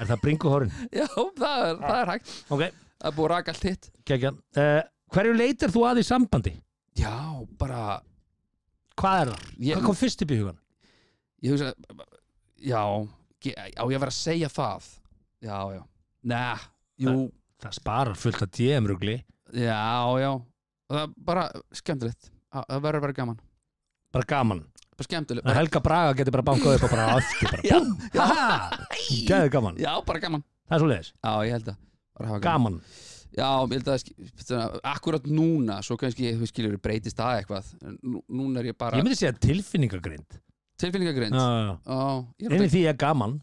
Speaker 2: er það bringuhórin?
Speaker 3: já, það er, það er hægt,
Speaker 2: ok,
Speaker 3: það er búið að raka allt hitt
Speaker 2: geggja uh, hverju leitar þú að í sambandi?
Speaker 3: já, bara
Speaker 2: hvað er það?
Speaker 3: ég,
Speaker 2: hvað kom fyrst upp í hugan?
Speaker 3: ég hugsa, já ge- á ég að vera að segja það já, já, neða jú,
Speaker 2: það sparar fullt að DM-rugli
Speaker 3: já, já það er bara skemmtilegt Að- það verður að vera gaman,
Speaker 2: bara gaman,
Speaker 3: bara skemmtilegt
Speaker 2: en
Speaker 3: bara,
Speaker 2: Helga Braga getur bara bankað upp og bara aftur bara, búm, haha, geðu gaman
Speaker 3: já, bara gaman,
Speaker 2: það er svo leiðis,
Speaker 3: já, ég held að bara hafa gaman,
Speaker 2: gaman
Speaker 3: Já, ég held að það akkurat núna, svo kannski þú skilur breytist það eitthvað En nú- Núna er ég bara
Speaker 2: Ég myndi segja tilfinningagrind
Speaker 3: tilfinningagrind Já,
Speaker 2: Já, já.
Speaker 3: ég er
Speaker 2: Inni
Speaker 3: alltaf-
Speaker 2: því er gaman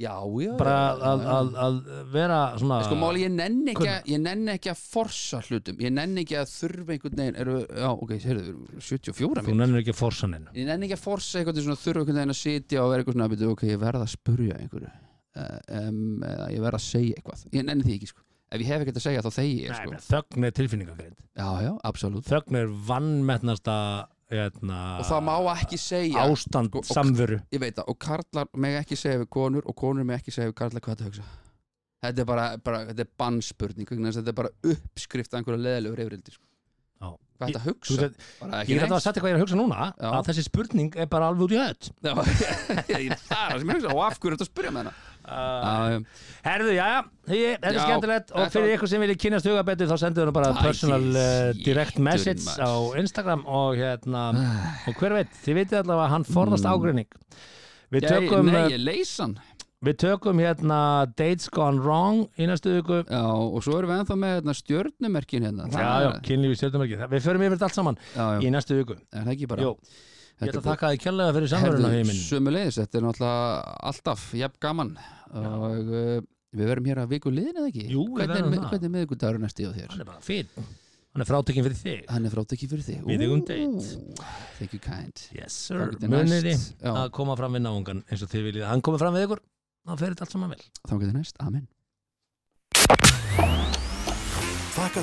Speaker 3: já, já
Speaker 2: bara
Speaker 3: já,
Speaker 2: að,
Speaker 3: já.
Speaker 2: að, að vera svona
Speaker 3: Sko máli, ég nenni ekki, að- ég nenni ekki að forsa hlutum Ég nenni ekki að þurfa einhvern veginn eru, Já, ok, heyrðu, við erum 74
Speaker 2: Þú
Speaker 3: minn
Speaker 2: nennir ekki að forsa neinu
Speaker 3: Ég nenni ekki að forsa eitthvað til svona þurfa einhvern veginn að sitja og vera eitthvað svona "Bíddu, Ok, ég verð að spurja einhverju uh, um, eða Ég verð að segja eitthvað Ég nenni því ekki, sko Ef ég hef ekkert að segja þá þegi ég,
Speaker 2: Nei,
Speaker 3: sko
Speaker 2: nei, Þögn er tilfinningagrind
Speaker 3: Já, já, absolutt
Speaker 2: Þögn er vannmetnasta hérna,
Speaker 3: Og það má ekki segja
Speaker 2: ástand
Speaker 3: sko, og-
Speaker 2: samveru
Speaker 3: Ég veit það, og karlar meg ekki segja við konur og konur meg ekki segja við karlar hvað það hugsa Þetta er bara, bara þetta er bannspurning vegna þess að þetta er bara uppskrift að einhverja leðilegur yfirildi sko.
Speaker 2: Já.
Speaker 3: Hvað þetta
Speaker 2: Þú
Speaker 3: hugsa?
Speaker 2: veist að- Ég
Speaker 3: bara ekki
Speaker 2: er þetta að setja hvað ég er að hugsa núna
Speaker 3: Já.
Speaker 2: að þessi spurning er bara alveg út í hött
Speaker 3: neitt Já, ég- Það er það sem ég hugsa og af hverju ertu að spyrja með hana
Speaker 2: Ah.
Speaker 3: Já, já.
Speaker 2: Herðu, jæja, Hugi, þetta er
Speaker 3: Já,
Speaker 2: skemmtilegt og
Speaker 3: þetta
Speaker 2: fyrir
Speaker 3: var-
Speaker 2: ykkur sem vilja kynast huga betur þá sendur hann bara
Speaker 3: Æ,
Speaker 2: personal
Speaker 3: þið
Speaker 2: uh,
Speaker 3: sétur
Speaker 2: direct message
Speaker 3: maður.
Speaker 2: á Instagram og hérna og hver veit, þið vitið allavega að hann forðast ágreining Við
Speaker 3: Mm. Ég-
Speaker 2: tökum,
Speaker 3: Nei,
Speaker 2: uh,
Speaker 3: ég leys hann
Speaker 2: við tökum hérna Dates Gone Wrong í næstu viku
Speaker 3: Já, og svo erum við ennþá með hérna, stjörnumerkin hérna
Speaker 2: Já, já, kynlífi stjórnumarki Við förum yfir þetta allt saman
Speaker 3: já, já.
Speaker 2: í næstu viku
Speaker 3: Er það ekki bara
Speaker 2: Jú, ég ætla að
Speaker 3: Þetta
Speaker 2: þakka þið kjærlega fyrir samverðuna
Speaker 3: er
Speaker 2: heiminn
Speaker 3: sömulegis, þetta er náttúrulega alltaf jafn gaman og uh, við verum hér að viku liðin eða ekki?
Speaker 2: Jú, við
Speaker 3: hvernig,
Speaker 2: verðum það.
Speaker 3: er, með- hvernig er miðvikudagur næstu hjá þér?
Speaker 2: Hann er bara fín Hann er frátekinn fyrir þig
Speaker 3: Hann er frátt ekki fyrir þig
Speaker 2: Við eigum
Speaker 3: Ú,
Speaker 2: date.
Speaker 3: Thank you kind
Speaker 2: Yes
Speaker 3: Þá
Speaker 2: sir
Speaker 3: getur
Speaker 2: Muniði
Speaker 3: næst. Já.
Speaker 2: að koma fram við náungan eins og þið viljið Hann komið fram við ykkur þá fer þetta allt saman vel
Speaker 3: Þá getur næst, amen
Speaker 4: Þakka